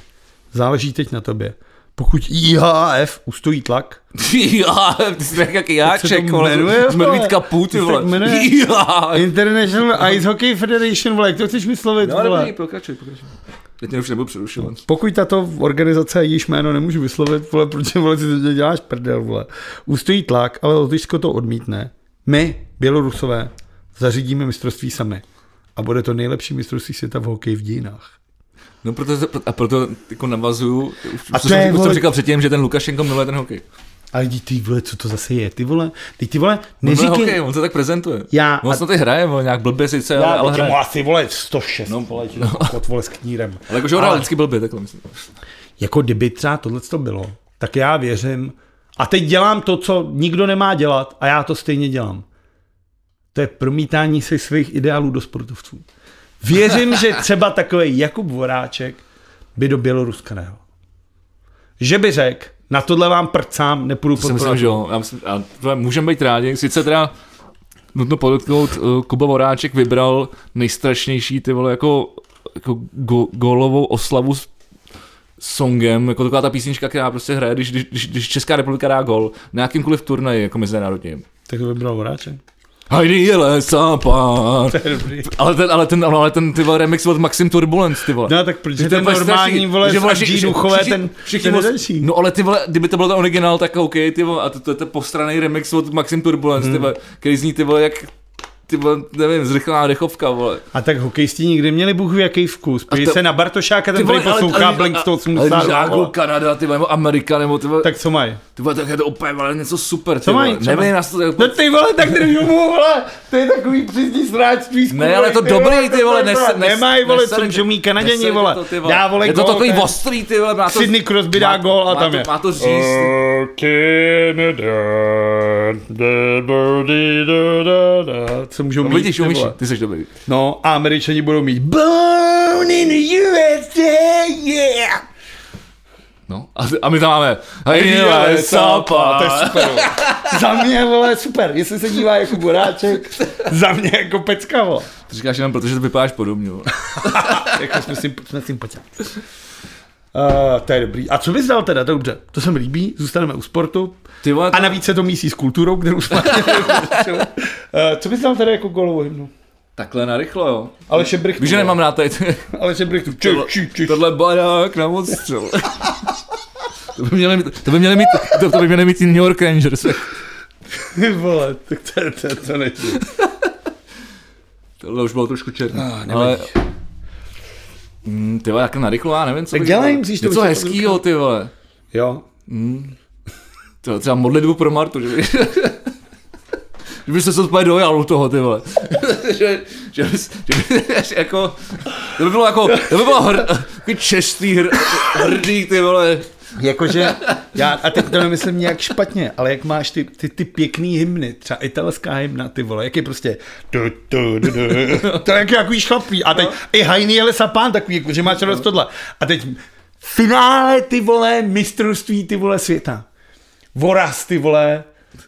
Záleží teď na tobě. Pokud IHF ustojí tlak,
Já, ty jsi jak
Jak se
jáček,
to
vole,
jmenuje,
z
vole?
medvídka půl,
Ty
ty
se
vole.
tak jmenuje?
Já.
International Ice Hockey Federation, vole, jak to chceš vyslovit,
No, dobrý,
vole?
pokračuj, pokračuj. Teď mě už nebudu přerušovat.
Pokud tato organizace, jejíž jméno nemůžu vyslovit, vole, proč vole, si to děláš prdel, vole. Ustojí tlak, ale Lotyšsko to odmítne. My, Bělorusové, zařídíme mistrovství sami. A bude to nejlepší mistrovství světa v hokeji v dějinách.
No proto, a proto jako navazuju, už,
A
už,
to
jsem,
je,
už jsem
vole-
říkal předtím, že ten Lukašenko miluje ten hokej.
Ale jdi ty vole, co to zase je, ty vole, ty, ty vole,
On miluje
neříkej.
hokej, on se tak prezentuje.
Já-
On se ty hraje, vole, nějak blbě sice,
Já,
ale, ale hraje.
mu asi vole 106, no, vole, no. kot vole s knírem.
Ale jakože ho hrál vždycky blbě, takhle myslím.
jako kdyby třeba tohle to bylo, tak já věřím. A teď dělám to, co nikdo nemá dělat a já to stejně dělám. To je promítání si svých ideálů do sportovců. Věřím, že třeba takový Jakub Voráček by do Běloruska nejel. Že by řekl, na tohle vám prcám, nepůjdu
To si myslím,
podporovat.
že jo. Já myslím, a tohle můžeme být rádi. Sice teda nutno podotknout, eh, Kuba Voráček vybral nejstrašnější ty vole jako, jako go, gólovou oslavu s songem, jako taková ta písnička, která prostě hraje, když, když- když, když Česká republika dá gol na jakýmkoliv turnaji, jako mezinárodním.
Tak to by bylo Voráček.
Hajdy jele, sápa.
To je dobrý.
Ale ten, ale ten, ale ten ty vole, remix od Maxim Turbulence, ty vole.
No tak protože
To je
ten
úplně
normální,
strašný,
vole,
že
že
vši-
všichni,
že
duchové,
všichni-
ten,
všichni
ten
moc-
další.
No ale ty vole, kdyby to byl ten originál, tak OK, ty vole, a to, to, to je postraný remix od Maxim Turbulence,
Hmm.
ty vole, který zní ty vole, jak ty vole, nevím, zrychlená dechovka, vole.
A tak hokejisti nikdy měli Bůh ví jaký vkus. Podívej
to-
se na Bartošáka, ten
Ty
tady
vole,
poslouchá Blink
ale když
182.
nějakou
vole.
Kanada, ty vole, nebo Amerika, nebo ty vole, tak,
Tak co mají?
ty vole, tak je to úplně vole, něco super, ty
Co
vole.
mají třeba?
Nevím, já si to,
No ty vole, tak držu mu, vole, to je takový přízdní sráčství. s
Ne,
kurvou,
ale to dobrý,
vole,
ty
to
vole,
je
nes-
brát.
nes-
Nemají, vole,
nesere-
co můžou mít Kanaděni,
nesere
vole.
to, ty vole.
Dá, vole,
je to
gól,
takový
ten-
ostrý, ty vole, má to,
Sidney Crosby dá
má-
gól a
má
tam
to-
je.
Má to říct, ty
Co můžou
No
mít,
vidíš,
ty
umíš,
vole.
ty jsi dobrý.
No, a američani budou mít Born in the USA, yeah.
No. A, a my tam máme.
Hele,
Hej,
sapa, to je
sapa.
super. vole. Za mě, vole, super. Jestli se dívá jako boráček, za mě jako pecka, vole.
Ty říkáš jenom, protože to vypadáš podobně. vole.
jako jsme, symp- jsme sympatiáci. Uh, to je dobrý. A co bys dal teda? To Dobře, to se mi líbí, zůstaneme u sportu.
Ty vole,
A navíc se to mísí s kulturou, kterou jsme uh, Co bys dal teda jako golovou hymnu?
takhle narychlo, jo.
Ale šebrich.
Víš, že nemám rád tady ty-
Ale šebrich tu. Či, či, či.
tohle barák na odstřel. To by měli mít, to by měli mít, to, to by měli mít i New York Rangers.
Ty vole, tak to, je- to, je- to nejde.
Tohle už bylo trošku černý. ale... Mm, ty vole, takhle narychlo, já nevím, co
Tak
bych
dělej,
dělal.
musíš to
Něco
už-
hezkýho, ty vole.
Jo.
To, třeba modlitbu pro Martu, že by... že by se to úplně dojal u toho, ty vole. že, že, by, že by, že jako, to by bylo jako, to by bylo hr, takový čestý, hr, hrdý, ty vole.
Jakože, já, a teď to nemyslím nějak špatně, ale jak máš ty, ty, ty pěkný hymny, třeba italská hymna, ty vole, jak je prostě tu, tu, du, du, to je jak jaký šlapí. A teď
No.
i hajný jele sapán takový, jako, že máš radost tohle. A teď finále, ty vole, mistrovství, ty vole, světa. Voraz, ty vole,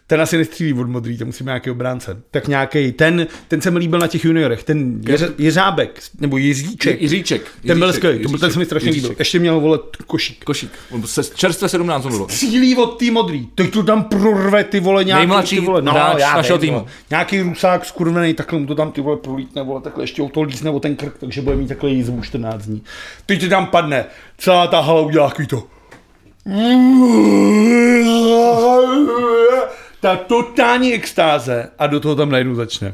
ten asi nestřílí od modrý, to musí mít nějaký obránce. Tak nějaký ten, ten se mi líbil na těch juniorech, ten Jeře- Jeřábek, nebo Jiříček.
Jiříček.
Ten byl
Jiříček,
skvělý, to byl- ten
Jiříček,
se mi strašně
Jiříček.
líbil. Ještě měl volet košík
Košík. On se čerstvě 17 bylo.
střílí od té modrý. Teď to tam prorve ty vole nějaký
Nejmladší
ty vole, no,
hráč
já
našeho
vím,
týmu.
vole. Nějaký rusák skurvený, takhle mu to tam ty vole prolítne, vole, takhle ještě o to lízne o ten krk, takže bude mít takhle jízvu 14 dní. Teď ti tam padne, celá ta hala udělá takový to.
ta totální extáze a do toho tam najednou začne.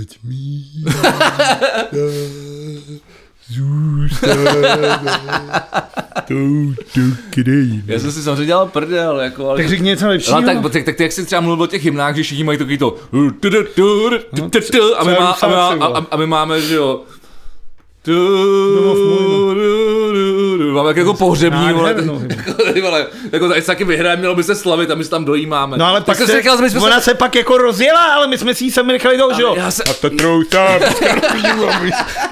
Ať mi zůstane tou krajinu.
Já jsem si samozřejmě dělal prdel, jako, ale...
Tak řekni něco lepšího.
No, tak, tak, tak, ty, jak jsi třeba mluvil o těch hymnách, že všichni mají takový to tu, tu, tu, tu,
No,
tu, tu, tu, a my, má, a, my má, a, a- a my máme, že jo, tu,
No,
tu, tu, tu, máme jak jako pohřební, vole,
Nádhernou hymnu.
Ty vole, jako tady se taky vyhraje, mělo by se slavit a my se tam dojímáme.
No ale
tak
pak
jsem si
se,
říkal, že my jsme
ona
se...
se... pak jako rozjela, ale my jsme si ji sami nechali toho, že jo?
Já se...
To troutá.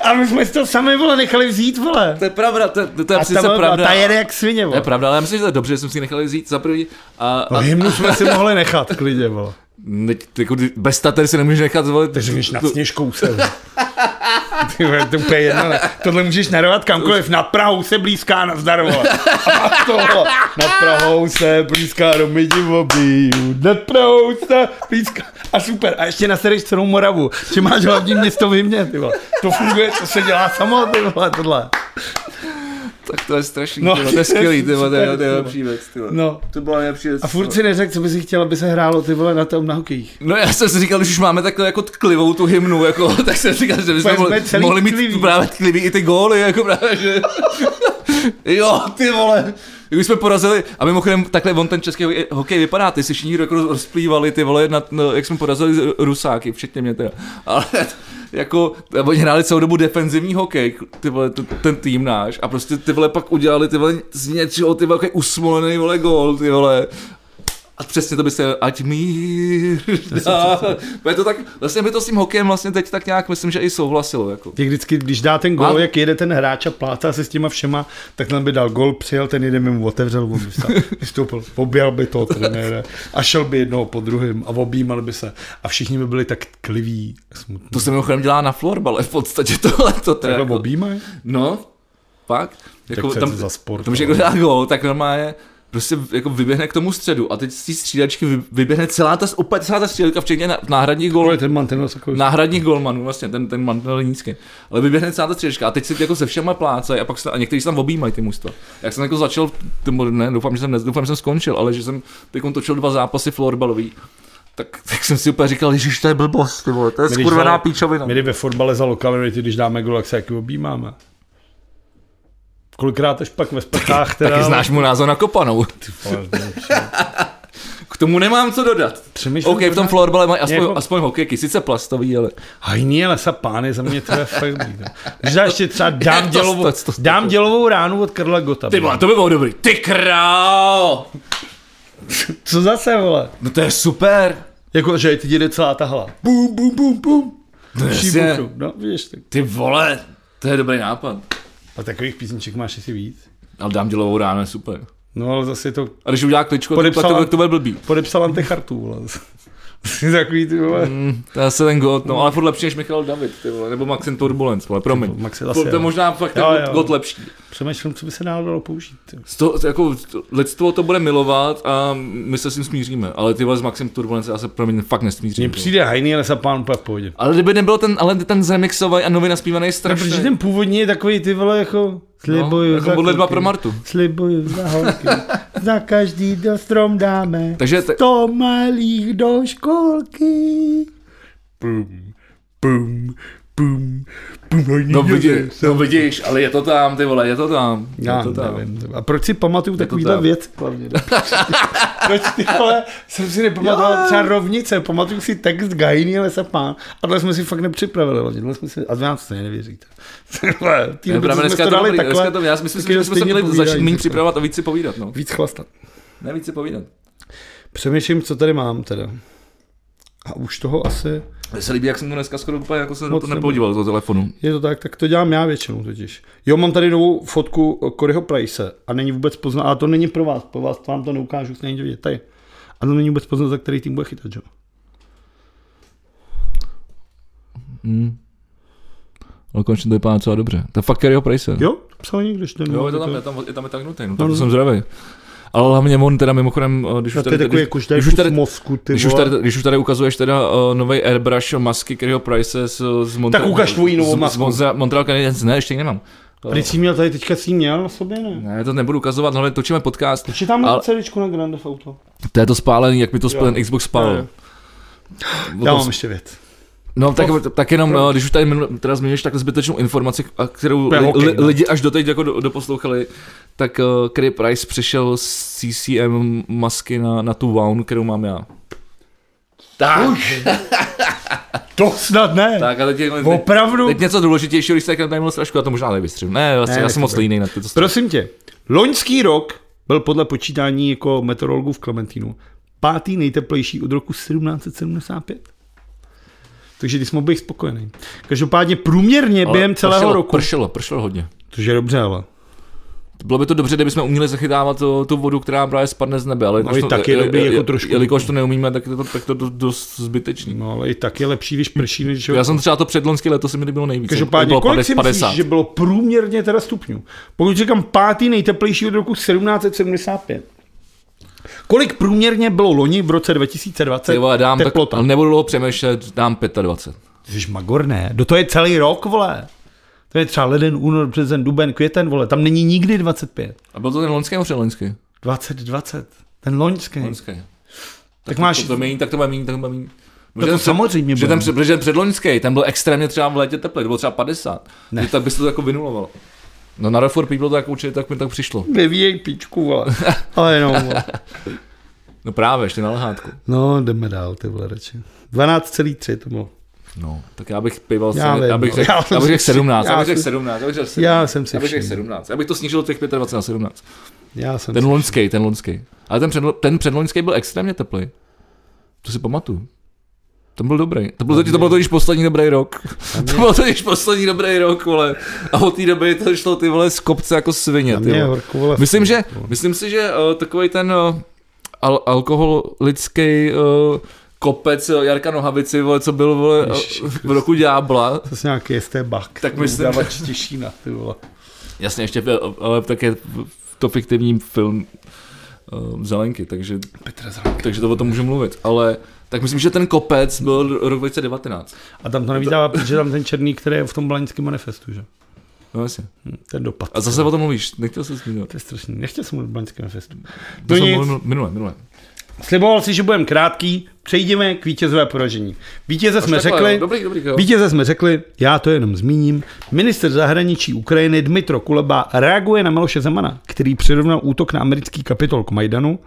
A my jsme si to sami, vole, nechali vzít, vole.
To je pravda, to, to, to je
A
přece
ta,
pravda.
ta jede jak svině,
To je
vole.
pravda, ale já myslím, že to je dobře, že jsem si ji nechal vzít za první. A, a,
No, hymnu jsme si mohli nechat, klidně, vole. No.
ne, jako, bez tater si nemůžeš nechat zvolit.
Takže můžeš nad sněžkou se. vole. Ty vole, to je úplně jedno. ne? Tohle můžeš narovat kamkoliv. Nad Prahou se blízká na zdar, vole. A pak to, vole. Nad Prahou se blízká do Midivoby. Nad Prahou se blízká. A super. A ještě nasereš celou Moravu. Že máš hlavní město v hymně, ty vole. To funguje, to se dělá samo, ty vole, tohle.
Tak to je strašný,
No,
no, to je skvělý, ty vole, to je
super,
to je
ty
lepší věc, ty vole.
No.
To byla nejlepší věc.
A furt si neřekl, co by si chtěl, aby se hrálo, ty vole, na tom na hokejích.
No já jsem si říkal, když už máme takhle jako tklivou tu hymnu, jako, tak jsem říkal, že bychom
Jsme
mohli,
celý
mohli mít
tklivý.
právě tklivý i ty góly, jako právě, že... jo, ty vole. Když jsme porazili, a mimochodem takhle on ten český hokej- hokej vypadá, ty si všichni jako roz- rozplývali ty vole, na, no, jak jsme porazili z- Rusáky, včetně mě teda. Ale jako, oni hráli celou dobu defenzivní hokej, ty vole, t- ten tým náš, a prostě ty vole pak udělali ty vole z něčeho, ty vole, jako usmolený vole gól, ty vole. A přesně to by se, ať mír dá. Bude to tak, vlastně by to s tím hokejem vlastně teď tak nějak, myslím, že i souhlasilo. Jako.
Jak vždycky, když dá ten
A-
gol, jak jede ten hráč a plátá se s těma všema, tak ten by dal gol, přijel, ten jeden by mu otevřel, on by vstal, vystoupil, objel by toho trenéra a šel by jednoho po druhém a objímal by se. A všichni by byli tak kliví, smutní.
To se mimochodem dělá na florbale v podstatě tohle. To teda,
Takhle
jako,
objímají?
no, pak. Jako,
co je to za sport,
no?
Tam, že
ale?
kdo dá gol, tak normálně prostě jako vyběhne k tomu středu a teď z té střídačky vy- vyběhne celá ta, úplně celá ta střídačka, včetně na- náhradních gólů.
Ten mantenos takový.
náhradních golmanů, vlastně ten, ten mantel nízký. Ale vyběhne celá ta střelečka a teď si jako se všema plácají a pak se, a někteří se tam objímají ty mužstva. Jak jsem jako začal, nebo ne, doufám, že jsem, ne, doufám, že jsem skončil, ale že jsem teď točil dva zápasy florbalový, tak, tak jsem si úplně říkal, že to je blbost, ty vole, to je
když
skurvená
ale-
píčovina.
My kdy ve fotbale za lokality, když dáme gol, jak se jaký objímáme. Kolikrát až pak ve sprchách teda...
Taky znáš mu názor na kopanou.
Ale,
K tomu nemám co dodat.
Přemýšlím,
OK, v tom florbale mají aspoň,
Jako-
aspoň hokejky, sice plastový, ale
Hajný lesa pány, za mě to je fakt dobrý. no. Když dáš ještě třeba dám,
to-
dělovou,
to- to- to-
dám dělovou ránu od Karla Gota.
ty vole, to by bylo dobrý. Ty král!
Co zase, vole?
No to je super.
Jako, že ti jde celá ta hala.
Bum, bum, bum, bum. No, jasně.
Šíbuchu. No, vidíš tak.
Ty vole, to je dobrý nápad.
A takových písniček máš asi víc.
Ale dám dělovou ráno, je super.
No ale zase je to
A když udělá kličko, tak
Podepsala-
to, bude- to bude blbý.
podepsal Ante Chartu, vole. Jsi takový ty vole.
To je asi ten God, no, ale furt lepší než Michal David, ty vole, nebo Maxim Turbulence, vole, promiň.
Max je
Furt
asi,
to je
jo.
možná fakt ten
Jo,
God-
jo.
God lepší.
Přemýšlím, co by se dalo dalo použít. ty.
Z toho, jako, to- lidstvo to bude milovat a my se s tím smíříme, ale ty vole s Maxim Turbulence já se promiň fakt nesmířím.
Mně
ty vole.
přijde hajný lesa pán úplně v pohodě.
Ale kdyby nebyl ten, ale ten zremixovaný a nově naspívaný
No, protože
strašný.
ten původní je takový ty vole jako slibuju
jako
za
modlitba
holky,
pro Martu.
Slibuju za holky, za každý do strom dáme.
Takže te,
To malých do školky.
no, vidíš, no vidíš, ale je to tam, ty vole, je to tam.
Já
Je to tam.
nevím. A proč si pamatuju takovýhle
tam.
věc? Hlavně, proč ty vole, jsem si nepamatoval třeba rovnice, pamatuju si text Gajný lesa pán. A tohle jsme si fakt nepřipravili, hlavně tohle jsme si, a vám to nevěříte. Vole, Tý
Ne,
doby, co
právě
jsme
dneska
to
to,
dali
dobrý, dneska
takhle,
to, já si myslím,
taky
že bychom se
stejně
měli začít
povídají,
méně
že-
připravovat a víc si povídat, no.
Víc chlastat.
Ne, víc si povídat.
Přemýšlím, co tady mám teda. A už toho asi,
Mně se líbí, jak jsem to dneska skoro úplně jako se na
Moc
to
nebude.
nepodíval do toho telefonu.
je to tak, tak to dělám já většinou totiž. Jo, mám tady novou fotku Koryho Price a není vůbec poznat, a to není pro vás, pro vás to vám to neukážu, se není vidět, tady. A to není vůbec poznat, za který tým bude chytat, že? jo?
Ale konečně to vypadá docela dobře. To je fakt Kerryho Price.
Jo, to psal někdo, že to
jo,
nemá
je to tam,
takové-
je tam, je tam, je tam nutný, no, tak to jsem zdravý. Ale hlavně on teda mimochodem, eh, když
No
už
to je
tady,
takový,
když,
jako, že tady
když už
kus
tady-
mozku, ty
když, už
vole.
tady, když už tady ukazuješ teda uh, nový airbrush masky Kerryho Price z, z Montreal.
ukaž tvoji novou
z-
masku.
Z, Monza- Montreal Canadiens, ne, ještě ji nemám.
Když jsi měl tady teďka, jsi ji měl na sobě, ne?
Ne, to nebudu ukazovat, hlavně točíme podcast.
Či tam
Ale-
Ale... celičku na Grand Theft Auto?
To je to spálený, jak mi to sp- ten Xbox spálil.
Jo. Já mám ještě věc.
No tak, tak jenom, eh, když už tady minu, teda zmiňuješ takhle zbytečnou informaci, a kterou
To je
li,
hokej,
li,
no.
lidi až doteď jako do, doposlouchali, tak uh, Kerry Price přešel z CCM masky na, na tu Wown, kterou mám já. Tak,
To snad ne.
tak a teď, je- teď,
Opravdu?
teď něco důležitějšího, když se tak tady mluvil strašku, já to možná nevystřím. Ne, vlastně,
Ne,
ne, já
nech to Prostě
jsem moc
tak.
líný na tyto stři-
Prosím tě, loňský rok byl podle počítání jako meteorologů v Klementínu pátý nejteplejší od roku 1775. Takže ty jsi mohl být spokojený. Každopádně průměrně
Ale
během celého
pršelo,
roku.
Pršelo, pršelo hodně.
Což je dobře, ale.
Bylo by to dobře, kdybychom uměli zachytávat eh, tu, tu vodu, která právě spadne z nebe, ale
No
jelikož
i
to-
tak je dobrý jako trošku-
Jelikož to neumíme, tak je to, tak to do- dost zbytečný.
No ale i tak je lepší, když prší, než...
Já jsem třeba to předlonský leto se mi líbilo nejvíc.
Každopádně,
bylo
kolik si
50.
myslíš, že bylo průměrně teda stupňů? Pokud říkám pátý nejteplejší od roku 1775. Kolik průměrně bylo loni v roce 2020
Ty vole, dám tak,
teplota?
ale nebudu dlouho přemýšlet, dám 25.
Ty jsi magor, ne? Do to je celý rok, vole. To je třeba leden, únor, březen, duben, květen, vole. Tam není nikdy 25.
A byl to ten loňský nebo předloňský?
20, 20. Ten loňský.
Loňský. Tak,
Tak
to-
máš-
To, to méně, tak to bude méně, tak to bude méně.
to samozřejmě
že
bude
ten,
méně.
před- protože ten předloňský, ten byl extrémně třeba v létě teplý, to bylo třeba 50. Ne. Že tak by se to jako vynulovalo. No na Refor People to jako určitě tak mi tak přišlo.
Vyvíjej píčku, vole. Ale jenom, vole.
No právě, ještě na lehátku.
No, jdeme dál, ty vole, radši. 12,3 to bylo.
No, tak já bych pival,
Já
já,
vím,
já bych
no.
řekl
Já jsem
já bych
si
řekl
všim-
17, já
já
bych řekl
jsem-
17, já bych řekl 17.
Já jsem si
já bych řekl
všiml.
17, já bych to snížil těch 25 na 17.
Já jsem
Ten loňský, ten loňský. Ale ten, předlo, ten předloňský byl extrémně teplý. To si pamatuju. Ten byl dobrý. To
No,
byl totiž, to byl totiž poslední dobrý rok. To byl totiž poslední dobrý rok, vole. A od té doby to šlo ty vole z kopce jako svině. Ty
Mě je
vole.
horko, vole.
Myslím, že, myslím si, že uh, takový ten uh, al- alkoholický uh, kopec eh, Jarka Nohavici, vole, co byl vole, uh, v roku Ďábla,
To je nějaký ST bak.
tak myslím,
Udavač Těšína, ty vole.
jasně ještě, eh, ale tak je to fiktivní film uh, Zelenky, takže,
Petra Zrak.
takže to o tom můžu mluvit, ale tak myslím, že ten kopec byl rok 2019.
A tam to nevydává, protože tam ten černý, který je v tom blaňském manifestu, že?
No jasně.
Hm, Ten dopad.
A zase o tom mluvíš, nechtěl jsi zmínit.
To je strašný. Nechtěl jsem mluvit o blaňském manifestu.
To
To
jsem
nic.
mluvil minule, minule.
Sliboval si, že budeme krátký, přejdeme k vítězové poražení. Vítěze jsme
takhle,
řekli,
jo, dobrý, dobrý, jo.
vítěze jsme řekli, já to jenom zmíním. Minister zahraničí Ukrajiny Dmitro Kuleba reaguje na Miloše Zemana, který přirovnal útok na americký kapitol k Majdanu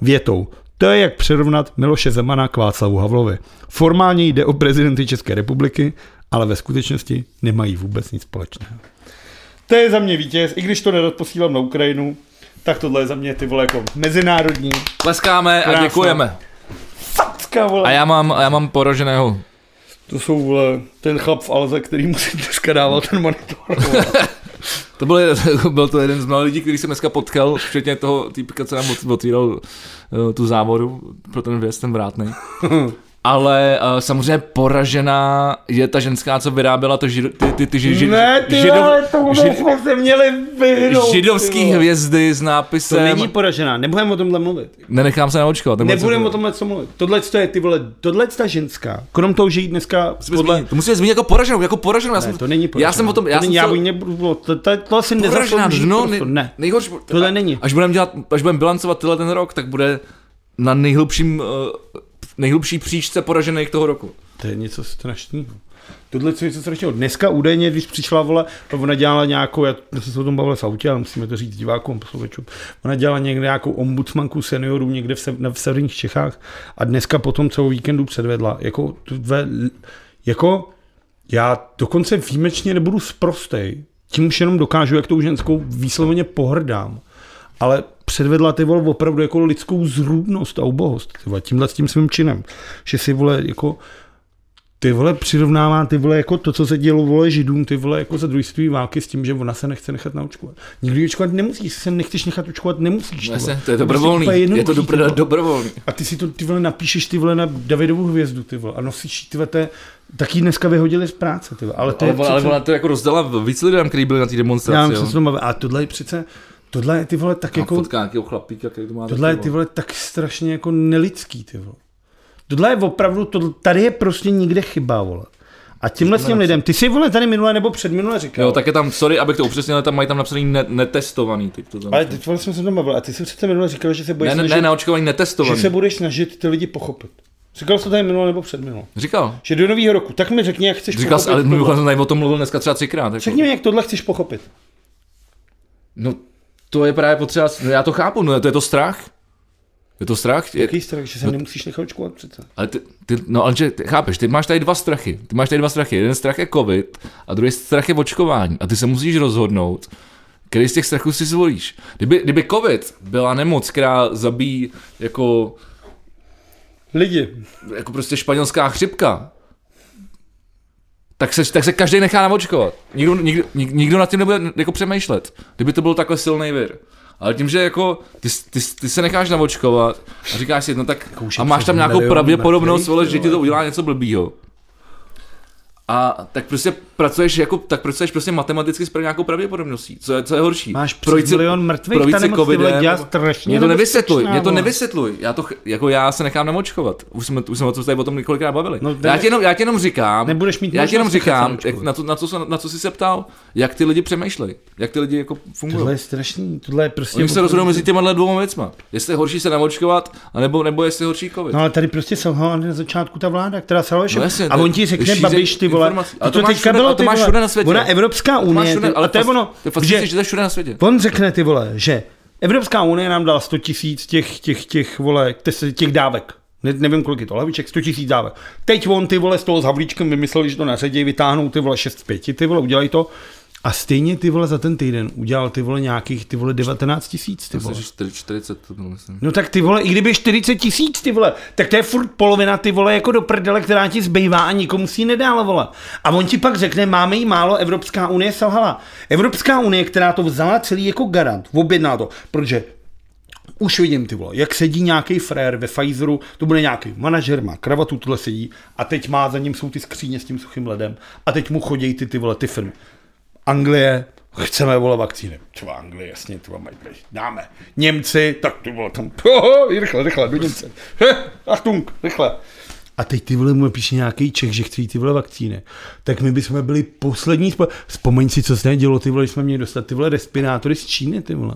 větou. To je jak přirovnat Miloše Zemana k Václavu Havlovi. Formálně jde o prezidenty České republiky, ale ve skutečnosti nemají vůbec nic společného. To je za mě vítěz, i když to nerad posílám na Ukrajinu, tak tohle je za mě ty vole jako mezinárodní
Tleskáme a
Krásná.
děkujeme.
facka, vole.
A já mám, a já mám poraženého.
To jsou vole, ten chlap v Alze, který musí dneska dávat ten monitor. vole.
To byl, byl to jeden z mnoha lidí, který jsem dneska potkal, včetně toho týpka, co nám ot- otvíral uh, tu závodu pro ten věc, ten vrátnej. Ale uh, samozřejmě poražená je ta ženská, co vyráběla to žido, ty, ty, ty, ži, ži,
ne, ty
žido-
vole, tomu
žid-
jsme se měli vyhnout.
židovský
ty vole.
hvězdy s
To
nápisem.
není poražená, nebudeme o tomhle mluvit.
Nenechám se naočkovat. nebo něco
Nebudeme o
takového.
tomhle co mluvit. Tohle to je ty vole, tohle ta ženská. Krom toho, že jí dneska
Musíme
podle...
zmínit- To musíme zmínit jako poraženou, jako poraženou. Já
Ne,
jsem,
to není poražená.
Já jsem o tom,
to
já
není, já
jsem se-
bych nebudu, to, to, to asi
Poražená
nezaslouží,
dno,
prostě,
nej-
ne.
nejhorší,
Tohle není.
Až budeme dělat, až budeme bilancovat tyhle ten rok, tak bude na nejhlubším, uh, nejhlubší příčce poražených toho roku.
To je něco strašného. Tohle je něco strašného. Dneska údajně, když přišla vole, ona dělala nějakou, já já jsem se o tom bavil s autě, ale musíme to říct divákům, posluchačům, ona dělala někde nějakou ombudsmanku seniorů někde v, se, na- v severních Čechách a dneska potom celou víkendu předvedla. Jako, to ve, jako já dokonce výjimečně nebudu sprostej, tím už jenom dokážu, jak tou ženskou výsloveně pohrdám. Ale předvedla ty vole opravdu jako lidskou zrůdnost a ubohost ty vole, tímhle s tím svým činem. Že si vole jako ty vole přirovnává ty vole jako to, co se dělo vole židům, ty vole jako za druhé světové války s tím, že ona se nechce nechat naočkovat. Nikdy očkovat nemusí, jestli se nechceš nechat očkovat, nemusíš. ty vole.
No Jasně, to
prostě
je dobrovolný.
úplně
je to
jednoduchý, ty
dobro,
vole.
dobrovolný.
A ty si to ty vole napíšeš ty vole na Davidovu hvězdu ty vole a nosíš ty vole, to je- tak ji dneska vyhodili z práce ty vole. Ale to
Ale,
je
ona- ale
přece-
ona to jako rozdala víc lidem, kteří byli na té
já
demonstraci.
vím, co se
jo.
to mluví. A tohle je přece, tohle je ty vole tak
Jako...
jako,
Fotká nějakého chlapíka, který to má.
tohle je
taky,
ty vole tak strašně jako nelidský ty vole. Tohle je opravdu, to, tady je prostě někde chyba vole. A tímhle s těm lidem, ty jsi vole tady minule nebo předminule říkal.
Jo, tak je tam, sorry, abych to upřesnil, ale tam mají tam napsaný ne- netestovaný. Teď to tam.
Ale teď vole, jsme se tam bavili a ty jsi přece minule říkal, že se budeš
Ne, ne,
snažit,
ne, naočkovaný,
že
netestovaný.
se budeš snažit ty lidi pochopit. Říkal jsi to tady minule nebo předminule.
Říkal.
Že do nového roku, tak mi řekni, jak chceš
Říkal jsi,
pochopit.
ale
tohle.
mimochodem jsem tady o tom mluvil dneska třeba třikrát. Jako.
Řekni mi, jak tohle chceš pochopit.
No, to je právě potřeba, já to chápu, no to je to strach. Je to strach? Je,
Jaký strach, že se nemusíš nechat očkovat přece.
ale ty, ty, no, ale že, ty, chápeš, ty máš tady dva strachy. Ty máš tady dva strachy. Jeden strach je covid a druhý strach je očkování. A ty se musíš rozhodnout, který z těch strachů si zvolíš. Kdyby, kdyby covid byla nemoc, která zabíjí jako,
Lidi,
jako prostě španělská chřipka, tak se, tak se každý nechá naočkovat. Nikdo, nikdo, nik- nikdo nad tím nebude jako přemýšlet, kdyby to byl takhle silný vir. Ale tím, že jako ty, ty, ty se necháš naočkovat a říkáš si, no tak
Jako
a máš tam nějakou pravděpodobnost, vole, že ti to udělá něco blbýho. A tak prostě pracuješ jako, tak pracuješ prostě matematicky s nějakou pravděpodobností. Co je, co je horší?
máš přes
si-
milion mrtvých,
projít
ta
si
nemoc ty vole
covidem,
dělá
nebo-
strašně.
mě to
nebezpečná,
nevysvětluj, mě to
vole.
nevysvětluj. Já to, ch- jako já se nechám namočkovat. Už jsme, už jsme o tom tady o tom několikrát bavili.
No,
No,
ne-
já, ti jenom, já ti jenom říkám,
Nebudeš mít
já ti jenom
možnost nechat
říkám,
namočkovat.
jak, na, to, na, co, se- na co jsi se ptal, jak ty lidi přemýšlejí, jak ty lidi jako
Tohle
fungují.
je strašný, tohle je prostě...
Oni se rozhodují mezi těma dvěma věcma. Jestli je horší se namočkovat, anebo, nebo jestli je horší covid.
No ale tady prostě selhala na začátku ta vláda, která selhala ještě.
No jasně,
a
to
on
je
ti řekne,
šíření
babiš, ty vole,
informací.
to,
Ale
to
to máš
teďka
všude-
bylo,
ale to
ty
máš
vole,
všude na světě.
Ona Evropská
máš
unie,
všude,
ty- a
ale
to je ono,
to je
že
fascinující, že to je všude na světě.
on řekne, ty vole, že Evropská unie nám dala 100 tisíc těch, těch, těch, vole, těch, těch dávek. Ne, nevím, kolik je to, laviček, 100 tisíc dávek. Teď on ty vole s toho s Havlíčkem vymyslel, že to naředěj, vytáhnou ty vole 6 z 5, ty vole, udělají to. A stejně ty vole za ten týden udělal ty vole nějakých ty vole 19 tisíc, ty vole.
Myslím, že 40, 40 to bylo, myslím.
No tak ty vole, i kdyby 40 tisíc ty vole, tak to je furt polovina ty vole jako do prdele, která ti zbývá a nikomu si ji nedal vole. A on ti pak řekne, máme jí málo, Evropská unie selhala. Evropská unie, která to vzala celý jako garant, objedná to, protože už vidím ty vole, jak sedí nějaký frér ve Pfizeru, to bude nějaký manažer, má kravatu, tuhle sedí a teď má za ním jsou ty skříně s tím suchým ledem a teď mu chodí ty ty vole ty firmy. Anglie, chceme vole vakcíny. Třeba Anglie, jasně, třeba mají, tady. dáme. Němci, tak ty vole tam, oho, rychle, rychle, do Němce. Achtung, rychle. A teď ty vole mu píše nějaký Čech, že chtějí ty vole vakcíny. Tak my bychom byli poslední. Spo... Vzpomeň si, co se nedělo, ty vole, když jsme měli dostat ty vole respirátory z Číny, ty vole.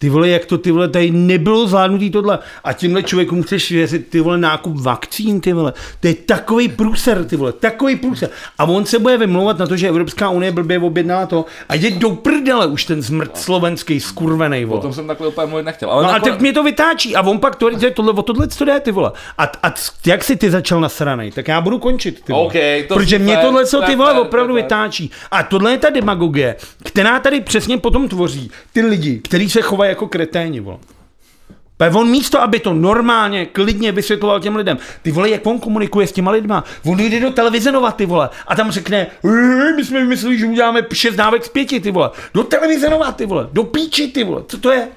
Ty vole, jak to ty vole, tady nebylo zvládnutý tohle. A tímhle člověkům chceš věřit, ty vole, nákup vakcín, ty vole. To je takový průser, ty vole, takový průser. A on se bude vymlouvat na to, že Evropská unie blbě objednala to a jde do prdele už ten zmrt slovenský, skurvený,
O tom
vole.
jsem takhle úplně mluvit nechtěl. Ale
No a
nakonec-
tak mě to vytáčí a on pak to, to je tohle, o tohle to jde, ty vole. A, a c- jak jsi ty začal nasranej, tak já budu končit, ty vole.
OK, to
Protože mě
super,
tohle, co ty
tak,
vole,
tak,
opravdu
tak, tak.
vytáčí. A tohle je ta demagogie, která tady přesně potom tvoří ty lidi, kteří se chovají jako kreténi, vole. Pe on místo, aby to normálně, klidně vysvětloval těm lidem. Ty vole, jak on komunikuje s těma lidma? On jde do televize Nova, ty vole, a tam řekne, "Eh, my jsme mysleli, že uděláme šest dávek z pěti, ty vole. Do televize Nova, ty vole, do píči, ty vole, co to je?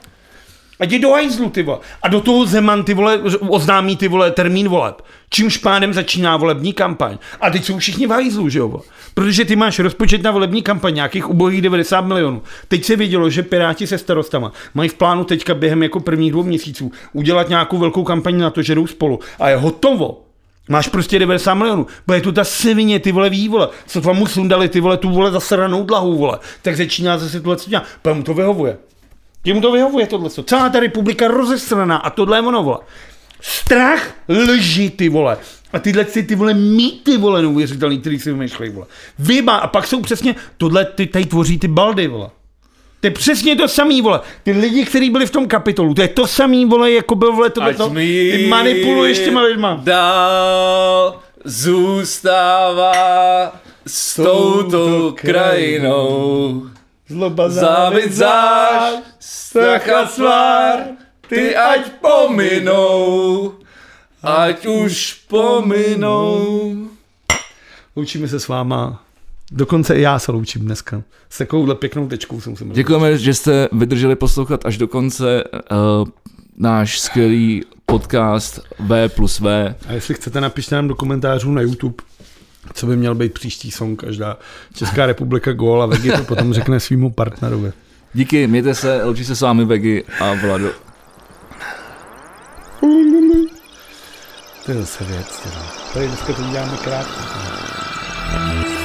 A jdi do hajzlu, ty vole. A do toho Zeman, ty vole, oznámí, ty vole, termín voleb. Čímž pánem začíná volební kampaň. A teď jsou všichni v hajzlu, že jo? vole? Protože ty máš rozpočet na volební kampaň nějakých ubohých 90 milionů. Teď se vědělo, že Piráti se starostama mají v plánu teďka během jako prvních dvou měsíců udělat nějakou velkou kampaň na to, že jdou spolu. A je hotovo. Máš prostě 90 milionů. Bude tu ta svině, ty vole ví, vole. Co tam mu sundali, ty vole, tu vole zasranou dlahu, vole. Tak začíná zase tohle, co dělá. Pak mu to vyhovuje. Jemu to vyhovuje tohle. Celá ta republika rozesraná a tohle je ono, vole. Strach, lži, ty vole. A tyhle ty, ty vole mýty, vole, neuvěřitelný, který si vymýšlejí, vole. Vyba, a pak jsou přesně, tohle ty tady tvoří ty baldy, vole. To je přesně to samý, vole. Ty lidi, kteří byli v tom kapitolu, to je to samý, vole, jako byl, vole, tohle to. Ty manipuluješ těma lidma.
Dál zůstává s touto krajinou.
Zloba,
Závit záš, strach a svár, ty ať pominou, ať už pominou.
Loučíme se s váma. Dokonce i já se loučím dneska. S takovouhle pěknou tečkou se musím
Děkujeme, že jste vydrželi poslouchat až do konce uh, náš skvělý podcast V plus V.
A jestli chcete, napište nám do komentářů na YouTube, co by měl být příští song, každá Česká republika gól a Vegi to potom řekne svýmu partnerovi.
Díky, mějte se, loučí se s vámi Vegy a Vlado.
To je zase věc. Teda. Tady dneska to uděláme krátko. teda.
Thank you.